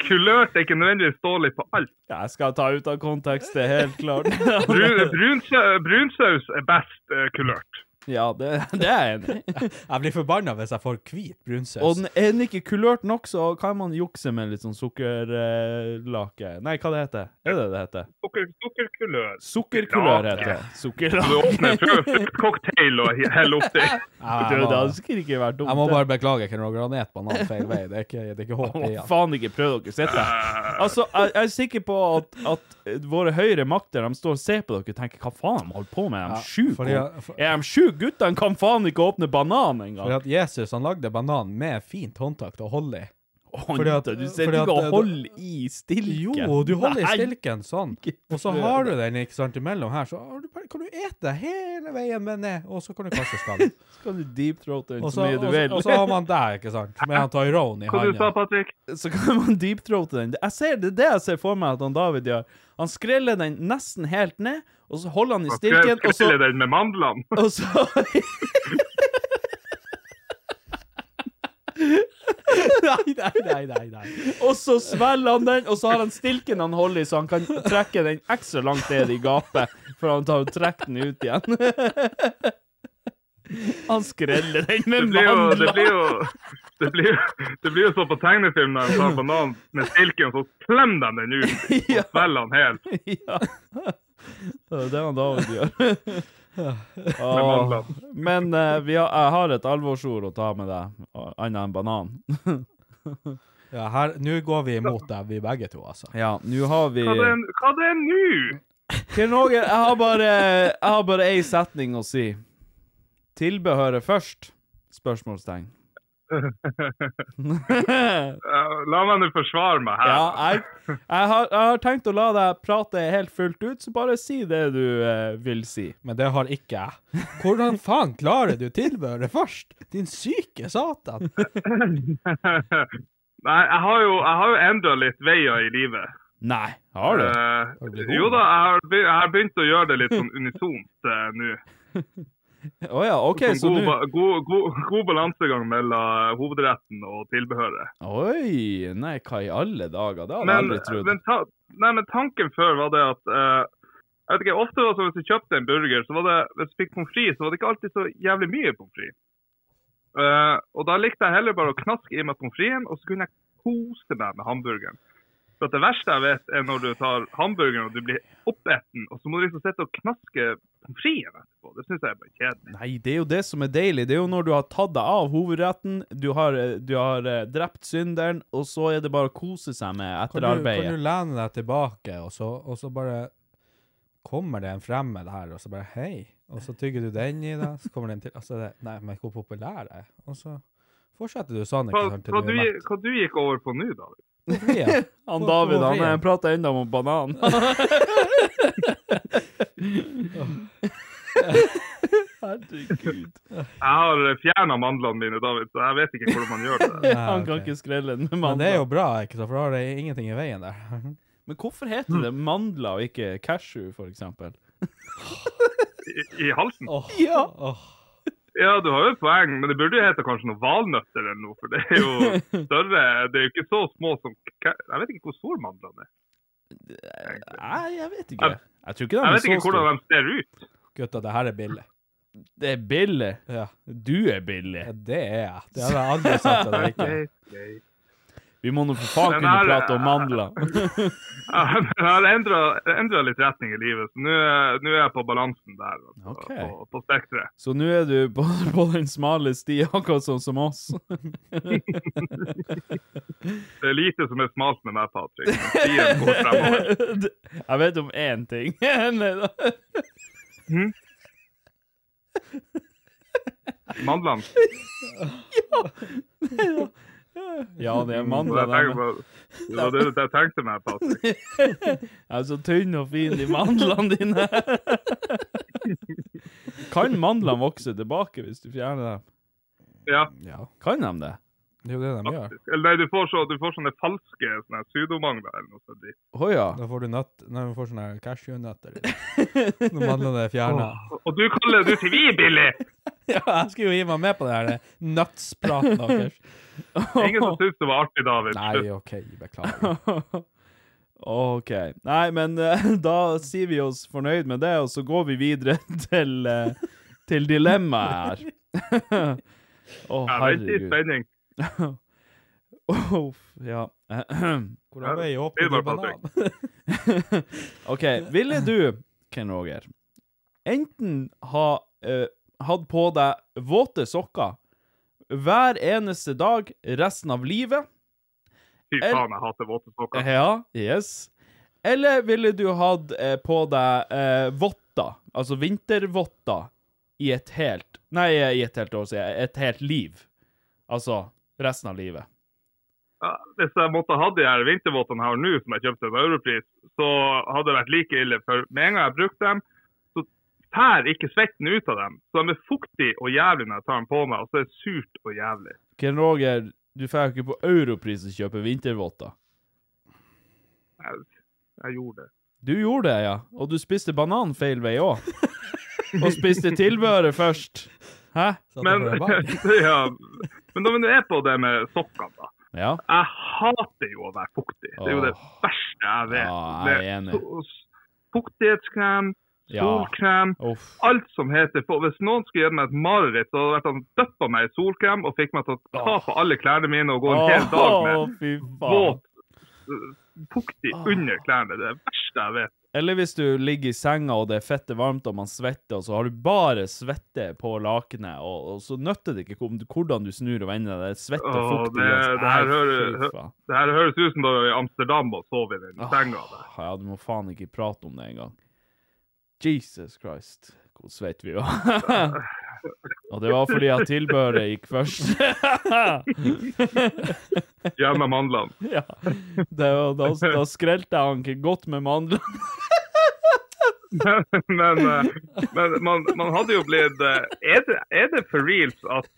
[SPEAKER 6] kulørt er ikke nødvendigvis dårlig på alt.
[SPEAKER 2] Jeg skal ta ut av kontekst, det er helt klart. [laughs]
[SPEAKER 6] Brun, brunsau- brunsaus er best eh, kulørt.
[SPEAKER 2] Ja, det, det er jeg enig i.
[SPEAKER 3] Jeg blir forbanna hvis jeg får hvit brunsaus.
[SPEAKER 2] Og den, er den ikke kulørt nok, så kan man jukse med litt sånn sukkerlake Nei, hva det heter Er det det heter?
[SPEAKER 6] Sukker, sukkerkulør.
[SPEAKER 2] Sukkerkulør
[SPEAKER 6] Ja,
[SPEAKER 2] heter det.
[SPEAKER 6] Du åpner
[SPEAKER 2] Sukkerlake.
[SPEAKER 6] frø- fruktcocktail og heller oppi.
[SPEAKER 3] Ja,
[SPEAKER 2] Du,
[SPEAKER 3] jeg,
[SPEAKER 2] det
[SPEAKER 3] må,
[SPEAKER 2] hadde sikkert ikke vært dumt.
[SPEAKER 3] jeg må
[SPEAKER 2] det.
[SPEAKER 3] bare beklage, Ken Roger. Han et banan feil vei. Det er ikke, det er ikke håp i
[SPEAKER 2] Å,
[SPEAKER 3] han.
[SPEAKER 2] faen ikke prøv dere sitte her. Altså, jeg, jeg er sikker på at, at eh, våre høyre makter de står og ser på dere og tenker hva faen de holder på med, er de sjuke?
[SPEAKER 3] fordi- for-
[SPEAKER 2] Er de sjuke guttene? Kan faen ikke åpne banan
[SPEAKER 3] Fordi
[SPEAKER 2] engang!
[SPEAKER 3] at Jesus han lagde banan med fint håndtak til å holde i. fordi at-
[SPEAKER 2] Du sitter ikke
[SPEAKER 3] fordi at- eh,
[SPEAKER 2] og holder i stilken.
[SPEAKER 3] Jo, du holder i
[SPEAKER 2] Nei.
[SPEAKER 3] stilken sånn, og så har du den ikke sant, imellom her, så har du bare, kan du ete hele veien med ned, og så kan du kaste skallen.
[SPEAKER 2] Skal du deepthroate den
[SPEAKER 3] Og
[SPEAKER 2] [laughs] så
[SPEAKER 3] så,
[SPEAKER 2] mye
[SPEAKER 3] og,
[SPEAKER 2] du
[SPEAKER 3] så-
[SPEAKER 2] vil?
[SPEAKER 3] og så har man der, ikke sant, med han Tyrone i
[SPEAKER 6] Hva du sa
[SPEAKER 3] handa.
[SPEAKER 6] Patrick?
[SPEAKER 2] [laughs] så kan man deepthroate den. Jeg ser, det er det jeg ser for meg at han David gjør. Han skreller den nesten helt ned, og så holder han i stilken, og så,
[SPEAKER 6] Skreller den med mandlene?
[SPEAKER 2] og så
[SPEAKER 3] Nei, [laughs] nei, nei, nei, nei.
[SPEAKER 2] Og så svelger han den, og så har han stilken han holder i, så han kan trekke den ekstra langt ned i gapet, for han tar og trekker den ut igjen. Han skreller den
[SPEAKER 6] Det
[SPEAKER 2] med
[SPEAKER 6] blir jo, det blir
[SPEAKER 2] mandler.
[SPEAKER 6] jo det blir, jo- det blir jo så på tegnefilm når de tar banan med stilken, så klemmer de den ut og svelger den helt
[SPEAKER 2] Ja. Det er det han David gjør.
[SPEAKER 6] med
[SPEAKER 2] Åh.
[SPEAKER 6] mandlene.
[SPEAKER 2] Men eh, vi har, jeg har et alvorsord å ta med deg, og- annet enn banan.
[SPEAKER 3] Ja, her, nå går vi imot deg, vi begge to, altså.
[SPEAKER 2] Ja, nå har vi
[SPEAKER 6] Hva det er- Hva det er nå?
[SPEAKER 2] Ken Roger, jeg har bare Jeg har bare ei setning å si. Tilbehøret først? Spørsmålstegn.
[SPEAKER 6] Eh, La meg nå forsvare meg her.
[SPEAKER 2] Ja, jeg, jeg, har, jeg har tenkt å la deg prate helt fullt ut, så bare si det du eh, vil si.
[SPEAKER 3] Men det har ikke jeg. Hvordan faen klarer du tilbehøret først? Din syke satan.
[SPEAKER 6] Nei, jeg har jo, jeg har jo endra litt veier i livet.
[SPEAKER 2] Nei, har du?
[SPEAKER 3] Har du
[SPEAKER 6] Eh,
[SPEAKER 3] blitt
[SPEAKER 6] jo
[SPEAKER 3] homo?
[SPEAKER 6] da, jeg har, be- jeg har begynt å gjøre det litt sånn unisont eh, nå.
[SPEAKER 2] [laughs] Å ja, OK, så
[SPEAKER 6] Sånn god,
[SPEAKER 2] nå
[SPEAKER 6] ba- god, god, god balansegang mellom eh, hovedretten og tilbehøret.
[SPEAKER 2] Oi! Nei, hva i alle dager? Det hadde jeg
[SPEAKER 6] men,
[SPEAKER 2] aldri trodd.
[SPEAKER 6] men, ta, nei, men tanken før var det at eh, jeg vet ikke, Ofte var det sånn at hvis du kjøpte en burger, så var det, hvis du fikk pommes frites, så var det ikke alltid så jævlig mye pommes frites. Eh, og da likte jeg heller bare å knaske i meg pommes fritesen, og så kunne jeg kose meg med hamburgeren. For at Det verste jeg vet, er når du tar hamburgeren og du blir oppeten, og så må du liksom sitte og knaske pommes fritesen etterpå. Det syns jeg er bare kjedelig.
[SPEAKER 2] Nei, det er jo det som er deilig. Det er jo når du har tatt deg av hovedretten, du har, eh, du har eh, drept synderen, og så er det bare å kose seg med
[SPEAKER 3] Kan du, kan
[SPEAKER 2] etterarbeidet.
[SPEAKER 3] du lene deg tilbake, og så, og så bare kommer det en fremmed her, og så bare hei, og så tygger du den i deg, så kommer den til, altså det, nei, men hvor populær er jeg? Og så fortsetter du sånn,
[SPEAKER 6] Hva,
[SPEAKER 3] ikke sant,
[SPEAKER 6] hva, du,
[SPEAKER 3] til du er mett.
[SPEAKER 6] hva du gikk over på nå, David?
[SPEAKER 3] Hvorfor er jeg?
[SPEAKER 2] [laughs] Han
[SPEAKER 3] Hvorfor-
[SPEAKER 2] David
[SPEAKER 3] hvorfor
[SPEAKER 2] han
[SPEAKER 3] er
[SPEAKER 2] eh,
[SPEAKER 3] jeg?
[SPEAKER 2] prater ennå om banan. Herregud.
[SPEAKER 6] Jeg har fjerna mandlene mine, David, så jeg vet ikke hvordan man gjør det.
[SPEAKER 2] Han kan
[SPEAKER 3] ok.
[SPEAKER 2] ikke skrelle den med
[SPEAKER 3] Men det er
[SPEAKER 2] mandler.
[SPEAKER 3] jo bra, ikke sant, for da har det ingenting i veien der. [laughs]
[SPEAKER 2] Men hvorfor heter det mandler og ikke cashew, for eksempel?
[SPEAKER 6] I, i halsen.
[SPEAKER 3] ja.
[SPEAKER 6] Ja, du har jo et poeng, men det burde jo hete kanskje noe valnøtter eller noe, for det er jo større. Det er jo ikke så små som ka- Jeg vet ikke hvor store mandlene er.
[SPEAKER 2] Nei, jeg vet ikke. Jeg tror ikke
[SPEAKER 6] Jeg
[SPEAKER 2] de er
[SPEAKER 6] vet
[SPEAKER 2] så
[SPEAKER 3] [laughs]
[SPEAKER 6] ikke hvordan
[SPEAKER 2] store.
[SPEAKER 6] de ser ut.
[SPEAKER 3] Gutta, det her er billig.
[SPEAKER 2] Det er billig.
[SPEAKER 3] Ja,
[SPEAKER 2] Du er billig.
[SPEAKER 3] ja, det er jeg. Det hadde jeg aldri sagt at jeg ikke er.
[SPEAKER 6] Ok.
[SPEAKER 2] Vi må nå for faen
[SPEAKER 6] Men
[SPEAKER 2] kunne
[SPEAKER 6] her-
[SPEAKER 2] prate om mandler.
[SPEAKER 6] [laughs] Ja, men Jeg har endra litt retning i livet, så nå er- nå er jeg på balansen der. Altså,
[SPEAKER 2] Ok.
[SPEAKER 6] På, på spekteret.
[SPEAKER 2] Så nå er du på, på den smale sti, akkurat sånn som oss.
[SPEAKER 6] Det er lite som er smalt med meg, Patrick. men Stien går
[SPEAKER 3] [laughs]
[SPEAKER 6] fremover.
[SPEAKER 2] [laughs] Jeg vet om én ting. [laughs] Nei da.
[SPEAKER 6] Mandlene.
[SPEAKER 2] Ja, det
[SPEAKER 6] Det var
[SPEAKER 2] er mandler.
[SPEAKER 6] det jeg
[SPEAKER 2] de-
[SPEAKER 6] tenkte på- det var det jeg tenkte meg, Patrick. [laughs]
[SPEAKER 2] Jeg er så tynn og fin i mandlene dine. Kan mandlene vokse tilbake hvis du fjerner dem?
[SPEAKER 6] Ja.
[SPEAKER 2] Kan de det?
[SPEAKER 3] Det er jo det de gjør.
[SPEAKER 6] Eller nei, du får, så, du får sånne falske sånne pseudomangler eller noe sånt. dritt.
[SPEAKER 2] Å ja.
[SPEAKER 3] Da får du nøtt, nei, du får sånne cashewnøtter. Når mandlene er fjerna.
[SPEAKER 6] Og du kaller det du sier vi er billig!
[SPEAKER 3] [laughs] Ja, jeg skulle jo hive meg med på det her det nuts-praten deres.
[SPEAKER 6] Ingen som syns det var artig, David.
[SPEAKER 3] Nei, OK, beklager.
[SPEAKER 2] [laughs] OK. Nei, men eh, [laughs] da sier vi oss fornøyd med det, og så går vi videre [laughs] til, eh, til dilemmaet her. [laughs] Å,
[SPEAKER 6] Jeg venter i
[SPEAKER 2] herregud.
[SPEAKER 6] spenning.
[SPEAKER 2] Uff, ja. [clears throat]
[SPEAKER 3] Hvordan veier opp
[SPEAKER 6] Det
[SPEAKER 3] til
[SPEAKER 6] var
[SPEAKER 3] banan?
[SPEAKER 2] OK. Ville du, Ken Roger, enten ha eh, hatt på deg våte sokker hver eneste dag resten av livet
[SPEAKER 6] Fy faen, jeg hater våte sokker.
[SPEAKER 2] Ja, yes. Eller ville du hatt eh, på deg eh, votter, altså vintervotter, i et helt Nei, i et helt år, sier jeg. Et helt liv. Altså resten av livet.
[SPEAKER 6] Ja, hvis jeg måtte ha de her vintervottene her nå, som jeg kjøpte på europris, så hadde det vært like ille. For med en gang jeg brukte dem, så tær ikke svetten ut av dem. Så de er fuktige og jævlig når jeg tar dem på meg, og så er det surt og jævlig.
[SPEAKER 2] Ken Roger, du får jo ikke på europris å kjøpe vintervotter.
[SPEAKER 6] Jeg, jeg gjorde det.
[SPEAKER 2] Du gjorde det, ja. Og du spiste banan feil vei òg. Og spiste tilbehøret først. Hæ?
[SPEAKER 3] Satt
[SPEAKER 6] Men,
[SPEAKER 3] jeg på en bak?
[SPEAKER 6] [laughs] ja, men når vi nå er på det med sokkene, da.
[SPEAKER 2] Ja.
[SPEAKER 6] Jeg hater jo å være fuktig. Det er jo det
[SPEAKER 2] Åh.
[SPEAKER 6] verste jeg vet.
[SPEAKER 2] Ja, jeg er
[SPEAKER 6] Det
[SPEAKER 2] enig.
[SPEAKER 6] so- Fuktighetskrem,
[SPEAKER 2] Ja.
[SPEAKER 6] solkrem,
[SPEAKER 2] Uff.
[SPEAKER 6] alt som heter på. Hvis noen skulle gitt meg et mareritt, så hadde det vært at han dyppa meg i solkrem og fikk meg til å ta på alle klærne mine og gå en hel dag
[SPEAKER 2] Åh,
[SPEAKER 6] med
[SPEAKER 2] fy faen.
[SPEAKER 6] våt, øh, fuktig under klærne. Det er det verste jeg vet. [laughs]
[SPEAKER 2] Eller hvis du ligger i senga, og det er fette varmt, og man svetter, og så har du bare svette på lakenet, og, og så nytter det ikke om- hvordan du snur og vender deg. Det er svette og
[SPEAKER 6] Åh,
[SPEAKER 2] fuktig.
[SPEAKER 6] det-
[SPEAKER 2] uansett.
[SPEAKER 6] det her
[SPEAKER 2] Nei,
[SPEAKER 6] hører-
[SPEAKER 2] fy faen.
[SPEAKER 6] Det her høres ut som da vi var i Amsterdam og sov i den senga der.
[SPEAKER 2] Åh, Ja, du må faen ikke prate om det engang. Jesus Christ, hvor svett vi var. [laughs] og det var fordi at tilbehøret gikk først.
[SPEAKER 6] Gjennom handlene.
[SPEAKER 2] [laughs] ja. det, var- da, da skrelte jeg han ikke godt med [laughs] mandlene.
[SPEAKER 6] [laughs] men, eh, men man, man hadde jo blitt eh, Er det, er det for reals at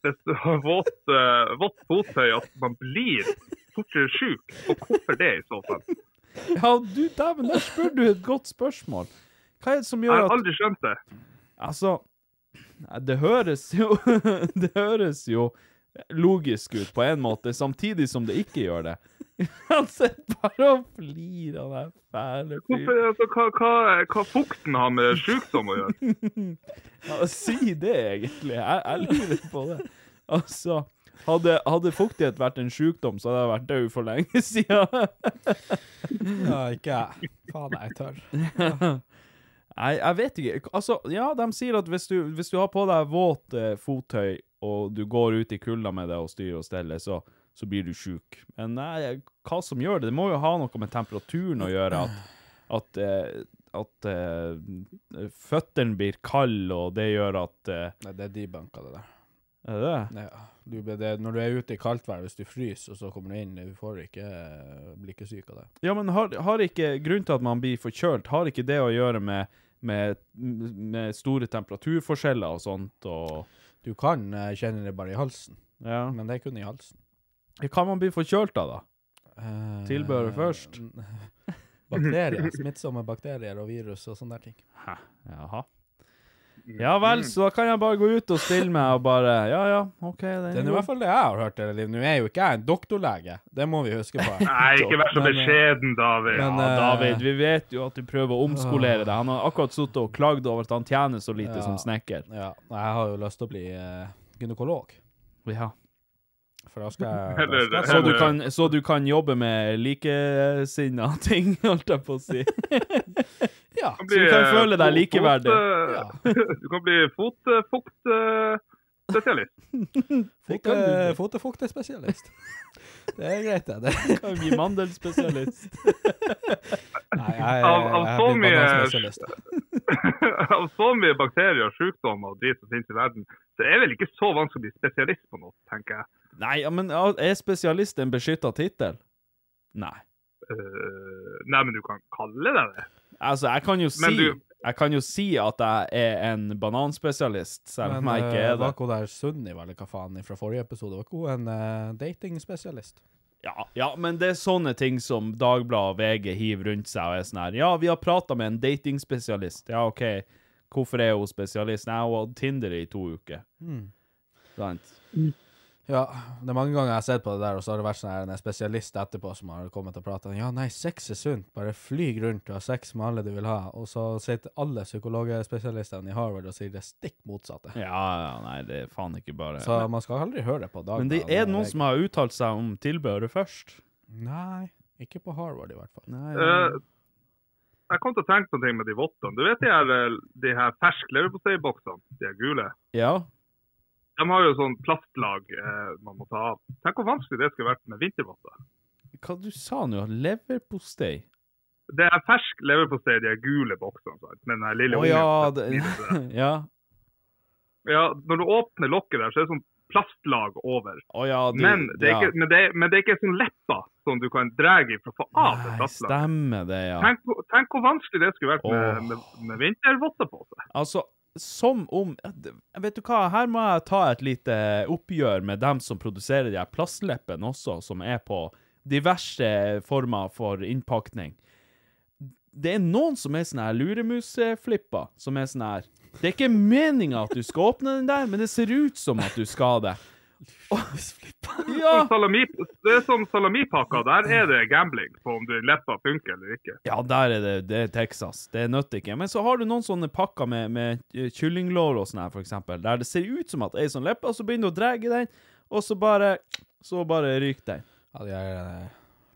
[SPEAKER 6] hvis du har vått, eh, vått fottøy, at man blir fortere syk? Og hvorfor det, i så fall?
[SPEAKER 2] Ja, du dæven, der spør du et godt spørsmål. Hva er det som
[SPEAKER 6] Jeg
[SPEAKER 2] gjør
[SPEAKER 6] har
[SPEAKER 2] at
[SPEAKER 6] aldri skjønt det.
[SPEAKER 2] Altså, det høres jo [laughs] Det høres jo logisk ut på en måte, samtidig som det ikke gjør det. [laughs] Han sitter bare og flirer av den fæle fyren.
[SPEAKER 6] Hvorfor, altså, hva, hva, hva fukten har med sykdom å gjøre?
[SPEAKER 2] Ja, Si det, egentlig. Jeg, jeg lurer på det. Altså hadde, hadde fuktighet vært en sjukdom, så hadde jeg vært død for lenge [laughs] siden.
[SPEAKER 3] Ja, ikke jeg. Faen, jeg er tørr.
[SPEAKER 2] [laughs] Nei, jeg vet ikke. Altså, ja, de sier at hvis du, hvis du har på deg våt eh, fottøy, og du går ut i kulda med det og styrer og steller, så, så blir du sjuk. Men nei, hva som gjør det? Det må jo ha noe med temperaturen å gjøre. At, at, eh, at eh, føttene blir kalde, og det gjør at eh,
[SPEAKER 3] Nei, det er debunka, det der.
[SPEAKER 2] Er det det?
[SPEAKER 3] Nei, ja. du, det, når du er ute i kaldt vær, hvis du fryser, og så kommer du inn, du får ikke, eh, blir ikke syk av det.
[SPEAKER 2] Ja, men har, har ikke grunnen til at man blir forkjølt, har ikke det å gjøre med, med, med store temperaturforskjeller og sånt? Og,
[SPEAKER 3] Du kan eh, kjenne det bare i halsen,
[SPEAKER 2] ja.
[SPEAKER 3] men det er kun i halsen.
[SPEAKER 2] Kan man bli forkjølt av, da?
[SPEAKER 3] Eh,
[SPEAKER 2] Tilbehøret først.
[SPEAKER 3] [laughs] Bakterier, smittsomme bakterier og virus og sånne der ting.
[SPEAKER 2] Hæ? Jaha.
[SPEAKER 6] Mm.
[SPEAKER 2] Ja vel, så da kan jeg bare gå ut og stille meg og bare Ja ja, OK. Det
[SPEAKER 3] Det er nå i hvert fall det jeg har hørt i hele livet. Nå er jo ikke jeg en doktorlege, det må vi huske
[SPEAKER 2] [laughs]
[SPEAKER 3] på.
[SPEAKER 6] Nei, ikke vær så
[SPEAKER 3] Men, eh,
[SPEAKER 6] beskjeden, David.
[SPEAKER 3] men,
[SPEAKER 2] ja,
[SPEAKER 3] eh,
[SPEAKER 2] David, vi vet jo at du prøver å omskolere deg. Han har akkurat sittet og klagd over at han tjener så lite
[SPEAKER 3] Ja.
[SPEAKER 2] som snekker.
[SPEAKER 3] Ja, og jeg har jo lyst til å bli eh, gynekolog,
[SPEAKER 2] Ja.
[SPEAKER 3] for da skal jeg, da
[SPEAKER 6] Eller-
[SPEAKER 3] skal jeg
[SPEAKER 2] Så, du kan, så du kan jobbe med likesinna ting, [laughs] holdt jeg på å si.
[SPEAKER 3] Ja.
[SPEAKER 6] kan
[SPEAKER 2] så du kan føle deg
[SPEAKER 6] fot-
[SPEAKER 2] likeverdig.
[SPEAKER 6] fot- Du kan bli eh, fotfuktspesialist.
[SPEAKER 2] Det kan du bli.
[SPEAKER 6] [laughs]
[SPEAKER 3] Fotefuktespesialist. eh, Det er greit, det. det.
[SPEAKER 2] Kan bli mandelspesialist.
[SPEAKER 3] Nei, jeg,
[SPEAKER 6] Av- av
[SPEAKER 3] jeg
[SPEAKER 6] så
[SPEAKER 3] blir
[SPEAKER 6] mye- [laughs]
[SPEAKER 3] bananspesialist.
[SPEAKER 6] Av så mye bakterier og sykdommer og drit som finnes i verden, så er det vel ikke så vanskelig å bli spesialist på noe, tenker jeg.
[SPEAKER 2] Nei, ja, men ja, er spesialist en beskytta tittel? Nei.
[SPEAKER 6] Eh, nei, men du kan kalle det det.
[SPEAKER 2] Altså, jeg kan jo si
[SPEAKER 6] Men du-
[SPEAKER 2] Jeg kan jo si at jeg er en bananspesialist, selv om jeg ikke
[SPEAKER 3] eh,
[SPEAKER 2] er det.
[SPEAKER 3] Var ikke hun der Sunniva eller hva faen fra forrige episode? Var ikke hun en eh, datingspesialist?
[SPEAKER 2] Ja, ja, men det er sånne ting som Dagbladet og VG hiver rundt seg og er sånn her Ja, vi har prata med en datingspesialist. Ja, OK, hvorfor er hun spesialist? Nei, hun har hatt Tinder i to uker.
[SPEAKER 3] Mm.
[SPEAKER 2] Sant?
[SPEAKER 3] Ja, det er mange ganger jeg har sett på det der, og så har det vært sånn her en spesialist etterpå som har kommet og prata. Ja, nei, sex er sunt. Bare flyg rundt og ha sex med alle du vil ha. Og så sitter alle psykologspesialistene i Harvard og sier det stikk motsatte.
[SPEAKER 2] Ja, ja, nei, det er faen ikke bare
[SPEAKER 3] Så man skal aldri høre på Dagbladet.
[SPEAKER 2] Men det er noen som har uttalt seg om tilbehøret først.
[SPEAKER 3] Nei, ikke på Harvard i hvert fall.
[SPEAKER 6] Eh, jeg kom til å tenke på en ting med de vottene. Du vet de her, eh, de her fersk leverposteiboksene? De er gule.
[SPEAKER 2] Ja.
[SPEAKER 6] De har jo sånn plastlag eh, man må ta av. Tenk hvor vanskelig det skulle vært med vintervotter.
[SPEAKER 2] Hva du sa nå? Leverpostei?
[SPEAKER 6] Det er fersk leverpostei i de her gule boksene. Sant? Med den er her
[SPEAKER 2] Å
[SPEAKER 6] lille
[SPEAKER 2] ja, det,
[SPEAKER 6] [laughs] ungen.
[SPEAKER 2] ja.
[SPEAKER 6] Ja, når du åpner lokket der, så er det sånn plastlag over.
[SPEAKER 2] Å ja, du,
[SPEAKER 6] men, det er
[SPEAKER 2] ja.
[SPEAKER 6] ikke, men, det, er- men det er ikke sånn lepper som du kan dra i for å få av det
[SPEAKER 2] Nei,
[SPEAKER 6] plastlaget.
[SPEAKER 2] stemmer det, ja.
[SPEAKER 6] Tenk, hvor- tenk hvor vanskelig det skulle vært med,
[SPEAKER 2] Åh.
[SPEAKER 6] med, med vintervotter på seg.
[SPEAKER 2] Altså, som om Vet du hva, her må jeg ta et lite oppgjør med dem som produserer de her plastleppene også, som er på diverse former for innpakning. Det er noen som er sånne her luremusflipper, som er sånn her Det er ikke meninga at du skal åpne den der, men det ser ut som at du skal det. Ja.
[SPEAKER 6] Som salami, det er som salamipakker. Der er det gambling på om du leppa funker eller ikke.
[SPEAKER 2] Ja, der er det, det er Texas. Det nøtter ikke. Men så har du noen sånne pakker med, med kyllinglår og sånn her, for eksempel, der det ser ut som at ei sånn leppe, og så begynner du å dra i den, og så bare Så bare ryker den.
[SPEAKER 3] Ja, de er eh,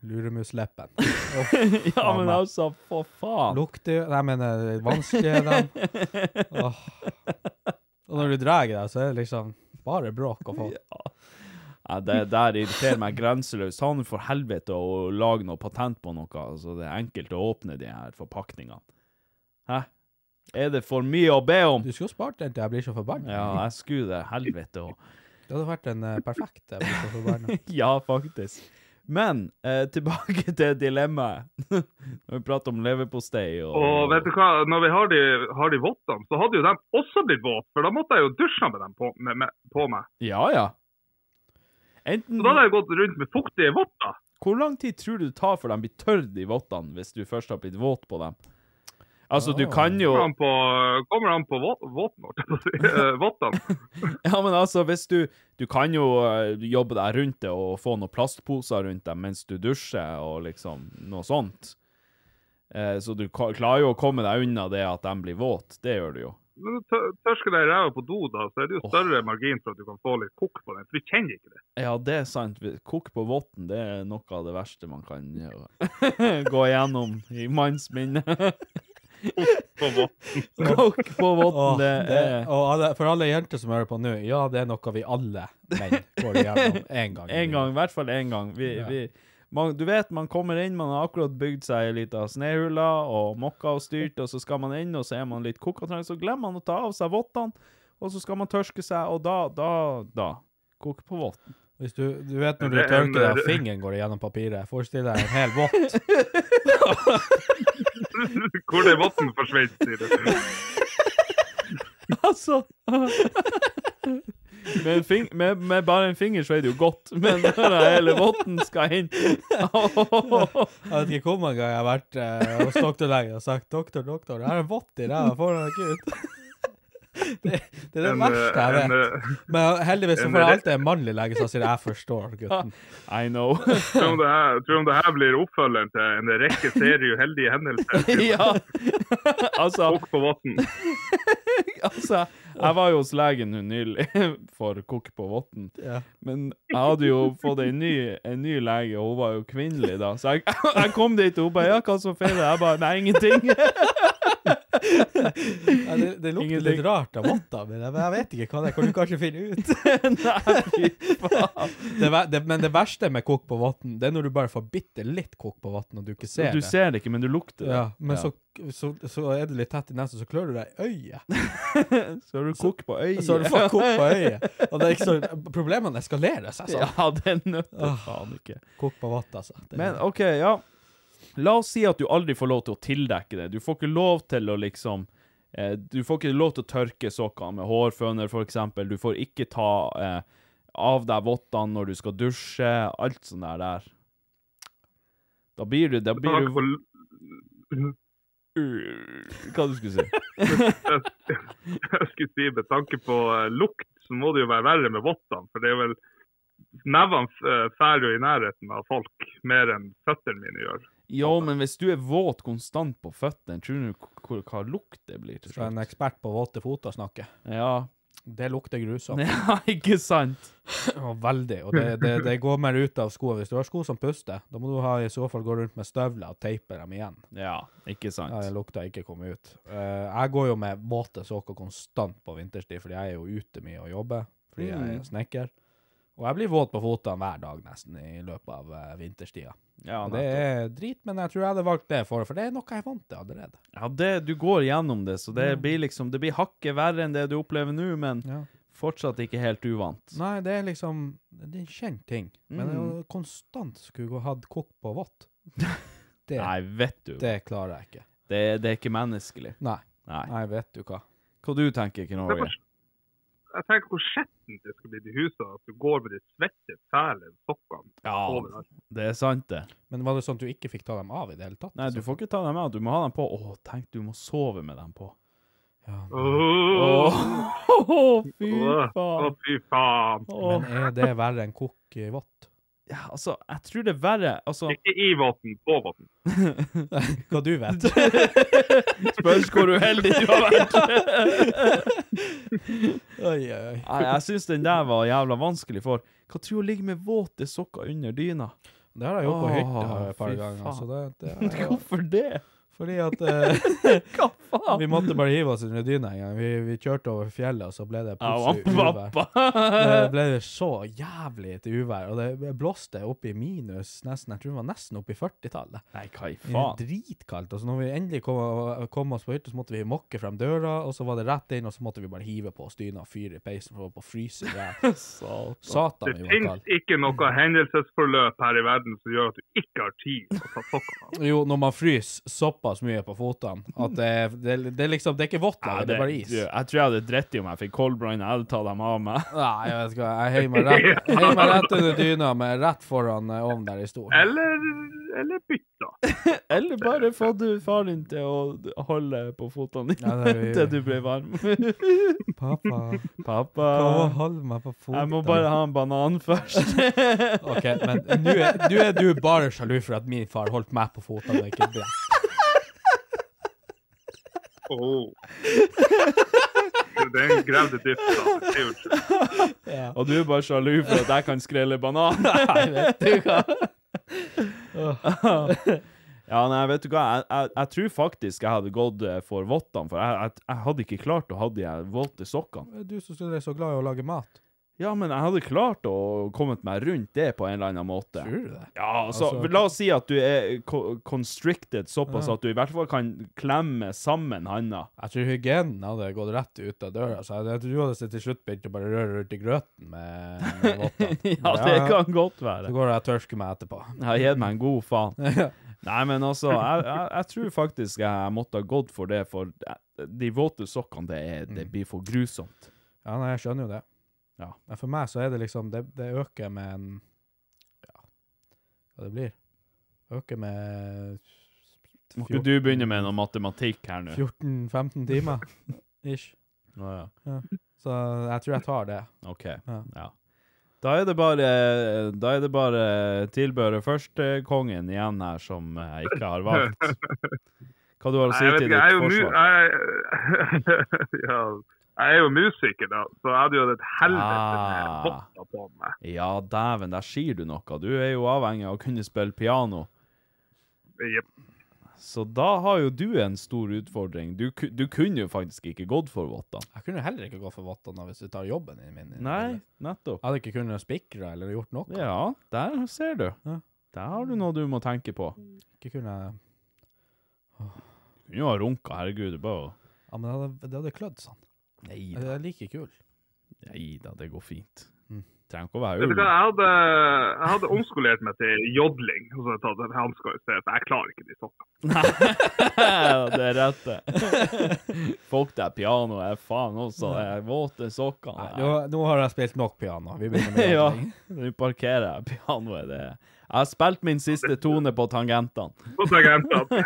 [SPEAKER 3] luremusleppen.
[SPEAKER 2] [laughs] ja,
[SPEAKER 3] faen
[SPEAKER 2] men
[SPEAKER 3] meg.
[SPEAKER 2] altså, for faen.
[SPEAKER 3] Lukter jo Nei, men eh, det er vanskelig er de. Åh. Og når du drar deg, så er det liksom bare bråk å få.
[SPEAKER 2] Ja, det der irriterer meg grenseløst. Ta nå for helvete å lage noe patent på noe, så det er enkelt å åpne de her forpakningene. Hæ? Er det for mye å be om? [laughs]
[SPEAKER 3] Du skulle jo spart den til jeg blir så forbanna.
[SPEAKER 2] Ja, jeg skulle det. Helvete òg.
[SPEAKER 3] Det hadde vært en eh, perfekt jeg blir så forbanna.
[SPEAKER 2] ja, faktisk. Men eh, tilbake [laughs] til dilemmaet. Når vi prater om leverpostei og
[SPEAKER 6] Og vet du hva, når vi har de, har de vottene, så hadde jo de også blitt våte, for da måtte jeg jo dusje med dem på, med, med, på meg.
[SPEAKER 2] Ja, ja. Enten
[SPEAKER 6] Så da hadde jeg gått rundt med fuktige votter.
[SPEAKER 2] Hvor lang tid tror du det tar før de blir tørre, de vottene, hvis du først har blitt våt på dem? Altså, du
[SPEAKER 3] Ah.
[SPEAKER 2] kan jo
[SPEAKER 6] Kommer an på, kommer an på vå- våten, holdt jeg på å si. Eh, vottene.
[SPEAKER 2] [laughs] Ja, men altså, hvis du Du kan jo eh, jobbe deg rundt det og få noen plastposer rundt deg mens du dusjer og liksom noe sånt. Eh, så du ka- klarer jo å komme deg unna det at de blir våte. Det gjør du jo.
[SPEAKER 6] Men tør- tørsker deg i ræva på do, da, så er det jo større margin for at du kan få litt kokk på den. For du kjenner ikke det.
[SPEAKER 2] Ja, det er sant. Kokk på votten, det er noe av det verste man kan
[SPEAKER 6] [laughs]
[SPEAKER 2] eh, [laughs] gå igjennom i manns minne.
[SPEAKER 6] På votten.
[SPEAKER 2] [laughs] Kokk på
[SPEAKER 3] Åh,
[SPEAKER 2] votten, det
[SPEAKER 3] det,
[SPEAKER 2] er
[SPEAKER 3] eh, og alle, for alle jenter som hører på nå, ja, det er noe vi alle menn går
[SPEAKER 2] [laughs]
[SPEAKER 3] igjennom én gang. i
[SPEAKER 2] En gang, i hvert fall én gang. Vi,
[SPEAKER 3] Ja.
[SPEAKER 2] vi, man, du vet, man kommer inn, man har akkurat bygd seg ei lita snehule og mokka og styrt, og så skal man inn, og så er man litt kokkatrengt, så glemmer man å ta av seg vottene, og så skal man tørske seg, og da, da, da. Kokk på votten.
[SPEAKER 3] Hvis du, du vet når du
[SPEAKER 6] Det er en-
[SPEAKER 3] tørker deg, og fingeren går igjennom papiret. Forestill deg en hel
[SPEAKER 2] [laughs]
[SPEAKER 3] vått.
[SPEAKER 6] Hvor den votten forsvinner, sier du.
[SPEAKER 2] Altså [laughs] med, en fing med, med bare en finger så er det jo godt, men [laughs] når hele votten skal inn
[SPEAKER 3] Jeg vet ikke hvor mange ganger jeg har vært eh, hos doktorlegen og sagt 'doktor, doktor, jeg har en vått i ræva foran deg, gutt'. [laughs] Det, det er det
[SPEAKER 6] En,
[SPEAKER 3] verste jeg
[SPEAKER 6] en,
[SPEAKER 3] vet.
[SPEAKER 6] eh,
[SPEAKER 3] Men heldigvis så
[SPEAKER 6] en
[SPEAKER 3] får jeg
[SPEAKER 6] re-
[SPEAKER 3] alltid en mannlig lege som sier 'jeg forstår',
[SPEAKER 2] [laughs]
[SPEAKER 3] gutten.
[SPEAKER 2] [laughs] I
[SPEAKER 3] [laughs]
[SPEAKER 2] know.
[SPEAKER 6] Tror om, det her, tror om det her blir oppfølgeren til en rekke serie uheldige
[SPEAKER 3] [laughs]
[SPEAKER 6] hendelser.
[SPEAKER 2] ja. [laughs] altså,
[SPEAKER 6] Kokk på votten.
[SPEAKER 2] [laughs] altså, jeg var jo hos legen nå nylig [laughs] for kokk på votten,
[SPEAKER 3] Ja.
[SPEAKER 2] men jeg hadde jo fått en ny, en ny lege, og hun var jo kvinnelig da, så jeg, [laughs] jeg kom dit, og hun bare, ja, hva som feiler? Jeg bare, nei, ingenting. [laughs]
[SPEAKER 3] Ja, det, det lukter
[SPEAKER 2] Ingenting.
[SPEAKER 3] litt rart av votta, men jeg, jeg vet ikke hva det er. Kan du kanskje finne ut?
[SPEAKER 2] nei, fy faen.
[SPEAKER 3] det, ver- det, men det verste med kokk på vann, det er når du bare får bitte litt kokk på vann, og du ikke ser
[SPEAKER 2] Du
[SPEAKER 3] det.
[SPEAKER 2] ser det ikke, men du lukter det.
[SPEAKER 3] Ja, men Så, så, så er det litt tett i nesen, så klør du deg i øyet.
[SPEAKER 2] Så har du kokk på øyet.
[SPEAKER 3] [laughs] Så har du fått kokk på øyet. [laughs] Og det er ikke så, problemene eskalerer seg sånn.
[SPEAKER 2] Ja, det nøtter
[SPEAKER 3] Åh.
[SPEAKER 2] faen ikke.
[SPEAKER 3] Kokk på vann, altså. Det,
[SPEAKER 2] Ah. Men OK, ja. La oss si at du aldri får lov til å tildekke det. Du får ikke lov til å liksom eh, Du får ikke lov til å tørke sokkene med hårføner, f.eks. Du får ikke ta eh, av deg vottene når du skal dusje. Alt sånt der. der. Da blir du Da blir
[SPEAKER 6] Takk
[SPEAKER 2] du
[SPEAKER 6] for
[SPEAKER 2] Hva du skulle si?
[SPEAKER 6] jeg skulle si med tanke på eh, lukt, så må det jo være verre med vottene. For det er vel Nevene eh, fær jo i nærheten av folk mer enn føttene mine gjør.
[SPEAKER 2] Jo, men hvis du er våt konstant på føttene, tror du k- hvor- hva lukt det blir til
[SPEAKER 3] Skal en
[SPEAKER 2] slutt?
[SPEAKER 3] ekspert på våte foter snakke?
[SPEAKER 2] Ja. [laughs]
[SPEAKER 3] Det lukter grusomt.
[SPEAKER 2] ja, ikke sant?
[SPEAKER 3] Og veldig. Og det, det, det går mer ut av skoene. Hvis du har sko som puster, da må du ha i så fall gå rundt med støvler og teipe dem igjen.
[SPEAKER 2] Ja, ikke sant.
[SPEAKER 3] Ja, det lukta ikke komme ut. Eh, jeg går jo med våte sokker konstant på vinterstid, fordi jeg er jo ute mye og jobber, fordi jeg
[SPEAKER 2] Mm.
[SPEAKER 3] er snekker. Og jeg blir våt på fotene hver dag nesten i løpet av eh, vinterstida.
[SPEAKER 2] Ja,
[SPEAKER 3] Og det er drit, men jeg tror jeg hadde valgt det for, for det er noe jeg er vant til allerede.
[SPEAKER 2] Ja, det, du går gjennom det, så det blir liksom Det blir hakket verre enn det du opplever nå, men
[SPEAKER 3] Mm. Ja.
[SPEAKER 2] fortsatt ikke helt uvant.
[SPEAKER 3] Nei, det er liksom Det er en kjent ting. Men det er jo konstant skulle gå hatt kokk på [laughs] vått. Det,
[SPEAKER 2] Nei, vet du.
[SPEAKER 3] det klarer jeg ikke.
[SPEAKER 2] Det, det er ikke menneskelig.
[SPEAKER 3] Nei.
[SPEAKER 2] Nei.
[SPEAKER 3] Nei, vet du hva.
[SPEAKER 2] Hva du tenker, Knorge?
[SPEAKER 6] Jeg tenker hvor skjettent det skal bli i husene, at du går med de svette, fæle sokkene
[SPEAKER 2] Ja,
[SPEAKER 6] overalt.
[SPEAKER 2] det er sant, det.
[SPEAKER 3] Men var det sånn at du ikke fikk ta dem av i det hele tatt?
[SPEAKER 2] Nei, du får ikke ta dem av. Du må ha dem på. Å, tenk, du må sove med dem på.
[SPEAKER 6] Åh,
[SPEAKER 2] Å, fy
[SPEAKER 6] åh,
[SPEAKER 2] faen.
[SPEAKER 6] åh, fy faen.
[SPEAKER 2] Å,
[SPEAKER 3] Men er det verre enn kokk i vått? [laughs]
[SPEAKER 2] ja, altså, jeg tror det er verre Altså,
[SPEAKER 6] Ikke i våten, på våten.
[SPEAKER 3] Hva du vet?
[SPEAKER 2] [laughs] spørs hvor uheldig du har vært.
[SPEAKER 3] [laughs] oi, oi, oi.
[SPEAKER 2] Nei, jeg syns den der var jævla vanskelig, for hva tror du ligger med våte sokker under dyna?
[SPEAKER 3] Det har jeg gjort på
[SPEAKER 2] Åh,
[SPEAKER 3] hytta et par
[SPEAKER 2] fy
[SPEAKER 3] ganger.
[SPEAKER 2] faen.
[SPEAKER 3] Så det, det er
[SPEAKER 2] [laughs]
[SPEAKER 3] jo
[SPEAKER 2] Hvorfor det?
[SPEAKER 3] fordi at
[SPEAKER 2] [laughs]
[SPEAKER 3] eh,
[SPEAKER 2] Hva faen?
[SPEAKER 3] Vi måtte bare hive oss under dyna en gang. Vi, vi kjørte over fjellet, og så ble det plutselig uvær.
[SPEAKER 2] [laughs]
[SPEAKER 3] Det ble det så jævlig til uvær, og det blåste opp i minus nesten, jeg tror det var nesten opp i 40-tallet.
[SPEAKER 2] Nei, hva i
[SPEAKER 3] Det var
[SPEAKER 2] faen?
[SPEAKER 3] Dritkaldt. Og så når vi endelig kom, kom oss på hytta, så måtte vi mokke frem døra, og så var det rett inn, og så måtte vi bare hive på oss dyna og fyre i peisen for å holde på å
[SPEAKER 2] [laughs]
[SPEAKER 3] fryse i hjel.
[SPEAKER 6] Det
[SPEAKER 2] altså.
[SPEAKER 3] Satan, vi var
[SPEAKER 6] finnes
[SPEAKER 3] kalde.
[SPEAKER 6] ikke noe hendelsesforløp her i verden som gjør at du ikke har tid til å ta sokkene av.
[SPEAKER 3] Jo, når man fryser såpass mye på fotene at det, det, det er liksom Det er ikke vått
[SPEAKER 2] Nei,
[SPEAKER 3] lenger, det er bare is.
[SPEAKER 2] du, jeg tror jeg hadde dritt i om jeg fikk koldbrann. Jeg hadde tatt dem av meg.
[SPEAKER 3] Nei, jeg vet ikke hva. Jeg heier meg rett, jeg heier meg rett under dyna, men rett foran eh, ovnen der i stolen.
[SPEAKER 6] Eller, eller bytta.
[SPEAKER 2] [laughs] Eller bare fått du faren din til å holde på føttene dine
[SPEAKER 3] Ja, det er vi-
[SPEAKER 2] [laughs] til du blir varm.
[SPEAKER 3] [laughs] Pappa,
[SPEAKER 2] [laughs] Pappa,
[SPEAKER 3] hold meg på fotene.
[SPEAKER 2] jeg må bare ha en banan [laughs] først.
[SPEAKER 3] OK, men nå er, nå er du bare sjalu for at min far holdt meg på fotene og ikke deg.
[SPEAKER 2] [laughs]
[SPEAKER 6] Åh. Den gravde dypt, da. Det er jo ikke-
[SPEAKER 2] Og du er bare sjalu for at jeg kan skrelle
[SPEAKER 3] [laughs]
[SPEAKER 2] banan. Nei, vet du hva. ja, nei, vet du hva. Jeg, jeg, jeg tror faktisk jeg hadde gått eh, for vottene, for jeg, jeg, jeg hadde ikke klart å ha de her våte sokkene.
[SPEAKER 3] Du som skulle være så glad i å lage mat.
[SPEAKER 2] Ja, men jeg hadde klart å komme meg rundt det på en eller annen måte.
[SPEAKER 3] Tror du det?
[SPEAKER 2] Ja, altså,
[SPEAKER 3] Altså-
[SPEAKER 2] La oss si at du er ko- constricted såpass at du i hvert fall kan klemme sammen handa.
[SPEAKER 3] Jeg tror hygienen hadde gått rett ut av døra, så jeg, jeg tror du hadde sett til slutt begynt å bare røre rundt i grøten med, med vottene.
[SPEAKER 2] [laughs] Ja, det kan godt
[SPEAKER 3] Så
[SPEAKER 2] være.
[SPEAKER 3] går jeg og tørker meg etterpå.
[SPEAKER 2] Jeg har gitt meg en god faen. Nei, men altså, jeg, jeg, jeg tror faktisk jeg måtte ha gått for det, for eh, de våte sokkene, det, er, det blir for grusomt.
[SPEAKER 3] [laughs] Ja, nei, jeg skjønner jo det.
[SPEAKER 2] Ja.
[SPEAKER 3] Men for meg så er det liksom Det, det øker med en Ja, hva det blir? Øker med
[SPEAKER 2] Må ikke du begynne med noe matematikk her nå?
[SPEAKER 3] 14-15 timer ish.
[SPEAKER 2] Å, ja.
[SPEAKER 3] Så jeg tror jeg tar det.
[SPEAKER 2] OK.
[SPEAKER 3] Ja.
[SPEAKER 2] Ja. Da er det bare, da er det bare tilbøret førstekongen igjen her som jeg ikke har valgt. Hva du har å
[SPEAKER 6] Nei,
[SPEAKER 2] si
[SPEAKER 6] jeg vet
[SPEAKER 2] til
[SPEAKER 6] ikke, jeg er
[SPEAKER 2] ditt
[SPEAKER 6] jo mu-
[SPEAKER 2] forsvar?
[SPEAKER 6] jeg- [laughs] ja, jeg er jo musiker, da, så jeg hadde jo hatt et helvete med
[SPEAKER 2] Ah.
[SPEAKER 6] votter på meg.
[SPEAKER 2] Ja, dæven, der sier du noe. Du er jo avhengig av å kunne spille piano.
[SPEAKER 6] Jep.
[SPEAKER 2] Så da har jo du en stor utfordring. Du, ku- du kunne jo faktisk ikke gått for vottene.
[SPEAKER 3] Jeg kunne heller ikke gå for vottene hvis du tar jobben din min.
[SPEAKER 2] Nei, nettopp.
[SPEAKER 3] Jeg hadde ikke kunnet spikre eller gjort noe.
[SPEAKER 2] Ja, der ser du.
[SPEAKER 3] Ja.
[SPEAKER 2] Der har du noe du må tenke på.
[SPEAKER 3] Ikke kunne jeg-
[SPEAKER 2] Du kunne jo ha runka, herregud. Det er bare å
[SPEAKER 3] Ja, men det hadde, det hadde klødd sånn.
[SPEAKER 2] Nei
[SPEAKER 3] Det
[SPEAKER 2] da.
[SPEAKER 3] er like kul.
[SPEAKER 2] Nei da, det går fint. trenger ikke å være
[SPEAKER 6] Vet du
[SPEAKER 2] ulv.
[SPEAKER 6] hva, jeg hadde, jeg hadde omskolert meg til jodling. Og så hadde jeg tatt en hansker i stedet. for Jeg klarer ikke de sokkene.
[SPEAKER 2] [laughs] det er rett, det. Folk der piano er faen også. Det er våte sokker.
[SPEAKER 3] Nå, nå har jeg spilt nok piano. Vi begynner med
[SPEAKER 2] [laughs] ja,
[SPEAKER 3] jodling.
[SPEAKER 2] nå parkerer jeg pianoet. Det. Jeg har spilt min siste tone på tangentene.
[SPEAKER 6] Så tar jeg
[SPEAKER 3] [laughs]
[SPEAKER 6] henta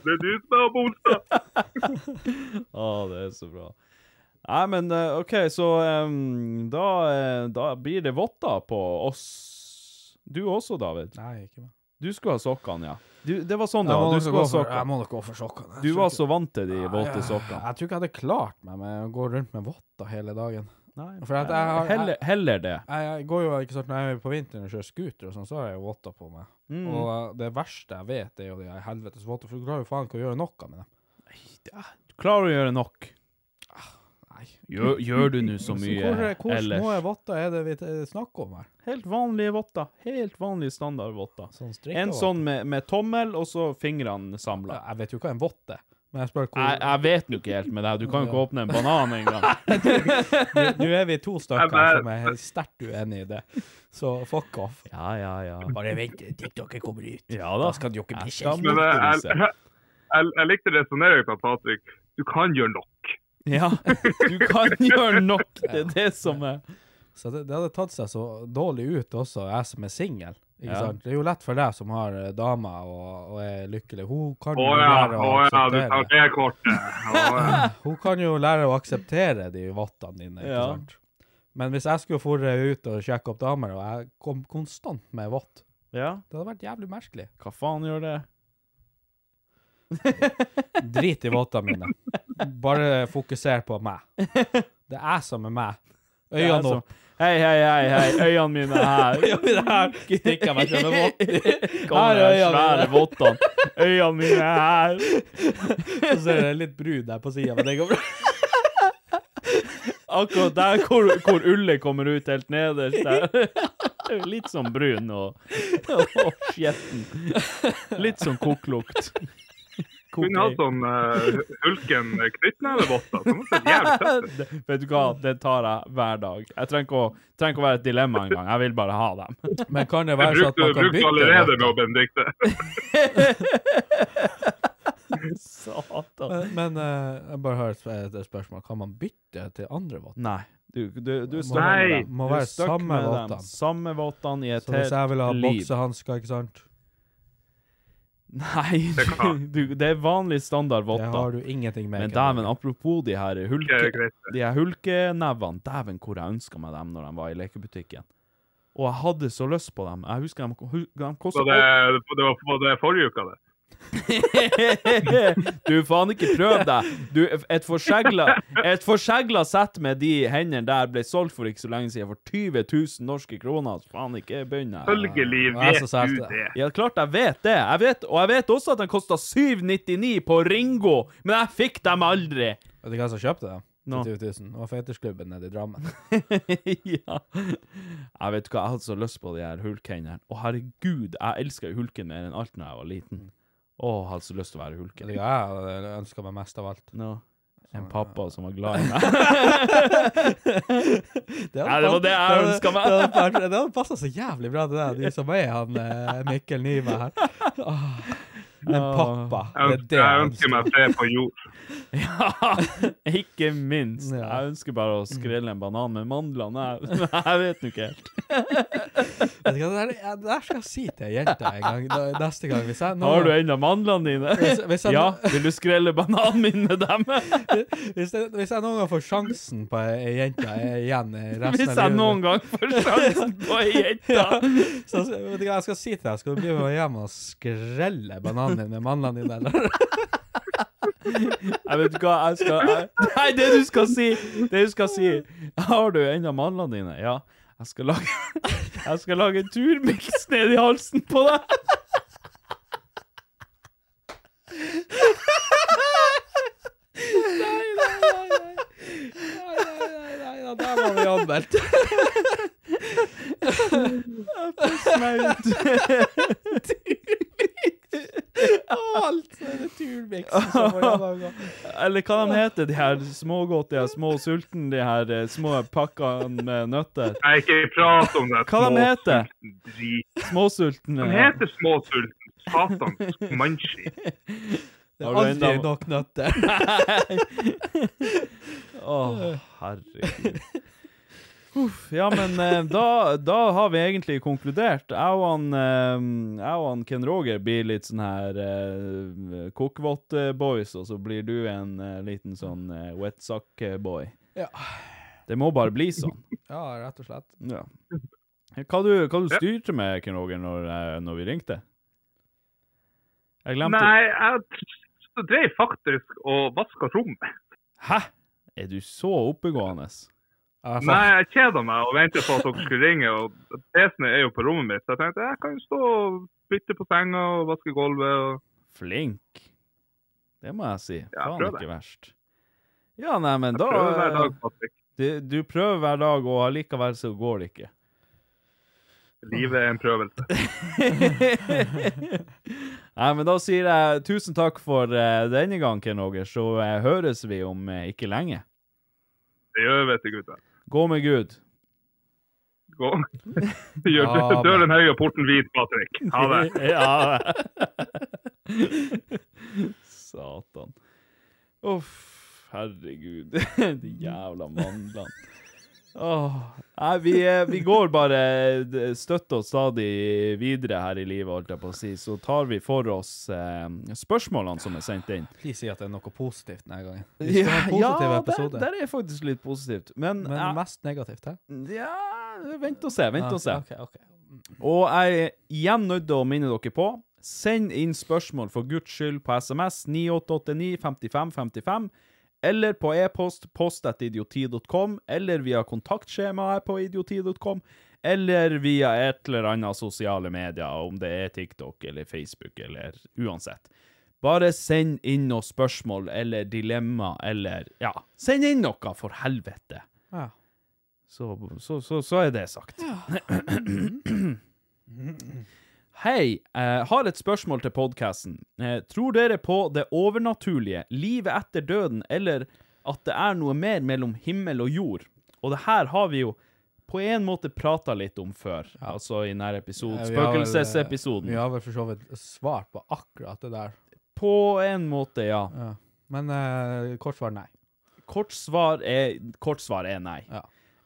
[SPEAKER 6] Det er du som er på onsdag.
[SPEAKER 2] Å, det er så bra. Nei, men eh, OK, så em, da, eh, da blir det votter på oss. Du også, David.
[SPEAKER 3] Nei, ikke meg.
[SPEAKER 2] Du skulle ha sokkene, ja. Du, det var sånn,
[SPEAKER 3] Jeg
[SPEAKER 2] ja.
[SPEAKER 3] må
[SPEAKER 2] Du
[SPEAKER 3] nok
[SPEAKER 2] skulle
[SPEAKER 3] gå
[SPEAKER 2] ha
[SPEAKER 3] for- jeg
[SPEAKER 2] sokkene.
[SPEAKER 3] må nok gå for sokkene. Jeg
[SPEAKER 2] Du
[SPEAKER 3] tror
[SPEAKER 2] var
[SPEAKER 3] ikke-
[SPEAKER 2] så vant til de våte sokkene.
[SPEAKER 3] Jeg tror ikke jeg hadde klart meg med å gå rundt med votter hele dagen.
[SPEAKER 2] Nei,
[SPEAKER 3] For at jeg har-
[SPEAKER 2] heller, heller det.
[SPEAKER 3] Jeg, jeg går jo ikke sant, Når jeg er på vinteren og kjører scooter, og sånn, så har jeg jo votter på meg.
[SPEAKER 2] Mm.
[SPEAKER 3] Og eh, det verste jeg vet, er jo de her helvetes votter, for du klarer jo faen ikke å gjøre noe med dem.
[SPEAKER 2] Klarer å gjøre nok.
[SPEAKER 3] Nei.
[SPEAKER 2] Gjør, gjør du nå så mye
[SPEAKER 3] hvor, hvor
[SPEAKER 2] ellers?
[SPEAKER 3] små er votter er det vi eh, snakker om her?
[SPEAKER 2] Helt vanlige votter. Helt vanlige standardvotter.
[SPEAKER 3] Sånn strikka
[SPEAKER 2] En sånn med, med tommel, og så fingrene samla.
[SPEAKER 3] Jeg vet jo hva en vott er, men jeg spør hvor
[SPEAKER 2] Jeg, jeg vet jo ikke helt med deg. Du kan jo ikke åpne en banan
[SPEAKER 3] [laughs]
[SPEAKER 2] engang.
[SPEAKER 3] Nå nå er vi to
[SPEAKER 6] Jeg
[SPEAKER 3] stykker
[SPEAKER 6] bare-
[SPEAKER 3] som er helt sterkt uenige i det, så fuck off.
[SPEAKER 2] Ja, ja, ja.
[SPEAKER 3] Bare vent til TikTok kommer ut.
[SPEAKER 2] Ja da.
[SPEAKER 3] skal dere bli
[SPEAKER 2] Jeg
[SPEAKER 3] kjent.
[SPEAKER 2] skal
[SPEAKER 6] Men eh, jeg,
[SPEAKER 2] motvise.
[SPEAKER 6] jeg, jeg, jeg likte resonneringen til Patrick. Du kan gjøre nok.
[SPEAKER 2] [laughs] Ja, du
[SPEAKER 6] [laughs]
[SPEAKER 2] kan gjøre nok. Det er det som er
[SPEAKER 3] Så det, det hadde tatt seg så dårlig ut også, jeg som er singel. Ikke
[SPEAKER 2] Ja.
[SPEAKER 3] sant? Det er jo lett for deg som har eh, dama og, og er lykkelig. Hun kan,
[SPEAKER 6] Å
[SPEAKER 3] jo
[SPEAKER 6] ja,
[SPEAKER 3] lære å
[SPEAKER 6] å ja, du
[SPEAKER 3] akseptere.
[SPEAKER 6] tar det kortet. Å, ja.
[SPEAKER 3] [laughs] hun kan jo lære å akseptere de vottene dine, ikke
[SPEAKER 2] Ja.
[SPEAKER 3] sant? Men hvis jeg skulle forre ut og sjekke opp damer, og jeg kom konstant med vott,
[SPEAKER 2] Ja,
[SPEAKER 3] det hadde vært jævlig merkelig.
[SPEAKER 2] hva faen gjør det?
[SPEAKER 3] Drit i vottene mine. Bare fokuser på meg. Det er jeg som er meg.
[SPEAKER 2] Det er
[SPEAKER 3] Øynene
[SPEAKER 2] som-
[SPEAKER 3] opp.
[SPEAKER 2] Hei, hei, hei, hei. Øynene mine er her.
[SPEAKER 3] [laughs] stikker jeg meg selv en
[SPEAKER 2] [laughs]
[SPEAKER 3] vott i.
[SPEAKER 2] Kommer
[SPEAKER 3] Her er
[SPEAKER 2] de
[SPEAKER 3] øynene
[SPEAKER 2] svære
[SPEAKER 3] mine.
[SPEAKER 2] vottene. Øynene mine er her.
[SPEAKER 3] Og så er det litt brun der på sida, men det
[SPEAKER 2] [laughs]
[SPEAKER 3] går bra.
[SPEAKER 2] Akkurat der hvor, hvor ullet kommer ut helt nederst
[SPEAKER 6] [laughs]
[SPEAKER 2] der. Det er jo Litt som brun og, og skjetten. Litt som koklukt.
[SPEAKER 6] Hun har sånn uh, hulken knyttnevevotter. som er så jævlig tøffe.
[SPEAKER 2] Det- Vet du hva, det tar jeg hver dag. Jeg trenger ikke å, trenger ikke å være et dilemma engang. Jeg vil bare ha dem.
[SPEAKER 3] Men kan det
[SPEAKER 6] Det
[SPEAKER 3] være sånn at
[SPEAKER 6] brukte
[SPEAKER 3] man
[SPEAKER 6] du
[SPEAKER 3] kan bytte
[SPEAKER 6] allerede nå,
[SPEAKER 3] votter?
[SPEAKER 6] Benedikte.
[SPEAKER 2] Satan.
[SPEAKER 3] Men eh, jeg bare har et, et spørsmål. Kan man bytte til andre votter?
[SPEAKER 2] Nei. Du, du, du er stuck
[SPEAKER 6] Nei.
[SPEAKER 2] med dem.
[SPEAKER 3] Må
[SPEAKER 2] Du er
[SPEAKER 3] være
[SPEAKER 2] stuck
[SPEAKER 3] samme
[SPEAKER 2] med dem.
[SPEAKER 3] vottene.
[SPEAKER 2] Samme vottene i et
[SPEAKER 3] Så hvis jeg vil ha
[SPEAKER 2] helt liv.
[SPEAKER 3] boksehansker, ikke sant?
[SPEAKER 2] Nei,
[SPEAKER 6] Det kan.
[SPEAKER 2] du, det er vanlig standard
[SPEAKER 3] Det
[SPEAKER 2] votter.
[SPEAKER 3] har du ingenting med.
[SPEAKER 2] Men
[SPEAKER 3] Kevin.
[SPEAKER 2] dæven, apropos de her
[SPEAKER 3] [laughs]
[SPEAKER 6] Det er
[SPEAKER 2] hulke,
[SPEAKER 6] greit,
[SPEAKER 2] de her hulkenevene, dæven hvor jeg ønska meg dem når de var i lekebutikken. Og jeg hadde så lyst på dem. Jeg husker de, hu- de
[SPEAKER 6] Så
[SPEAKER 2] kosta
[SPEAKER 6] det, det var var det forrige uka, det.
[SPEAKER 2] [laughs] Du, faen ikke prøv deg! Du, et forsegla, et forsegla sett med de hendene der ble solgt for ikke så lenge siden for 20 000 norske kroner. Så faen ikke begynn jeg.
[SPEAKER 6] Følgelig
[SPEAKER 3] Ja, jeg er
[SPEAKER 6] vet
[SPEAKER 3] så sært,
[SPEAKER 6] du
[SPEAKER 3] det.
[SPEAKER 6] det.
[SPEAKER 2] Ja, klart jeg vet det. Jeg vet, og jeg vet også at de kosta 799 på Ringo, men jeg fikk dem aldri!
[SPEAKER 3] Vet du hvem som kjøpte dem?
[SPEAKER 2] Nå.
[SPEAKER 3] For 20 000. Det var Feitersklubben nede i Drammen.
[SPEAKER 2] [laughs] ja. Jeg vet ikke hva, jeg hadde så lyst på de her hulkhendene. Å, herregud, jeg elska jo hulken mer enn alt når jeg var liten. Å, jeg hadde så lyst til å være
[SPEAKER 3] Vet
[SPEAKER 2] hulken.
[SPEAKER 3] du hva jeg ønska meg mest av alt?
[SPEAKER 2] Nå.
[SPEAKER 3] Sånn,
[SPEAKER 2] En pappa som var glad i meg. [laughs] Nei, det var det jeg ønsket meg.
[SPEAKER 3] Det hadde, vært- det hadde passa så jævlig bra til deg, du som er han eh, Mikkel Nyberg her. Åh. Men
[SPEAKER 2] Åh.
[SPEAKER 3] pappa,
[SPEAKER 6] Jeg
[SPEAKER 3] det
[SPEAKER 6] ønsker,
[SPEAKER 3] er det
[SPEAKER 6] jeg ønsker meg fred på jord.
[SPEAKER 2] ja, ikke minst.
[SPEAKER 3] Ja.
[SPEAKER 2] Jeg ønsker bare å skrelle en banan med
[SPEAKER 3] [laughs]
[SPEAKER 2] mandlene. [laughs] Jeg, jeg vet nå ikke helt.
[SPEAKER 3] Vet du hva, Det, der, det der skal jeg si til ei jente en gang. Da, neste gang. Hvis jeg, nå,
[SPEAKER 2] Har du ennå mandlene dine?
[SPEAKER 3] [laughs] Hvis, hvis, jeg,
[SPEAKER 2] Ja, vil du skrelle bananen min med dem?
[SPEAKER 3] [laughs] hvis, jeg, hvis jeg noen gang får sjansen på ei jente igjen eh, resten
[SPEAKER 2] Hvis jeg noen gang får sjansen
[SPEAKER 3] [laughs]
[SPEAKER 2] på ei jente?
[SPEAKER 3] Så, så- vet du hva jeg skal si til deg? Skal du bli med hjem og skrelle bananen din med mandlene dine, eller?
[SPEAKER 2] Jeg vet ikke hva jeg skal jeg, Nei, det du skal si! Det du skal si Har du ennå mandlene dine? Ja. Jeg skal lage [laughs] Jeg skal lage en turmiks ned i halsen på deg.
[SPEAKER 3] Nei, nei, nei, nei. Nei, nei, nei, nei, nei, der var vi anmeldt.
[SPEAKER 2] Nei,
[SPEAKER 3] Alt er det tur
[SPEAKER 4] gullmiksen som var gjennom da.
[SPEAKER 2] Eller hva de heter, de her smågodt, de her små sulten, de her eh, små pakkene med nøtter.
[SPEAKER 6] Nei, ikke prat om det.
[SPEAKER 2] Hva de heter?
[SPEAKER 6] Drit.
[SPEAKER 2] Småsulten.
[SPEAKER 6] De
[SPEAKER 2] ja.
[SPEAKER 6] heter småsulten. Satans manchi.
[SPEAKER 4] Det
[SPEAKER 2] Har
[SPEAKER 4] er
[SPEAKER 2] du
[SPEAKER 4] aldri
[SPEAKER 2] enda-
[SPEAKER 4] nok nøtter.
[SPEAKER 2] Å, herregud. Uff, ja, men eh, da, da har vi egentlig konkludert. Jeg og han, eh, jeg og han Ken Roger blir litt sånn her eh, kokvott-boys, og så blir du en eh, liten sånn eh, wetsack-boy.
[SPEAKER 4] Ja.
[SPEAKER 2] Det må bare bli sånn.
[SPEAKER 3] Ja, rett og slett.
[SPEAKER 2] Ja. Hva du, hva du styrte med, Ken Roger, når, eh, når vi ringte? Jeg glemte
[SPEAKER 6] Nei, jeg t- drev faktisk og vaska rommet.
[SPEAKER 2] Hæ? Er du så oppegående?
[SPEAKER 6] Nei, jeg kjeda meg og ventet på at dere skulle ringe. og PC-en er jo på rommet mitt, så jeg tenkte jeg kan jo stå og bytte på senga og vaske gulvet. og...
[SPEAKER 2] Flink. Det må jeg si.
[SPEAKER 6] Ja,
[SPEAKER 2] Faen,
[SPEAKER 6] prøv det.
[SPEAKER 2] ikke verst. Ja, nei, men da
[SPEAKER 6] prøver hver dag, Patrick.
[SPEAKER 2] du, du prøver hver dag, og allikevel så går det
[SPEAKER 6] [laughs]
[SPEAKER 2] ikke.
[SPEAKER 6] Livet er en prøvelse.
[SPEAKER 2] Nei, men da sier jeg tusen takk for eh, denne gang, Ken Roger, så eh, høres vi om eh, ikke lenge.
[SPEAKER 6] Det gjør vi til gutta.
[SPEAKER 2] Gå med Gud.
[SPEAKER 6] Gå. Gjør
[SPEAKER 2] Ja,
[SPEAKER 6] døren høy og porten hvit, Patrick. Ha det.
[SPEAKER 2] [laughs] ja. Satan. Uff, herregud. [laughs] De jævla mandlene. Åh. Nei, vi, eh, vi går bare d- støtt og stadig videre her i livet, holdt jeg på å si. Så tar vi for oss eh, spørsmålene som er sendt inn.
[SPEAKER 3] Please si at det er noe positivt denne gangen. Vi skal ha
[SPEAKER 2] Ja,
[SPEAKER 3] en positiv
[SPEAKER 2] ja, der,
[SPEAKER 3] episode.
[SPEAKER 2] der er faktisk litt positivt. Men,
[SPEAKER 3] Men
[SPEAKER 2] jeg-
[SPEAKER 3] mest negativt, hæ?
[SPEAKER 2] ja, vent og se, vent og se.
[SPEAKER 3] Ah, ok, ok.
[SPEAKER 2] Og jeg er igjen nødt til å minne dere på Send inn spørsmål for Guds skyld på SMS 9889 55 55 eller på e-post post at idioti.com, eller via kontaktskjemaet på idioti.com, eller via et eller annet sosiale medier, om det er TikTok eller Facebook eller uansett. Bare send inn noen spørsmål eller dilemma eller Ja, send inn noe, for helvete!
[SPEAKER 3] Ja.
[SPEAKER 2] Så, så, så, så er det sagt. [clears throat] Hei, eh, har et spørsmål til podkasten. Eh, tror dere på det overnaturlige, livet etter døden, eller at det er noe mer mellom himmel og jord? Og det her har vi jo på en måte prata litt om før, altså i denne episoden,
[SPEAKER 3] Ja, vi har vel, eh,
[SPEAKER 2] spøkelsesepisoden.
[SPEAKER 3] Vi har vel for så vidt svart på akkurat det der.
[SPEAKER 2] På en måte, ja.
[SPEAKER 3] Ja. Men eh, kort svar nei.
[SPEAKER 2] Kort svar er, kort svar er nei.
[SPEAKER 3] Ja.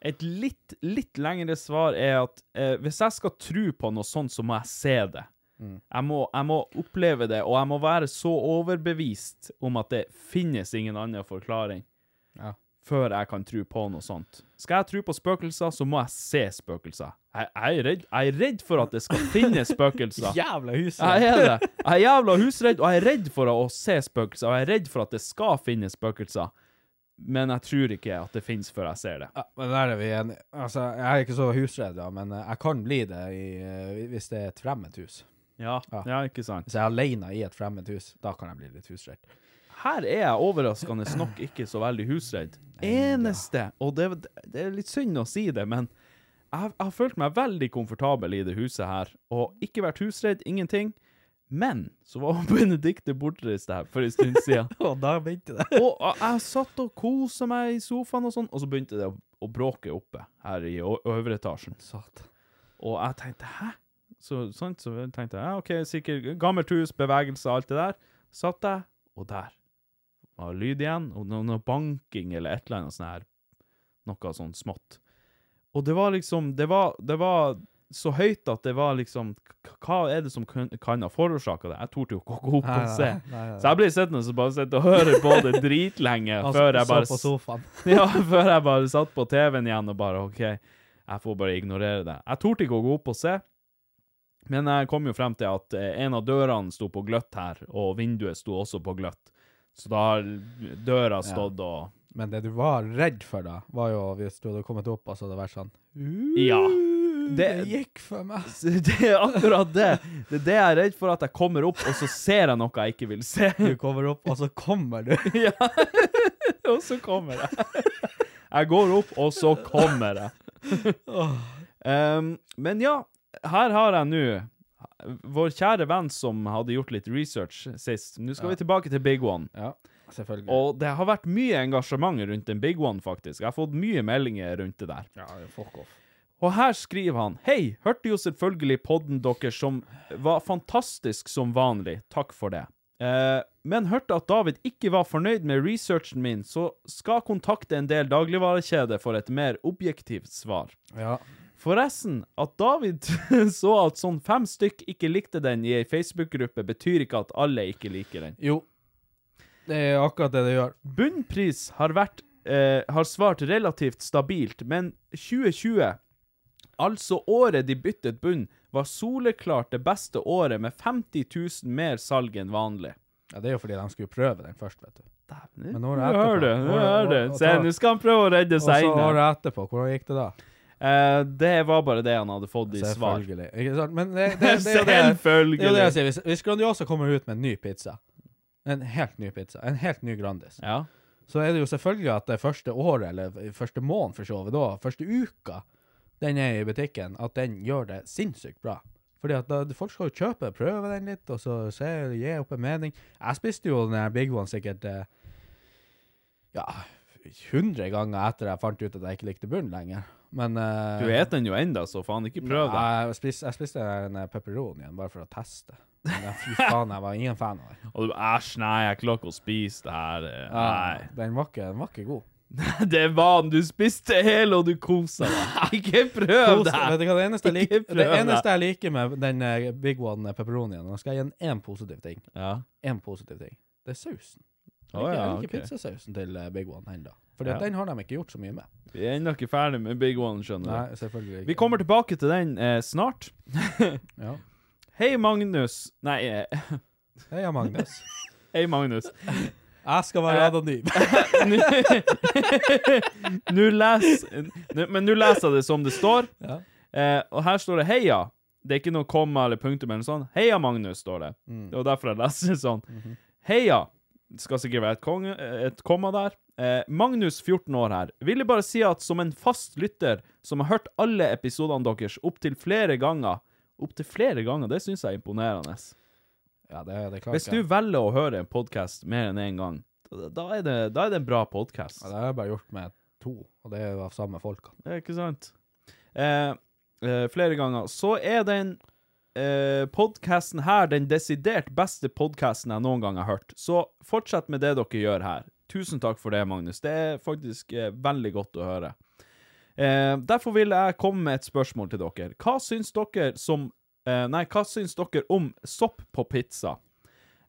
[SPEAKER 2] Et litt, litt lengre svar er at eh, hvis jeg skal tro på noe sånt, så må jeg se det. Jeg, må, jeg må oppleve det, og jeg må være så overbevist om at det finnes ingen annen forklaring
[SPEAKER 3] Ja.
[SPEAKER 2] før jeg kan tro på noe sånt. Skal jeg tro på spøkelser, så må jeg se spøkelser. Jeg, jeg, er, redd, jeg er redd for at det skal finnes
[SPEAKER 3] [laughs]
[SPEAKER 2] spøkelser.
[SPEAKER 3] Jævla huset!
[SPEAKER 2] Jeg er det. Jeg er jævla husredd, og jeg er redd for å se spøkelser, og jeg er redd for at det skal finnes spøkelser. Men jeg tror ikke at det finnes før jeg ser det.
[SPEAKER 3] [laughs] Ja, men der er vi enige. Altså, jeg er ikke så husredd, da, men eh, jeg kan bli det i, eh, hvis det er et fremmed hus.
[SPEAKER 2] Ja, ja ikke sant?
[SPEAKER 3] Hvis jeg er alene i et fremmed hus, da kan jeg bli litt husredd.
[SPEAKER 2] Her er jeg overraskende nok ikke så veldig husredd. Eneste, og det, det er litt synd å si det, men jeg, jeg har følt meg veldig komfortabel i det huset her, og ikke vært husredd, ingenting. Men så var [laughs] Benedicte bortreist her for en stund siden.
[SPEAKER 4] Og da begynte det.
[SPEAKER 2] [laughs] Og jeg- jeg satt og kosa meg i sofaen og sånn, og så begynte det å, å bråke oppe her i ø- øvre etasjen. Og jeg tenkte 'hæ?' Så, sant, så jeg tenkte jeg ja, OK, sikkert gammelt hus, bevegelser, alt det der. Satt jeg, og der var lyd igjen, og noe, noe banking eller et eller annet sånn her. Noe sånn smått. Og det var liksom Det var, det var så høyt at det var liksom k- Hva er det som kan, kan ha forårsaka det? Jeg torde jo ikke å gå opp
[SPEAKER 3] Nei,
[SPEAKER 2] og
[SPEAKER 3] nei,
[SPEAKER 2] se.
[SPEAKER 3] nei, nei, nei.
[SPEAKER 2] Så jeg ble sittende og bare sitte og høre på det dritlenge
[SPEAKER 3] Altså,
[SPEAKER 2] før jeg
[SPEAKER 3] så
[SPEAKER 2] bare
[SPEAKER 3] på sofaen.
[SPEAKER 2] [laughs] ja, før jeg bare satt på TV-en igjen og bare OK, jeg får bare ignorere det. Jeg torde ikke å gå opp og se, men jeg kom jo frem til at eh, en av dørene sto på gløtt her, og vinduet sto også på gløtt. Så da har døra stått og
[SPEAKER 3] Men det du var redd for da, var jo hvis du hadde kommet opp og så hadde det vært sånn
[SPEAKER 2] Ja. [laughs]
[SPEAKER 3] «Uh, Det,
[SPEAKER 2] Det-
[SPEAKER 3] gikk for meg.
[SPEAKER 2] Det er akkurat det. Det er det jeg er redd for, at jeg kommer opp, og så ser jeg noe jeg ikke vil se.
[SPEAKER 3] Du kommer opp, og så kommer du.
[SPEAKER 2] Ja. [laughs] og så kommer jeg. Jeg går opp, og så kommer jeg. Um, men ja, her har jeg nå vår kjære venn som hadde gjort litt research sist Nå skal
[SPEAKER 3] Ja.
[SPEAKER 2] vi tilbake til Big One.
[SPEAKER 3] Ja, [laughs] selvfølgelig.
[SPEAKER 2] Og det har vært mye engasjement rundt den Big One, faktisk. Jeg har fått mye meldinger rundt det der.
[SPEAKER 3] Ja, fuck off.
[SPEAKER 2] Og her skriver han Hei, hørte jo selvfølgelig podden deres som var fantastisk som vanlig. Takk for det. Eh, men hørte at David ikke var fornøyd med researchen min, så skal kontakte en del dagligvarekjeder for et mer objektivt svar.
[SPEAKER 3] Ja.
[SPEAKER 2] Forresten, at David [laughs] så at sånn fem stykk ikke likte den i ei Facebook-gruppe, betyr ikke at alle ikke liker den.
[SPEAKER 3] Jo. Det er akkurat det det gjør.
[SPEAKER 2] Bunnpris har vært eh, Har svart relativt stabilt, men 2020, altså året de byttet bunn, var soleklart det beste året med 50 000 mer salg enn vanlig.
[SPEAKER 3] Ja, Det er jo fordi de skulle prøve den først, vet du. Men nå
[SPEAKER 2] Nå hører du, nå hører du. Se, nå skal han prøve å redde seg
[SPEAKER 3] Og
[SPEAKER 2] inn
[SPEAKER 3] så
[SPEAKER 2] her.
[SPEAKER 3] året etterpå, hvordan gikk det da?
[SPEAKER 2] Eh, det var bare det han hadde fått i svar.
[SPEAKER 3] Selvfølgelig. Ikke sant? Men det,
[SPEAKER 2] [laughs]
[SPEAKER 3] det, det, det,
[SPEAKER 2] Selvfølgelig.
[SPEAKER 3] det er jo det jeg sier. Hvis, hvis Grandiosa kommer ut med en ny pizza, en helt ny pizza, en helt ny Grandis, så er det jo selvfølgelig at det første året, eller første måneden for så vidt da, første uka den er i butikken, at den gjør det sinnssykt bra. Fordi at da, folk skal jo kjøpe, prøve den litt, og så se, gi opp en mening. Jeg spiste jo den her Big One sikkert eh, ja, 100 ganger etter jeg fant ut at jeg ikke likte bunn lenger. Men eh,
[SPEAKER 2] Du et den jo enda, så faen, ikke prøv det.
[SPEAKER 3] Nei, Jeg spiste, jeg spiste en pepperoni igjen, bare for å teste. Men jeg- fy faen, jeg var ingen fan av den.
[SPEAKER 2] Og du æsj, nei, jeg klarer ikke å spise det her. eh, Nei. [laughs]
[SPEAKER 3] Den var ikke, den var ikke god.
[SPEAKER 2] Det var den. Du spiste hele, og du kosa deg.
[SPEAKER 3] [laughs]
[SPEAKER 2] Ikke prøv
[SPEAKER 3] Kos-
[SPEAKER 2] det! her.
[SPEAKER 3] Vet du hva, det eneste, jeg
[SPEAKER 2] Ikke
[SPEAKER 3] liker,
[SPEAKER 2] prøv
[SPEAKER 3] det eneste jeg liker med den eh, Big One pepperonien, nå skal jeg gi den én positiv ting.
[SPEAKER 2] Ja.
[SPEAKER 3] En positiv ting. Det er sausen. Jeg
[SPEAKER 2] Å,
[SPEAKER 3] liker, jeg
[SPEAKER 2] ja,
[SPEAKER 3] liker
[SPEAKER 2] ok.
[SPEAKER 3] pizzasausen til eh, Big One ennå. For
[SPEAKER 2] Ja.
[SPEAKER 3] den har de ikke gjort så mye med.
[SPEAKER 2] Vi er ennå ikke ferdig med Big One, skjønner
[SPEAKER 3] Nei,
[SPEAKER 2] du.
[SPEAKER 3] selvfølgelig
[SPEAKER 2] Vi
[SPEAKER 3] ikke.
[SPEAKER 2] kommer tilbake til den eh, snart.
[SPEAKER 3] Ja.
[SPEAKER 2] Hei, Magnus. Nei eh, [laughs]
[SPEAKER 3] Hei, jeg er Magnus. Eh.
[SPEAKER 2] Hei, Magnus.
[SPEAKER 3] Jeg skal være anonym.
[SPEAKER 2] [laughs] Nå les nå- Men nå leser jeg det som det står.
[SPEAKER 3] Ja.
[SPEAKER 2] Eh, og her står det 'heia'. Det er ikke noe komma eller punktum eller noe sånt. 'Heia, Magnus', står det.
[SPEAKER 3] Mm. Mhm.
[SPEAKER 2] Det var derfor jeg leser det sånn. Heia! Det skal sikkert være et, konge, et komma der. Eh, Magnus, 14 år her. Ville bare si at som en fast lytter som har hørt alle episodene deres opptil flere ganger Opptil flere ganger, det syns jeg er imponerende.
[SPEAKER 3] Ja, det, det klarer
[SPEAKER 2] Hvis
[SPEAKER 3] ikke
[SPEAKER 2] du
[SPEAKER 3] jeg.
[SPEAKER 2] velger å høre en podkast mer enn én gang, da, da, er det, da er det en bra podkast.
[SPEAKER 3] Ja, det har jeg bare gjort med to, og det er jo av samme folka.
[SPEAKER 2] Det er ikke sant. Eh, eh, flere ganger. Så er den eh, podkasten her den desidert beste podkasten jeg noen gang har hørt. Så fortsett med det dere gjør her. Tusen takk for det, Magnus. Det er faktisk eh, veldig godt å høre. Eh, derfor vil jeg komme med et spørsmål til dere. Hva syns dere som eh, Nei, hva syns dere om sopp på pizza?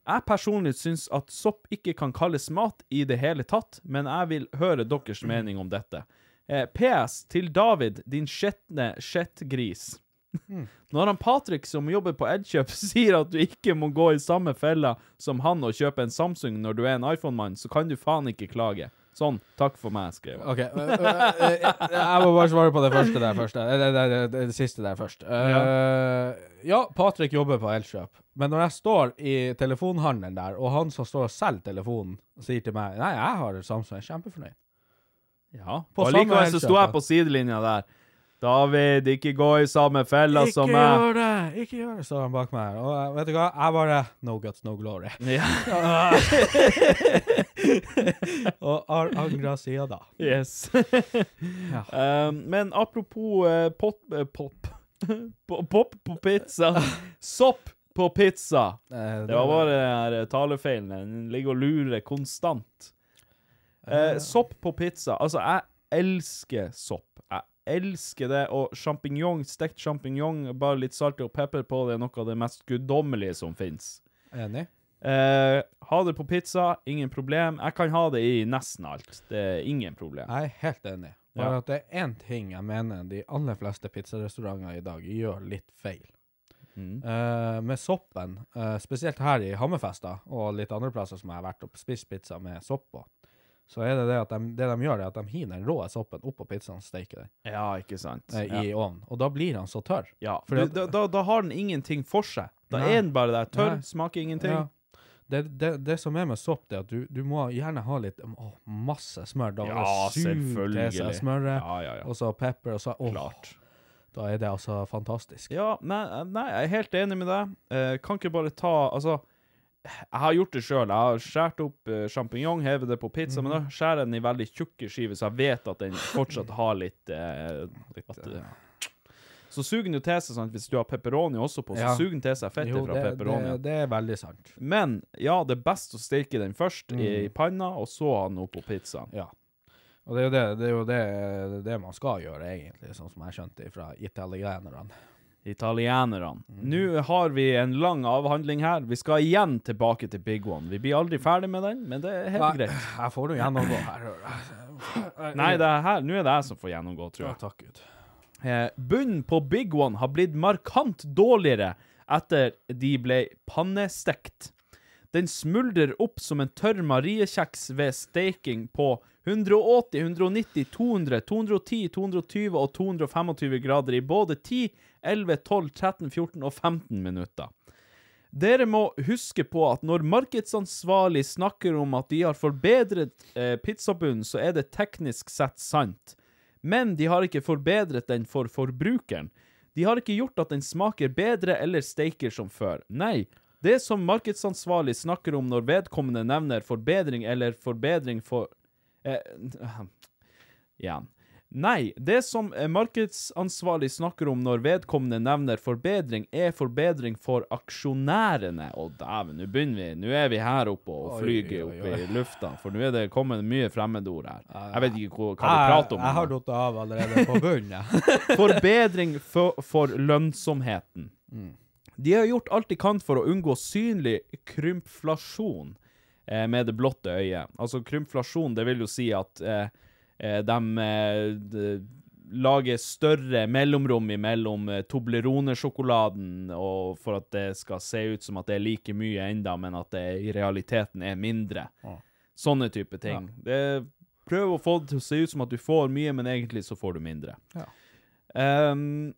[SPEAKER 2] Jeg personlig syns at sopp ikke kan kalles mat i det hele tatt, men jeg vil høre deres mening om dette. Eh, PS til David, din skjetne skjettgris. [laughs] Når han Patrick, som jobber på Edkjøp, [laughs] sier at du ikke må gå i samme fella som han og kjøpe en Samsung når du er en iPhone-mann, så kan du faen ikke klage. Sånn, takk for meg, skrev han.
[SPEAKER 3] OK. øh, øh, øh, øh, Jeg må bare svare på det første der først. Eh, Det, det, det, det, det siste der først. Øh, ja, Patrick jobber på Elkjøp, men når jeg står i telefonhandelen der, og han som står og selger telefonen, sier til meg Nei, jeg har Samsung, jeg er kjempefornøyd.
[SPEAKER 2] Ja.
[SPEAKER 3] På
[SPEAKER 2] og
[SPEAKER 3] samme
[SPEAKER 2] likevel så sto
[SPEAKER 3] Elkjøp,
[SPEAKER 2] jeg på sidelinja der. David, ikke gå i samme fella
[SPEAKER 3] Ikke
[SPEAKER 2] som meg. [laughs]
[SPEAKER 3] gjør det! Ikke gjør det, står han bak meg. her. Og jeg- vet du hva, jeg bare No guts, no
[SPEAKER 2] [laughs]
[SPEAKER 3] glory.
[SPEAKER 2] Ja.
[SPEAKER 3] og har angra sida da.
[SPEAKER 2] Yes. Eh, men apropos eh, pop, eh, pop. [laughs] Po- pop på pizza. Sopp på pizza.
[SPEAKER 3] Eh,
[SPEAKER 2] Det var bare den her eh, talefeilen. Den ligger og lurer konstant. Eh, sopp på pizza. Altså, jeg elsker sopp. Jeg elsker det. Og sjampinjong, stekt sjampinjong, bare litt salt og pepper på, det er noe av det mest guddommelige som fins.
[SPEAKER 3] Enig?
[SPEAKER 2] Eh, ha det på pizza, ingen problem. Jeg kan ha det i nesten alt. Det er ingen problem.
[SPEAKER 3] Jeg er helt enig. Bare
[SPEAKER 2] Ja.
[SPEAKER 3] at det er én ting jeg mener de aller fleste pizzarestauranter i dag gjør litt feil.
[SPEAKER 2] Mm.
[SPEAKER 3] Eh, med soppen, eh, spesielt her i Hammerfesta og litt andre plasser som jeg har vært og spist pizza med sopp på, så er det det at de, det de gjør, er at de hiver den rå soppen oppå pizzaen og steiker den
[SPEAKER 2] Ja, ikke sant?
[SPEAKER 3] eh,
[SPEAKER 2] ja.
[SPEAKER 3] i ovnen. Og da blir den så tørr.
[SPEAKER 2] Ja,
[SPEAKER 3] Fordi
[SPEAKER 2] du-
[SPEAKER 3] at-
[SPEAKER 2] da, da, da har den ingenting for seg. Da
[SPEAKER 3] Nei.
[SPEAKER 2] er den bare der. Tørr,
[SPEAKER 3] Nei.
[SPEAKER 2] smaker ingenting.
[SPEAKER 3] Ja. Det, det, det som er med sopp, det er at du, du må gjerne ha litt å, masse smør. Da
[SPEAKER 2] Ja,
[SPEAKER 3] det suger til seg
[SPEAKER 2] selvfølgelig.
[SPEAKER 3] smøret,
[SPEAKER 2] Ja, ja, ja.
[SPEAKER 3] og så pepper, og så åh,
[SPEAKER 2] Klart.
[SPEAKER 3] da er det altså fantastisk.
[SPEAKER 2] Ja, nei, nei, jeg er helt enig med deg. Eh, kan ikke bare ta Altså, jeg har gjort det sjøl. Jeg har skåret opp eh, sjampinjong, hevet det på pizza,
[SPEAKER 3] Mhm.
[SPEAKER 2] men da skjærer jeg den i veldig tjukke skiver, så jeg vet at den
[SPEAKER 3] [laughs]
[SPEAKER 2] fortsatt har litt, eh, at, eh, Så suger den jo til seg, sant, hvis du har pepperoni også på, så
[SPEAKER 3] Ja.
[SPEAKER 2] suger den til seg fettet
[SPEAKER 3] Jo,
[SPEAKER 2] fra
[SPEAKER 3] det,
[SPEAKER 2] pepperoni.
[SPEAKER 3] Det, det er veldig sant.
[SPEAKER 2] Men ja, det er best å steke den først i,
[SPEAKER 3] Mm.
[SPEAKER 2] i panna, og så ha den oppå pizzaen.
[SPEAKER 3] Ja. Og det er jo det, det, er jo det, det, er det man skal gjøre, egentlig, sånn som jeg skjønte fra italienerne.
[SPEAKER 2] Italienerne.
[SPEAKER 3] Mhm.
[SPEAKER 2] Nå har vi en lang avhandling her. Vi skal igjen tilbake til Big One. Vi blir aldri ferdig med den, men det er helt
[SPEAKER 3] Nei,
[SPEAKER 2] greit.
[SPEAKER 3] Jeg får nå gjennomgå her. hører jeg.
[SPEAKER 2] Nei, det er her, nå er det jeg som får gjennomgå, tror
[SPEAKER 3] Ja,
[SPEAKER 2] jeg.
[SPEAKER 3] takk Gud.
[SPEAKER 2] Eh, bunnen på Big One har blitt markant dårligere etter de ble pannestekt. Den smuldrer opp som en tørr mariekjeks ved steking på 180, 190, 200, 210, 220 og 225 grader i både 10, 11, 12, 13, 14 og 15 minutter. Dere må huske på at når markedsansvarlig snakker om at de har forbedret eh, pizzabunnen, så er det teknisk sett sant. Men de har ikke forbedret den for forbrukeren. De har ikke gjort at den smaker bedre eller steiker som før. Nei, det som markedsansvarlig snakker om når vedkommende nevner forbedring eller forbedring for eh, [sniffs] Igjen. Nei, det som eh, markedsansvarlig snakker om når vedkommende nevner forbedring, er forbedring for aksjonærene. Å dæven, nå begynner vi. Nå er vi her oppe og
[SPEAKER 3] Oi,
[SPEAKER 2] flyger
[SPEAKER 3] oi,
[SPEAKER 2] opp
[SPEAKER 3] oi.
[SPEAKER 2] i lufta, for nå er det kommet mye fremmedord her. Jeg vet ikke hva, hva vi
[SPEAKER 3] Jeg,
[SPEAKER 2] prater om.
[SPEAKER 3] jeg
[SPEAKER 2] nå.
[SPEAKER 3] har datt av allerede på
[SPEAKER 2] [laughs]
[SPEAKER 3] bunnen. jeg.
[SPEAKER 2] Forbedring for, for lønnsomheten. De har gjort alt de kan for å unngå synlig krympflasjon eh, med det blotte øyet. Altså krympflasjon, det vil jo si at eh, eh, de, eh, de lager større mellomrom imellom eh, Toblerone-sjokoladen, og for at det skal se ut som at det er like mye enda, men at det i realiteten er mindre. Sånne type ting. Det, prøv å få det til å se ut som at du får mye, men egentlig så får du mindre. Ehm,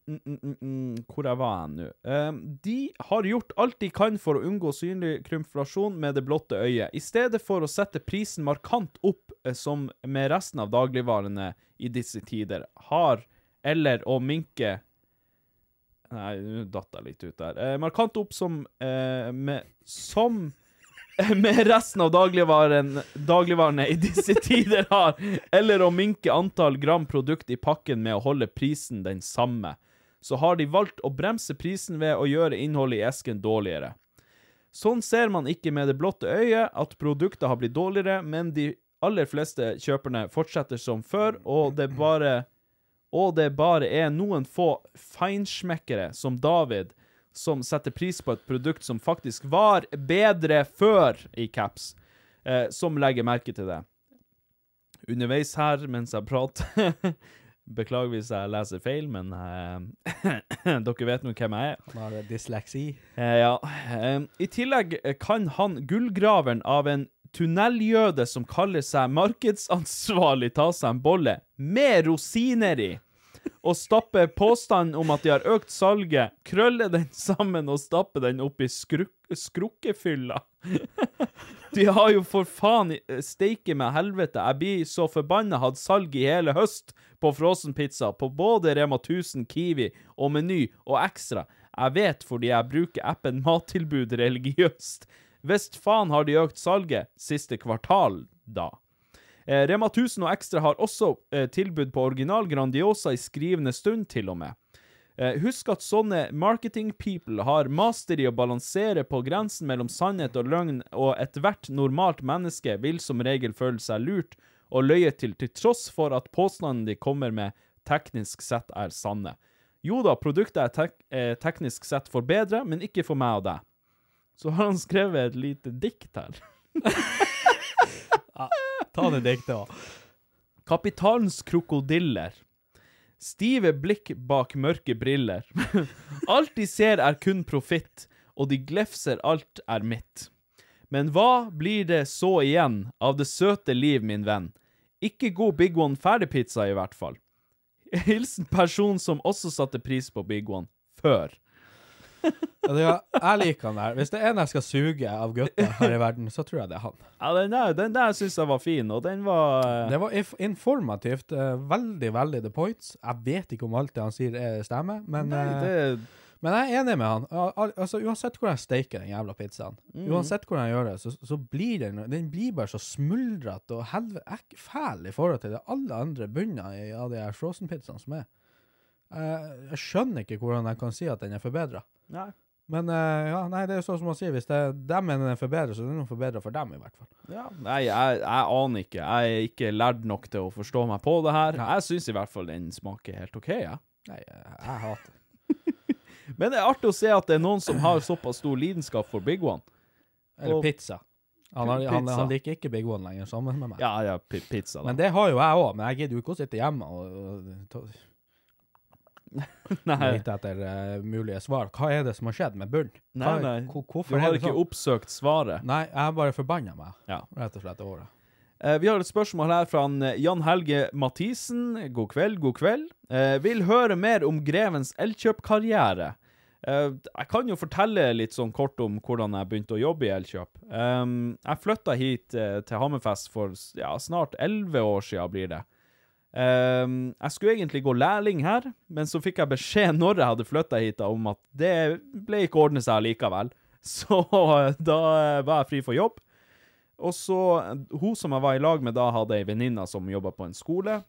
[SPEAKER 2] mm, mm, mm, mm, hvor jeg var hen nå? Ehm, de har gjort alt de kan for å unngå synlig krymflasjon med det blotte øyet. I stedet for å sette prisen markant opp eh, som med resten av dagligvarene i disse tider, har eller å minke Nei, nå datt jeg litt ut der. Eh, markant opp som eh, med, Som [laughs] med resten av dagligvaren, dagligvarene i disse tider har, eller å minke antall gram produkt i pakken med å holde prisen den samme, så har de valgt å bremse prisen ved å gjøre innholdet i esken dårligere. Sånn ser man ikke med det blotte øyet at produktet har blitt dårligere, men de aller fleste kjøperne fortsetter som før, og det bare og det bare er noen få feinschmeckere som David som setter pris på et produkt som faktisk var bedre før i caps, eh, som legger merke til det. Underveis her, mens jeg prater [laughs] Beklager hvis jeg leser feil, men eh, [clears throat] dere vet nå hvem jeg er.
[SPEAKER 3] Han har dysleksi.
[SPEAKER 2] Eh, ja. Ehm, I tillegg kan han gullgraveren av en tunneljøde som kaller seg markedsansvarlig, ta seg en bolle med rosiner i. Og stappe påstanden om at de har økt salget, krølle den sammen og stappe den opp i skruk skrukkefylla. [laughs] De har jo for faen i- eh, steike med helvete. Jeg blir så forbanna hatt salg i hele høst på frossenpizza på både Rema 1000, Kiwi og Meny og Ekstra. Jeg vet fordi jeg bruker appen Mattilbud religiøst. Visst faen har de økt salget siste kvartal, da. Eh, Rema 1000 og Ekstra har også eh, tilbud på original Grandiosa i skrivende stund, til og med. Eh, Husk at sånne marketing people har master i å balansere på grensen mellom sannhet og løgn, og ethvert normalt menneske vil som regel føle seg lurt og løyet til, til tross for at påstandene de kommer med, teknisk sett er sanne. Jo da, produktet er tek eh, teknisk sett for bedre, men ikke for meg og deg. Så har han skrevet et lite dikt her.
[SPEAKER 3] Ta det diktet òg.
[SPEAKER 2] Kapitalens krokodiller. Stive blikk bak mørke briller. [laughs] alt de ser er kun profitt, og de glefser alt er mitt. Men hva blir det så igjen av det søte liv, min venn? Ikke god Big One ferdigpizza, i hvert fall. Hilsen person som også satte pris på Big One før.
[SPEAKER 3] Og det er- Jeg liker han der. Hvis det er en jeg skal suge av gutter her i verden, så tror jeg det er han.
[SPEAKER 2] Ja, den der, den der syns jeg var fin, og den var
[SPEAKER 3] Det var inf informativt. eh, Veldig, veldig the points. Jeg vet ikke om alt det han sier er stemmer, men
[SPEAKER 2] Nei,
[SPEAKER 3] eh, Men jeg er enig med han. Al- al- Altså, Uansett hvor jeg steiker den jævla pizzaen,
[SPEAKER 2] Mhm.
[SPEAKER 3] uansett hvor jeg gjør det, så, så blir den Den blir bare så smuldrete og helvete ek- fæl i forhold til det alle andre bunner i, av de her frossen-pizzaene som er. Eh, Jeg, jeg skjønner ikke hvordan jeg kan si at den er forbedra.
[SPEAKER 2] Nei.
[SPEAKER 3] Men eh, ja, nei, det er jo sånn som man sier, hvis det, dem mener den er forbedra, så er den forbedra for dem, i hvert fall.
[SPEAKER 2] Ja, Nei, jeg, jeg aner ikke. Jeg er ikke lært nok til å forstå meg på det her. Jeg syns i hvert fall den smaker helt OK, jeg.
[SPEAKER 3] Nei, jeg, jeg hater
[SPEAKER 2] Men det er artig å se at det er noen som har såpass stor lidenskap for Big One.
[SPEAKER 3] Eller
[SPEAKER 2] Og-
[SPEAKER 3] pizza. Han, har, han,
[SPEAKER 2] Pizza.
[SPEAKER 3] han liker ikke Big One lenger, sammen med meg.
[SPEAKER 2] Ja, ja, pi- pizza, da.
[SPEAKER 3] Men det har jo jeg òg, men jeg gidder jo ikke å sitte hjemme og, og ta,
[SPEAKER 2] Nei.
[SPEAKER 3] lete etter eh, mulige svar. Hva er det som har skjedd med bunnen?
[SPEAKER 2] Nei,
[SPEAKER 3] Hva-
[SPEAKER 2] nei.
[SPEAKER 3] hvor-
[SPEAKER 2] du
[SPEAKER 3] Hvorfor
[SPEAKER 2] har
[SPEAKER 3] er det
[SPEAKER 2] ikke
[SPEAKER 3] sånn?
[SPEAKER 2] oppsøkt svaret.
[SPEAKER 3] Nei, jeg er bare forbanna meg,
[SPEAKER 2] Ja.
[SPEAKER 3] rett og slett, det året.
[SPEAKER 2] Eh, Vi har et spørsmål her fra han, eh, Jan Helge Mathisen. God kveld, god kveld. Eh, vil høre mer om Grevens Elkjøp-karriere. Eh, jeg kan jo fortelle litt sånn kort om hvordan jeg begynte å jobbe i Elkjøp. Um, jeg flytta hit eh, til Hammerfest for s- ja, snart elleve år sia, blir det. Um, jeg skulle egentlig gå lærling her, men så fikk jeg beskjed [laughs] når jeg hadde flytta hit, da, om at det ble ikke ordne seg likevel. [laughs] Så eh, da eh, var jeg fri for jobb. Og så, eh, hun som jeg var i lag med da, hadde ei venninne som jobba på en skole.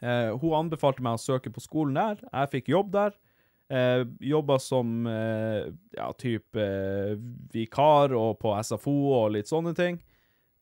[SPEAKER 2] Eh, hun anbefalte meg å søke på skolen der. Jeg fikk jobb der. Eh, jobba som eh, ja, type eh, vikar og på SFO og litt sånne ting.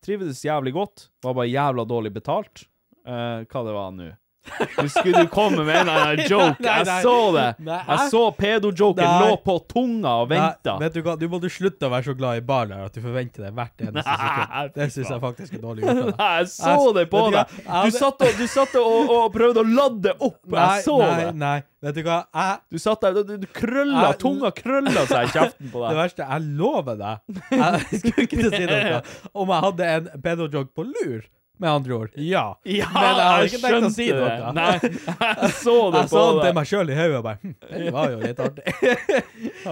[SPEAKER 2] Trivdes jævlig godt. Var bare jævla dårlig betalt. Eh, hva det var nå? Nå skulle du komme med en
[SPEAKER 3] [laughs]
[SPEAKER 2] eller annen joke.
[SPEAKER 3] Nei, nei.
[SPEAKER 2] Jeg så det.
[SPEAKER 3] Nei.
[SPEAKER 2] Jeg så pedo-joken
[SPEAKER 3] Nei.
[SPEAKER 2] lå på tunga og venta.
[SPEAKER 3] Nei, Vet du hva, du må du slutte å være så glad i barlærer at du forventer det
[SPEAKER 2] [laughs]
[SPEAKER 3] hvert eneste
[SPEAKER 2] Nei,
[SPEAKER 3] sekund. Det
[SPEAKER 2] fy
[SPEAKER 3] syns jeg
[SPEAKER 2] faen.
[SPEAKER 3] faktisk er dårlig gjort av deg.
[SPEAKER 2] [laughs] Nei, jeg så det på
[SPEAKER 3] Vet du hva?
[SPEAKER 2] deg. Du satt og, du satt og, og prøvde å ladde opp.
[SPEAKER 3] Nei,
[SPEAKER 2] Jeg så
[SPEAKER 3] nei,
[SPEAKER 2] det.
[SPEAKER 3] nei. Vet du hva, jeg
[SPEAKER 2] Du satt der, du, du krølla,
[SPEAKER 3] Jeg-
[SPEAKER 2] tunga krølla seg i kjeften på
[SPEAKER 3] [laughs] Det
[SPEAKER 2] deg.
[SPEAKER 3] verste, jeg lover deg.
[SPEAKER 2] [laughs]
[SPEAKER 3] Jeg skulle ikke til å si noe. Om jeg hadde en pedo-jog på lur, med andre ord. Ja.
[SPEAKER 2] Ja,
[SPEAKER 3] Men jeg hadde
[SPEAKER 2] jeg
[SPEAKER 3] ikke tenkt å
[SPEAKER 2] skjønte
[SPEAKER 3] si
[SPEAKER 2] det.
[SPEAKER 3] noe.
[SPEAKER 2] Nei, jeg så det
[SPEAKER 3] [laughs] Jeg sa
[SPEAKER 2] på
[SPEAKER 3] det
[SPEAKER 2] deg.
[SPEAKER 3] til meg sjøl i hodet og bare hm, Det var jo litt artig.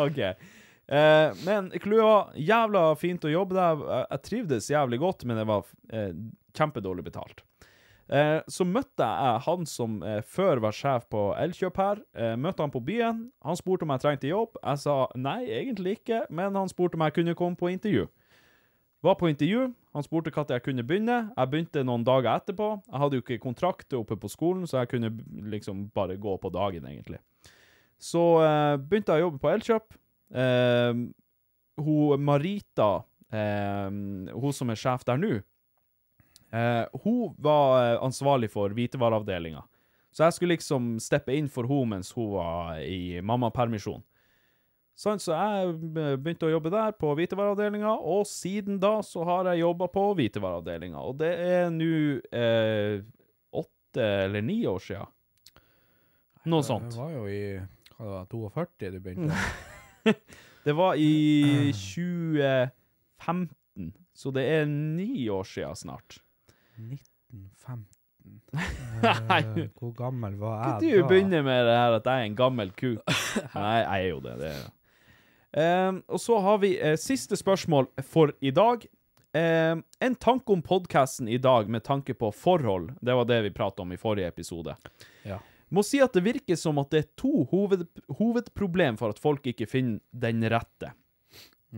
[SPEAKER 2] OK. Eh, men klua, jævla fint å jobbe der. Jeg, jeg trivdes jævlig godt, men det var eh, kjempedårlig betalt. Eh, så møtte jeg han som eh, før var sjef på Elkjøp her. Eh, møtte han på byen. Han spurte om jeg trengte jobb. Jeg sa nei, egentlig ikke, men han spurte om jeg kunne komme på intervju. Var på intervju. Han spurte når jeg kunne begynne. Jeg begynte noen dager etterpå. Jeg hadde jo ikke kontrakt oppe på skolen, så jeg kunne liksom bare gå på dagen, egentlig. Så eh, begynte jeg å jobbe på Elkjøp. Eh, hun Marita, eh, hun som er sjef der nå, eh, hun var eh, ansvarlig for hvitevareavdelinga. Så jeg skulle liksom steppe inn for henne mens hun var i mammapermisjon. Sånn, så jeg eh, begynte å jobbe der, på hvitevareavdelinga, og siden da så har jeg jobba på hvitevareavdelinga. Og det er nå eh, åtte eller ni år sia. [laughs] Noe sånt.
[SPEAKER 3] Det var jo i hva det var, 42 du begynte.
[SPEAKER 2] Det var i 2015, så det er ni år siden snart.
[SPEAKER 3] 1915
[SPEAKER 2] Mm. [laughs] Nei.
[SPEAKER 3] Eh, Hvor gammel var
[SPEAKER 2] Kan
[SPEAKER 3] jeg
[SPEAKER 2] du
[SPEAKER 3] da?
[SPEAKER 2] begynne med det her at jeg er en gammel kuk? Nei, jeg er jo det. det er. jeg. Ehm, og så har vi eh, siste spørsmål for i dag. Ehm, en tanke om podkasten i dag med tanke på forhold. Det var det vi prata om i forrige episode.
[SPEAKER 3] Ja.
[SPEAKER 2] Må si at det virker som at det er to hoved, hovedproblem for at folk ikke finner den rette.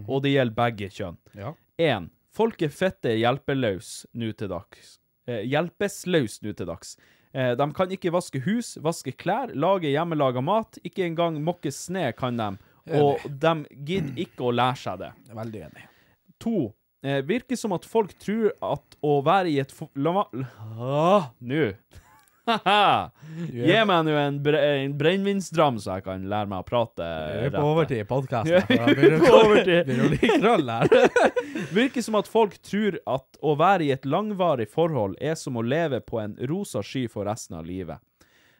[SPEAKER 2] Og det gjelder begge kjønn.
[SPEAKER 3] Ja.
[SPEAKER 2] En, Folk er fette hjelpeløs nå til dags. Eh, hjelpesløs nå til dags. Eh, de kan ikke vaske hus, vaske klær, lage hjemmelaga mat. Ikke engang mokke sne kan de. Og de gidder ikke å lære seg det.
[SPEAKER 3] Veldig enig.
[SPEAKER 2] To. Eh, virker som at folk tror at å være i et fo- La meg Ah, Nå! [laughs] Haha. Gi meg nå en, bre en brennevinsdram, så jeg kan lære meg å prate.
[SPEAKER 3] Vi er
[SPEAKER 2] rett.
[SPEAKER 3] på overtid i
[SPEAKER 2] Ja,
[SPEAKER 3] podkasten.
[SPEAKER 2] vi er på overtid.
[SPEAKER 3] Begynner å bli krøll
[SPEAKER 2] [laughs]
[SPEAKER 3] her.
[SPEAKER 2] Virker som at folk tror at å være i et langvarig forhold er som å leve på en rosa sky for resten av livet.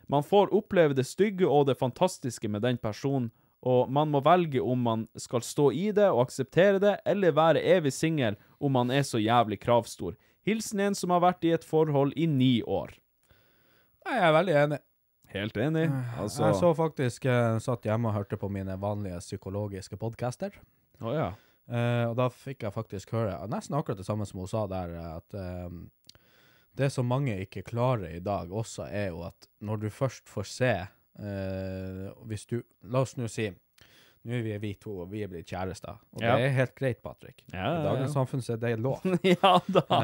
[SPEAKER 2] Man får oppleve det stygge og det fantastiske med den personen, og man må velge om man skal stå i det og akseptere det, eller være evig singel om man er så jævlig kravstor. Hilsen en som har vært i et forhold i ni år.
[SPEAKER 3] Nei, jeg er veldig enig.
[SPEAKER 2] Helt enig. Altså
[SPEAKER 3] Jeg så faktisk eh, satt hjemme og hørte på mine vanlige psykologiske podcaster.
[SPEAKER 2] Å ja.
[SPEAKER 3] Eh, og da fikk jeg faktisk høre eh, nesten akkurat det samme som hun sa der, eh, at eh, det som mange ikke klarer i dag også, er jo at når du først får se eh, Hvis du La oss nå si nå er vi, vi to, og vi er blitt kjærester. Og
[SPEAKER 2] Ja.
[SPEAKER 3] det er helt greit, Patrick.
[SPEAKER 2] Ja,
[SPEAKER 3] I
[SPEAKER 2] ja,
[SPEAKER 3] dagens
[SPEAKER 2] ja.
[SPEAKER 3] samfunn så er det lov.
[SPEAKER 2] Ja da.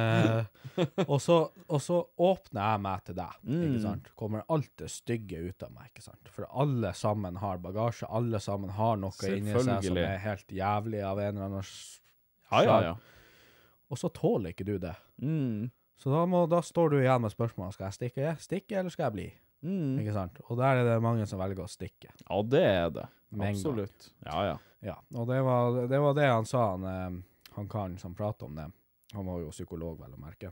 [SPEAKER 3] Eh, og, så, og så åpner jeg meg til deg,
[SPEAKER 2] Mm.
[SPEAKER 3] ikke sant? Kommer alt det stygge ut av meg, ikke sant? For alle sammen har bagasje, alle sammen har noe inni seg som
[SPEAKER 2] Selvfølgelig.
[SPEAKER 3] er helt jævlig av en eller annen s-
[SPEAKER 2] Ja, ja,
[SPEAKER 3] slag.
[SPEAKER 2] ja.
[SPEAKER 3] Og så tåler ikke du det.
[SPEAKER 2] Mm.
[SPEAKER 3] Så da, må, da står du igjen med spørsmålet, skal jeg stikke, stikke eller skal jeg bli?
[SPEAKER 2] Mm.
[SPEAKER 3] Ikke sant? Og der er det mange som velger å stikke.
[SPEAKER 2] Ja, det er det.
[SPEAKER 3] Med en gang.
[SPEAKER 2] Absolutt. Ja, ja.
[SPEAKER 3] Ja, og det var det, var det han sa, han, eh, han karen som pratet om det. Han var jo psykolog, vel å merke.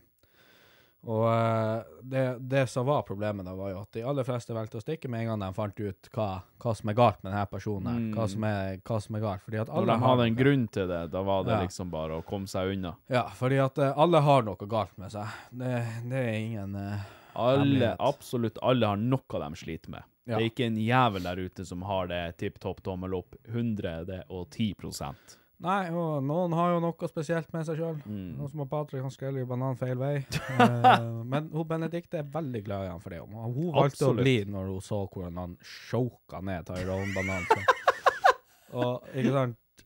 [SPEAKER 3] Og eh, det, det som var problemet da, var jo at de aller fleste valgte å stikke med en gang de fant ut hva, hva som er galt med denne personen her. Hva,
[SPEAKER 2] Mm.
[SPEAKER 3] som er, hva som er galt. Fordi at
[SPEAKER 2] Når
[SPEAKER 3] alle
[SPEAKER 2] de hadde
[SPEAKER 3] har
[SPEAKER 2] en
[SPEAKER 3] noe-
[SPEAKER 2] grunn til det, da var det
[SPEAKER 3] Ja.
[SPEAKER 2] liksom bare å komme seg unna.
[SPEAKER 3] Ja, fordi at eh, alle har noe galt med seg. Det, det er ingen eh,
[SPEAKER 2] Alle,
[SPEAKER 3] hemmelighet.
[SPEAKER 2] absolutt alle har noe de sliter med.
[SPEAKER 3] Ja.
[SPEAKER 2] Det er ikke en jævel der ute som har det tipp topp tommel opp 110
[SPEAKER 3] Nei, og noen har jo noe spesielt med seg sjøl.
[SPEAKER 2] Mm.
[SPEAKER 3] Noen som har Patrick, han skreller jo banan feil
[SPEAKER 2] [laughs]
[SPEAKER 3] vei. Eh, men hun Benedicte er veldig glad i han for det. Og Hun valgte
[SPEAKER 2] Absolutt.
[SPEAKER 3] å bli når hun så hvordan han choka ned Tyrone Banan.
[SPEAKER 2] [laughs]
[SPEAKER 3] og ikke sant,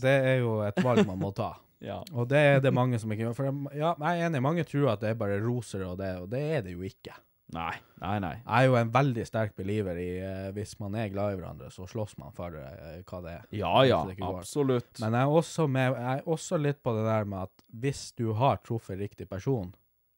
[SPEAKER 3] det er jo et valg man må ta.
[SPEAKER 2] [laughs] Ja.
[SPEAKER 3] Og det er det mange som ikke gjør. For de- ja, jeg er enig, mange tror at det er bare roser og det, og det er det jo ikke.
[SPEAKER 2] Nei, nei, nei.
[SPEAKER 3] Jeg er jo en veldig sterk believer i eh, hvis man er glad i hverandre, så slåss man for eh, hva det er.
[SPEAKER 2] Ja, ja,
[SPEAKER 3] Så det ikke går.
[SPEAKER 2] absolutt.
[SPEAKER 3] Men jeg er, også med, jeg er også litt på det der med at hvis du har truffet riktig person,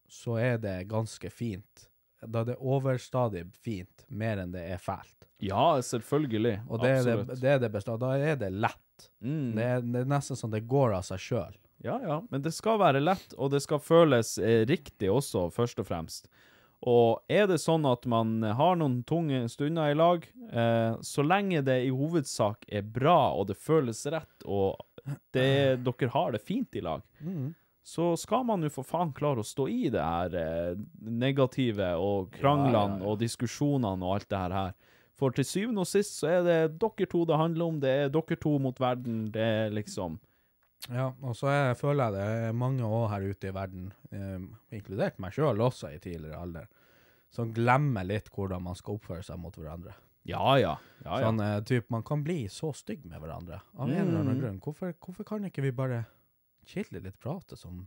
[SPEAKER 3] så er det ganske fint. Da er det overstadig fint, mer enn det er fælt.
[SPEAKER 2] Ja, selvfølgelig.
[SPEAKER 3] Og det er det,
[SPEAKER 2] absolutt.
[SPEAKER 3] det er det besta- Da er det lett.
[SPEAKER 2] Mm.
[SPEAKER 3] Det, er, det er nesten sånn det går av seg sjøl.
[SPEAKER 2] Ja, ja. Men det skal være lett, og det skal føles eh, riktig også, først og fremst. Og er det sånn at man har noen tunge stunder i lag, eh, så lenge det i hovedsak er bra, og det føles rett, og det, dere har det fint i lag, så skal man jo for faen klare å stå i det her eh, negative og kranglene og diskusjonene og alt det her her. For til syvende og sist så er det dere to det handler om, det er dere to mot verden, det er liksom
[SPEAKER 3] Ja, og så er, føler jeg det er mange òg her ute i verden, eh, inkludert meg sjøl også i tidligere alder, som glemmer litt hvordan man skal oppføre seg mot hverandre.
[SPEAKER 2] Ja, ja. ja, ja.
[SPEAKER 3] Sånn, eh, typ, man kan bli så stygg med hverandre av en eller annen
[SPEAKER 2] Mm.
[SPEAKER 3] grunn. Hvorfor, hvorfor kan ikke vi bare chille litt, prate som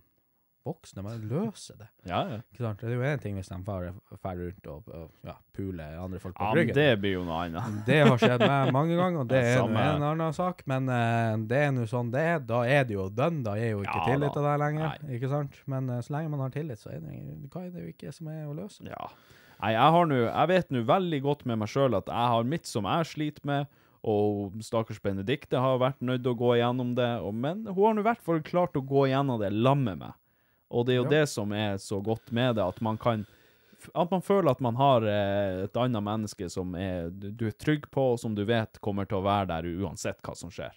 [SPEAKER 3] voksne, men løse det?
[SPEAKER 2] ja, ja.
[SPEAKER 3] Ikke sant? Det er jo én ting hvis de farer, farer rundt og, og ja, puler andre folk
[SPEAKER 2] ja
[SPEAKER 3] på
[SPEAKER 2] men
[SPEAKER 3] ryggen.
[SPEAKER 2] det blir jo noe annet.
[SPEAKER 3] Det har skjedd meg mange
[SPEAKER 2] [laughs]
[SPEAKER 3] ganger, og det er nå
[SPEAKER 2] Samme her.
[SPEAKER 3] en annen sak. Men eh, det er nå sånn det er. Da er det jo dønn. Da er jo ikke
[SPEAKER 2] Ja
[SPEAKER 3] tillit
[SPEAKER 2] da.
[SPEAKER 3] til deg lenger. Ikke sant? Men eh, så lenge man har tillit, så er det, hva er det jo ikke som er å løse.
[SPEAKER 2] Ja. Nei, jeg har nå Jeg vet nå veldig godt med meg sjøl at jeg har mitt som jeg sliter med, og stakkars Benedicte har vært nødt til å gå igjennom det, og, men hun har nå i hvert fall klart å gå igjennom det sammen med meg. Og det er jo det som er så godt med det, at man kan At man føler at man har eh, et annet menneske som er, du du er trygg på, og som du vet kommer til å være der uansett hva som skjer.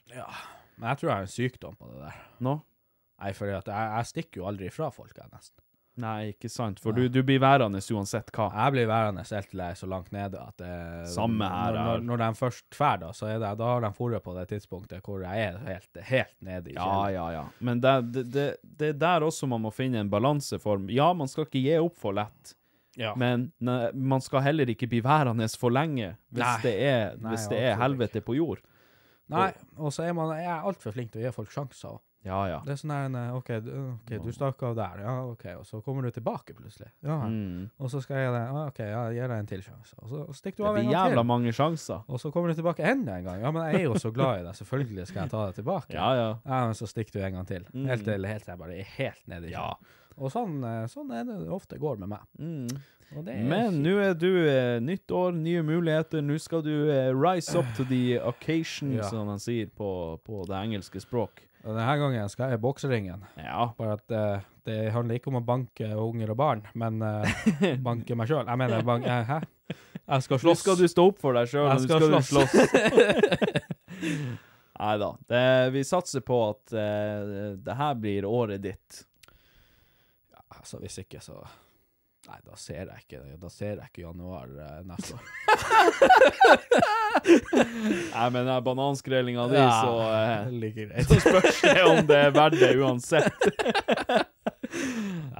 [SPEAKER 3] Men jeg tror jeg har en sykdom på det der.
[SPEAKER 2] Nå?
[SPEAKER 3] Nei, for jeg, jeg stikker jo aldri fra folk, jeg, nesten.
[SPEAKER 2] Nei, ikke sant? For du, du blir værende uansett hva.
[SPEAKER 3] Jeg blir værende helt til jeg er så langt nede at det,
[SPEAKER 2] Samme her,
[SPEAKER 3] når,
[SPEAKER 2] her.
[SPEAKER 3] når, når de først drar, da, så er det, da har de foret på det tidspunktet hvor jeg er helt, helt nede i
[SPEAKER 2] Ja, ja, ja. Men det, det, det, det er der også man må finne en balanseform. Ja, man skal ikke gi opp for lett,
[SPEAKER 3] Ja.
[SPEAKER 2] men ne, man skal heller ikke bli værende for lenge hvis
[SPEAKER 3] Nei.
[SPEAKER 2] det er,
[SPEAKER 3] Nei,
[SPEAKER 2] hvis det er
[SPEAKER 3] absolutt
[SPEAKER 2] helvete på jord.
[SPEAKER 3] Nei, og så er man jeg er altfor flink til å gi folk sjanser. også.
[SPEAKER 2] Ja, ja.
[SPEAKER 3] Det er sånn her en, eh, OK, du, ok, du stakk av der, ja, OK, og så kommer du tilbake plutselig. Ja,
[SPEAKER 2] Mm.
[SPEAKER 3] Og så skal jeg gi deg ah, OK, ja, jeg gir deg en til sjanse, og så stikker du
[SPEAKER 2] Det
[SPEAKER 3] av en
[SPEAKER 2] blir
[SPEAKER 3] gang
[SPEAKER 2] jævla
[SPEAKER 3] til.
[SPEAKER 2] mange sjanser.
[SPEAKER 3] Og så kommer du tilbake enda en gang. Ja, men jeg er jo så glad i deg, selvfølgelig skal jeg ta deg tilbake.
[SPEAKER 2] Ja, ja. Mm.
[SPEAKER 3] Ja, men så stikker du en gang til. Helt til helt til jeg bare er helt nede i
[SPEAKER 2] Ja.
[SPEAKER 3] kjelleren. Og sånn, eh, sånn er det det ofte går med meg. Og det er
[SPEAKER 2] Mm. Men nå er du eh, nytt år, nye muligheter. Nå skal du eh, rise up to the occasion,
[SPEAKER 3] Ja.
[SPEAKER 2] som man sier på, på det engelske språk.
[SPEAKER 3] Og Denne gangen skal jeg i bokseringen.
[SPEAKER 2] Ja.
[SPEAKER 3] Bare at eh, det handler ikke om å banke unger og barn,
[SPEAKER 2] [laughs]
[SPEAKER 3] men eh, banke meg sjøl. Jeg mener bank... eh, hæ? Jeg skal
[SPEAKER 2] Nå
[SPEAKER 3] slåss.
[SPEAKER 2] skal du stå opp for deg sjøl, og du
[SPEAKER 3] Jeg skal
[SPEAKER 2] skal
[SPEAKER 3] slåss.
[SPEAKER 2] slåss. [laughs] Nei da. Vi satser på at eh, det her blir året ditt.
[SPEAKER 3] Altså, hvis ikke, så Nei, da ser jeg ikke Da ser jeg ikke januar eh, neste år.
[SPEAKER 2] Nei, men den bananskrellinga di,
[SPEAKER 3] Ja, [laughs]
[SPEAKER 2] så eh,
[SPEAKER 3] like greit.
[SPEAKER 2] Så spørs det om det er verdt det uansett.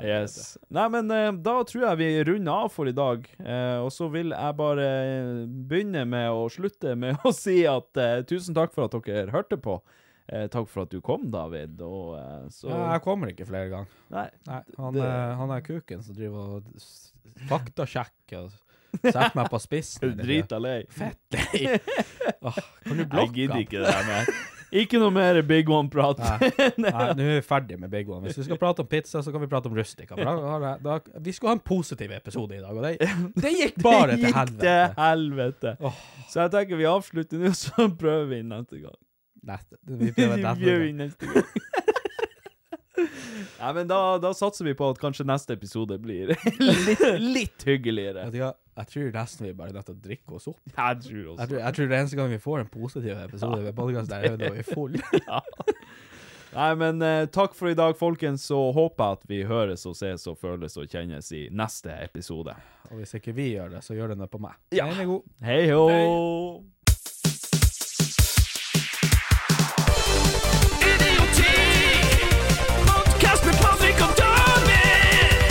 [SPEAKER 2] Yes. Nei, men eh, da tror jeg vi runder av for i dag. Eh, og så vil jeg bare eh, begynne med å slutte med å [laughs] si at eh, tusen takk for at dere hørte på. Eh, takk for at du kom, David. Og eh, så
[SPEAKER 3] Ja, jeg kommer ikke flere ganger.
[SPEAKER 2] Nei,
[SPEAKER 3] han,
[SPEAKER 2] det-
[SPEAKER 3] er, han er kuken som driver og s- faktasjekker og setter meg på spissen.
[SPEAKER 2] Er [laughs] du drita lei?
[SPEAKER 3] Fett lei. [laughs] Åh, kan du
[SPEAKER 2] Jeg
[SPEAKER 3] blokke
[SPEAKER 2] gidder
[SPEAKER 3] han?
[SPEAKER 2] ikke det der mer. Ikke noe mer Big One-prat.
[SPEAKER 3] [laughs]
[SPEAKER 2] [laughs]
[SPEAKER 3] Nei, nei, nå er vi ferdig med Big One. Hvis vi skal prate om pizza, så kan vi prate om rustica. for Da, har jeg- da, vi skulle ha en positiv episode i dag, og det, det gikk bare
[SPEAKER 2] Det
[SPEAKER 3] til
[SPEAKER 2] gikk til
[SPEAKER 3] helvete.
[SPEAKER 2] helvete.
[SPEAKER 3] Åh.
[SPEAKER 2] Så jeg tenker vi avslutter nå, [laughs] så prøver vi neste gang.
[SPEAKER 3] Nei, vi prøver
[SPEAKER 2] [laughs]
[SPEAKER 3] neste
[SPEAKER 2] Vi prøver
[SPEAKER 3] gang.
[SPEAKER 2] neste gang. Nei, men da, da satser vi på at kanskje neste episode blir [laughs] litt, litt hyggeligere.
[SPEAKER 3] Vet du hva? Jeg tror nesten vi bare er nødt til å drikke oss opp.
[SPEAKER 2] Jeg tror
[SPEAKER 3] Jeg
[SPEAKER 2] også
[SPEAKER 3] tror, jeg tror det eneste gang vi får en positiv episode ved podkast, er når vi er full.
[SPEAKER 2] Nei, men eh, takk for i dag, folkens, og håper jeg at vi høres og ses og føles og kjennes i neste episode.
[SPEAKER 3] Og hvis ikke vi gjør det, så gjør det noe på meg.
[SPEAKER 2] Ja.
[SPEAKER 3] Den er god.
[SPEAKER 2] Hei ho!
[SPEAKER 1] Idioti! Podcast med Patrick og David!